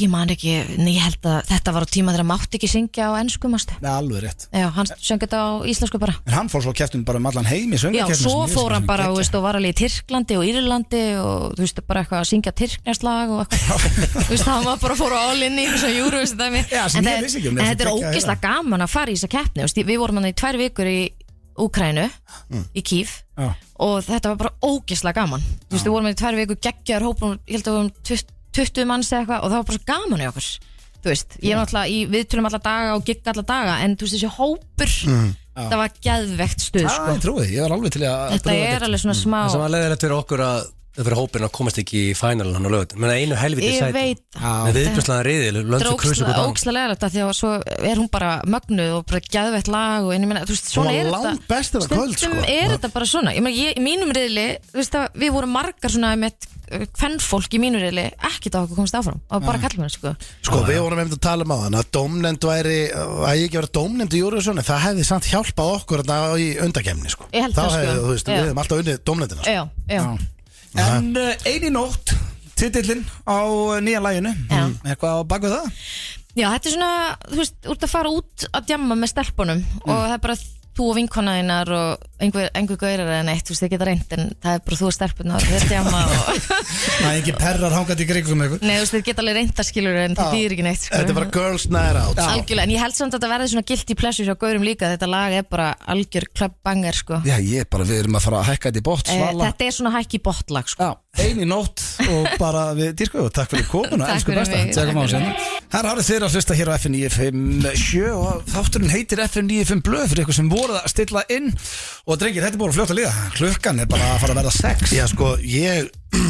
ég man ekki, nei, ég held að þetta var á tíma þegar hann mátti ekki syngja á ennsku, mástu.
Nei, alveg rétt
Já, hann söng þetta á íslensku bara
En hann fór svo kæftum bara um allan heim í
Já,
söngarkæftum
svo fór hann bara, þú veist, og var alveg í Tyrklandi og Írlandi og þú veist, bara eitthvað að syngja Tyrknarslag og eitthvað Þú veist, hann var bara að fóra all in í þessu júru, veist það mér
Já, sem
En
ég
það-
vissi ekki um,
en
þessi
þetta er
geggjaði
ógeðslega gaman að fara í þessa keppni, þú veist, við vorum hann í tvær vikur í Úkrænu,
Mm.
í Kíf
Já.
og þetta var bara ógeðslega gaman Þú veist, við vorum hann í tvær vikur geggjaður hópum, ég held að við vorum 20 20 manns eða eitthvað og það var bara svo gaman í okkur Þú veist, ég er náttúrulega í viðtölum alla daga og gigg alla daga en þú veist þessi hópur,
Mm.
það var geðvegt stuð
Já,
sko.
ég trúi, því, ég var alveg til í að
Þetta er alveg
Mm.
svona smá
Það sem var leiðilegt fyrir okkur að fyrir hópin að komast ekki í fænalan hann á lögut menn einu helviti
Ég
sæti
veit
með viðbjörnslega riðil
Þetta
löndu
er
krusum
óksla- ókslega leðilegt Því að svo er hún bara mögnuð og bara gæðvett lag og en ég meina, þú veist,
Hún
svona
var
er
langt
þetta
bestur að kvöld, sko.
Stundum er þetta bara svona Ég meina, ég, í mínum riðli, þú veist að við vorum margar svona með kvennfólk í mínum riðli ekkert á okkur komst áfram og bara kallum henni, sko
Sko, við vorum einmitt að tala um á hann að dómnefnd væri, að ég ekki verið dómnefnd í Júriðssoni, það hefði samt hjálpað okkur þarna í undakemni, sko.
Ég held
Þá
það, sko.
hefði, þú veist,
Já.
við hefum alltaf unnið dómnefndina, sko.
Já, já,
En uh, eini nótt, titillinn á uh, nýja læginu
Já.
Eitthvað á bakvið það?
já, þetta er svona, þú veist, úr að fara út að djamma með stelpunum og það er bara þú og vinkona þínar og einhver, einhver gaurar en eitt, þú veist, þið geta reynd en það er bara þú og stelpunar, þið djamma og
Það er ekki perrar hangandi í gringum eitthvað
Nei, þú veist, þið geta alveg reynda skilur en það þýðir ekki neitt sko.
Þetta er bara girls night out.
Algjörlega, en ég held samt að þetta verði svona guilty pleasure hjá gaurum líka, þetta lag er bara algjör klubbanger sko
Já, ég bara, við erum að fara að hækka þetta í bótt,
Eh,
svala
Þetta er svona hækki bottlag sko
Já, eini nótt og bara við dýrkuðu Takk fyrir komuna,
Takk
elsku
fyrir
besta
mig.
Tjekkum á
Takk fyrir
sérna Herra árið þeirra að hlusta hér á FM 957 og þátturinn heitir FM 95 blöð fyrir ykkur sem voruð að stilla inn og drengir, þetta er búin að fljóta að líða klukkan er bara að fara að verða sex
Já, sko, ég,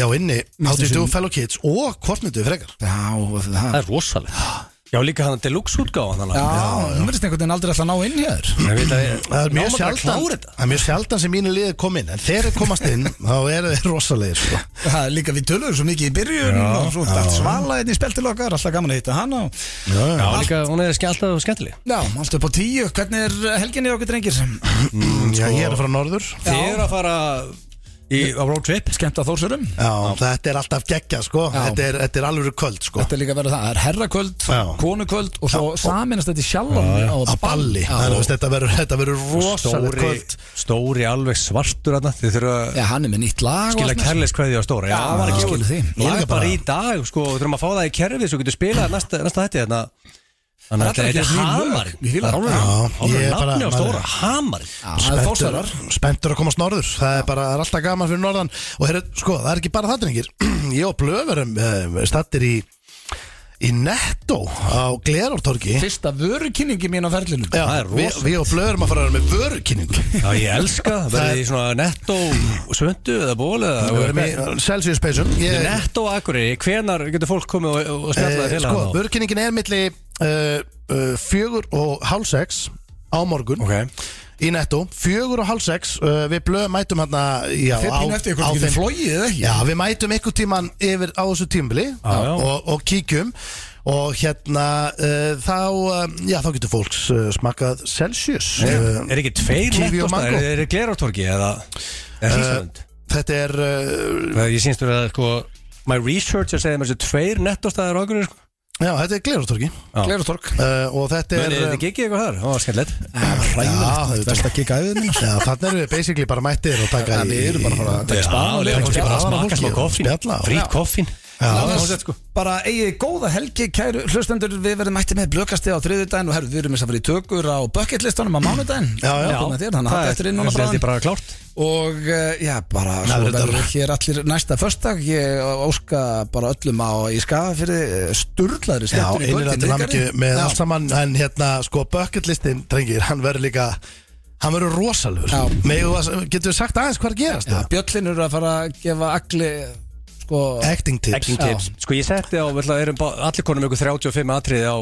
já, inni, How do you do fellow kids og Kortmyndu frekar.
Já, og það
það er rosalega já líka hann deluxe útgáðan hann
Já,
alveg.
hún verðist einhvern veginn aldrei alltaf að ná inn hér
Ég veit að ég-
Það er
Náum
mjög
bara að
sjaldan,
klára þetta.
það er mjög sjaldan sem mínu liði kom inn, en þegar þeir komast inn, þá eru þeir rosalegir, sko.
Það er líka við tölum svo mikið í byrjun og svo er allt svala einn í speltilokkar alltaf gaman að hitta hann á
Já, líka, hún er skjáltað og skemmtileg
Já, allt upp á tíu, hvernig er helginni okkur drengir?
Já, ég er frá norður.
Þið eru að fara í, á road trip
Skemmt að þórsörum
Já, þetta er alltaf geggja, sko. Þetta er, þetta er alveg kvöld, sko.
Þetta er líka verið það, það er herrakvöld,
Já.
konukvöld og svo saminast þetta í sjálfan á
á balli
Já.
þannig að veist, þetta verður þetta verður rosalega
stóri,
kvöld
stóri alveg svartur hann þið þurfa að
Já, hann er með nýtt lag og
skila
allt með.
kærleis á stóra já,
hann var ekki út.
skilur því
Ég
lag
líka
bara
bara-
í dag sko við þurfum að fá það í kerfið svo getur spilað næsta, næsta hætti þarna Þannig að
Það er
þetta
allir
er
að gera ný lög.
hamar
Ég fíla það.
Já, ég er
Hámarinn
bara-
nafni á
maður-
stóra Hamar
Það er þórsarar
spenntur að komast norður það er bara það er alltaf gaman fyrir norðan og heru, sko, það er ekki bara það drengir ég og Blöf erum uh, stattir í eh, í Netto á Glerártorgi
Fyrsta vörukynningi mín á ferlinu
Já,
það er
við,
rosalegt.
við og Blöður erum að fara að vera með vörukynningu
Já, ég elska það.
Það er-
Verðið í svona netto svöndu eða ból
Við
eða
erum í Celsius Spaceum Ég-
Netto Akureyri, hvenar getur fólk komið og, og spjallaði
Eh,
til
sko,
hann á?
vörkynningin er milli uh, uh, fjögur og hálf sex á morgun
Ok.
í netto, fjögur og hálf sex uh, við blöð mætum hérna já,
Þeir pínu eftir eitthvað getur flóið eða ekki
já, við mætum einhvern tíman yfir á þessu tímbili
Já, já.
og, og kíkjum og hérna uh, þá, uh, já, þá getur fólks uh, smakað Celsius uh,
Er ekki tveir
Kiwi og
nettostaðir?
mango.
Er, er glerartorki eða er Hrísland?
þetta er uh,
Uh, ég sínst verið að sko My researcher segði mér þessu tveir nettostaðir á Akureyri sko.
já, þetta er Glerutorki
Glerutorg
uh, og þetta
Er
er
þetta ekki eitthvað þar? Það var skemmtilegt
Já,
Best að kika æðið minna
Já, þannig erum við basically bara mættir og taka í...
Við erum bara að fara að
Já, og leiða fólki bara að
spjalla,
smaka smá
fólki,
koffín
spjalla og-
Frýtt koffín
Annars
sko.
sko. bara eigið góða helgi kæru hlustendur við verðum mætti með blökasti á þriðudaginn og herru við erum þess að fara í tökur á bucketlistanum á mánudaginn
Já, já.
Komið þér, þannig að
það
hafa
er
eftir inn núna
held
bráðan.
ég bara klárt
og eh, já bara svo
verður
verður
þetta-
hér allir næsta föstdag ég óska bara öllum á í skafa fyrir sturglaðri
Já,
skemmtur í
einir
kvöld
að til
í
hamingju
Ríkari.
með
Já.
allt saman En hérna, sko, bucket listin, drengir, hann verður líka Hann verður rosalur
Já.
Getur við sagt aðeins hvað er að gerast?
Já,
það?
Bjöllin eru að fara að gefa agli sko
Acting tips
Acting tips Sko ég setti á, við ætla- erum bá- allir konum ykkur 35 atriði á,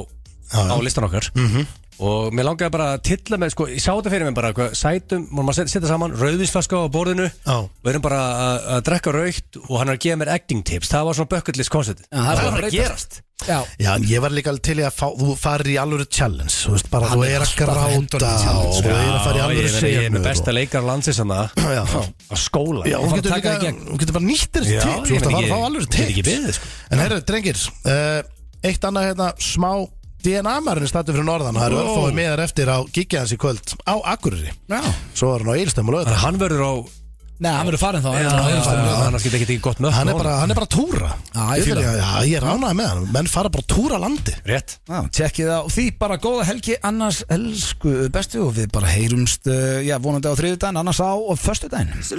á listan okkar
Mhm.
Og mér langaði bara að tilla með, sko, ég sá þetta fyrir mér bara hvað, Sætum, má maður set- setja saman, rauðvinsflaska á borðinu
Já.
Við erum bara að, að drekka raukt og hann er að gefa mér acting tips Það var svona bucket list koncept
Já, það er bara að breytast.
gerast
já,
Já, en ég var líka alveg til í að fá, þú farir í alvöru challenge Þú veist bara, þú er að gráta
Já,
Og þú er að fara í
ég
alvöru sko.
meina, Ég er
senu
með besta leikar landsins hann að
Já,
að skóla Ég
já
fara
þú
að
getur
taka það
líka,
í gegn.
þú getur bara nýttir
Já,
þessi
ég
tips Þú ert
meina,
að fara
ég-
að fá alvöru
ég get
tips
ekki beðið, sko.
En herru, drengir, uh, eitt annað hérna smá DNA-mærinu stættu fyrir norðan og það eru örfóið meðar eftir á gigjaðans í kvöld á Akureyri
já.
Svo er hann á Eilstömm
Þannig
og lögðar
að Hann verður á
Nei, hann verður farin þá
Já,
hann verður farin.
Annars getur ekki tekið gott mökk
Hann er bara, hann er bara að túra
Já, ég fíla
Já, já, ég er ánægð með hann Menn fara bara að túra landi
Rétt
Já, Tjekkið á því, bara góða helgi annars elsku bestu og við bara heyrumst eh, já, vonandi á þriðudaginn, annars á og föstudaginn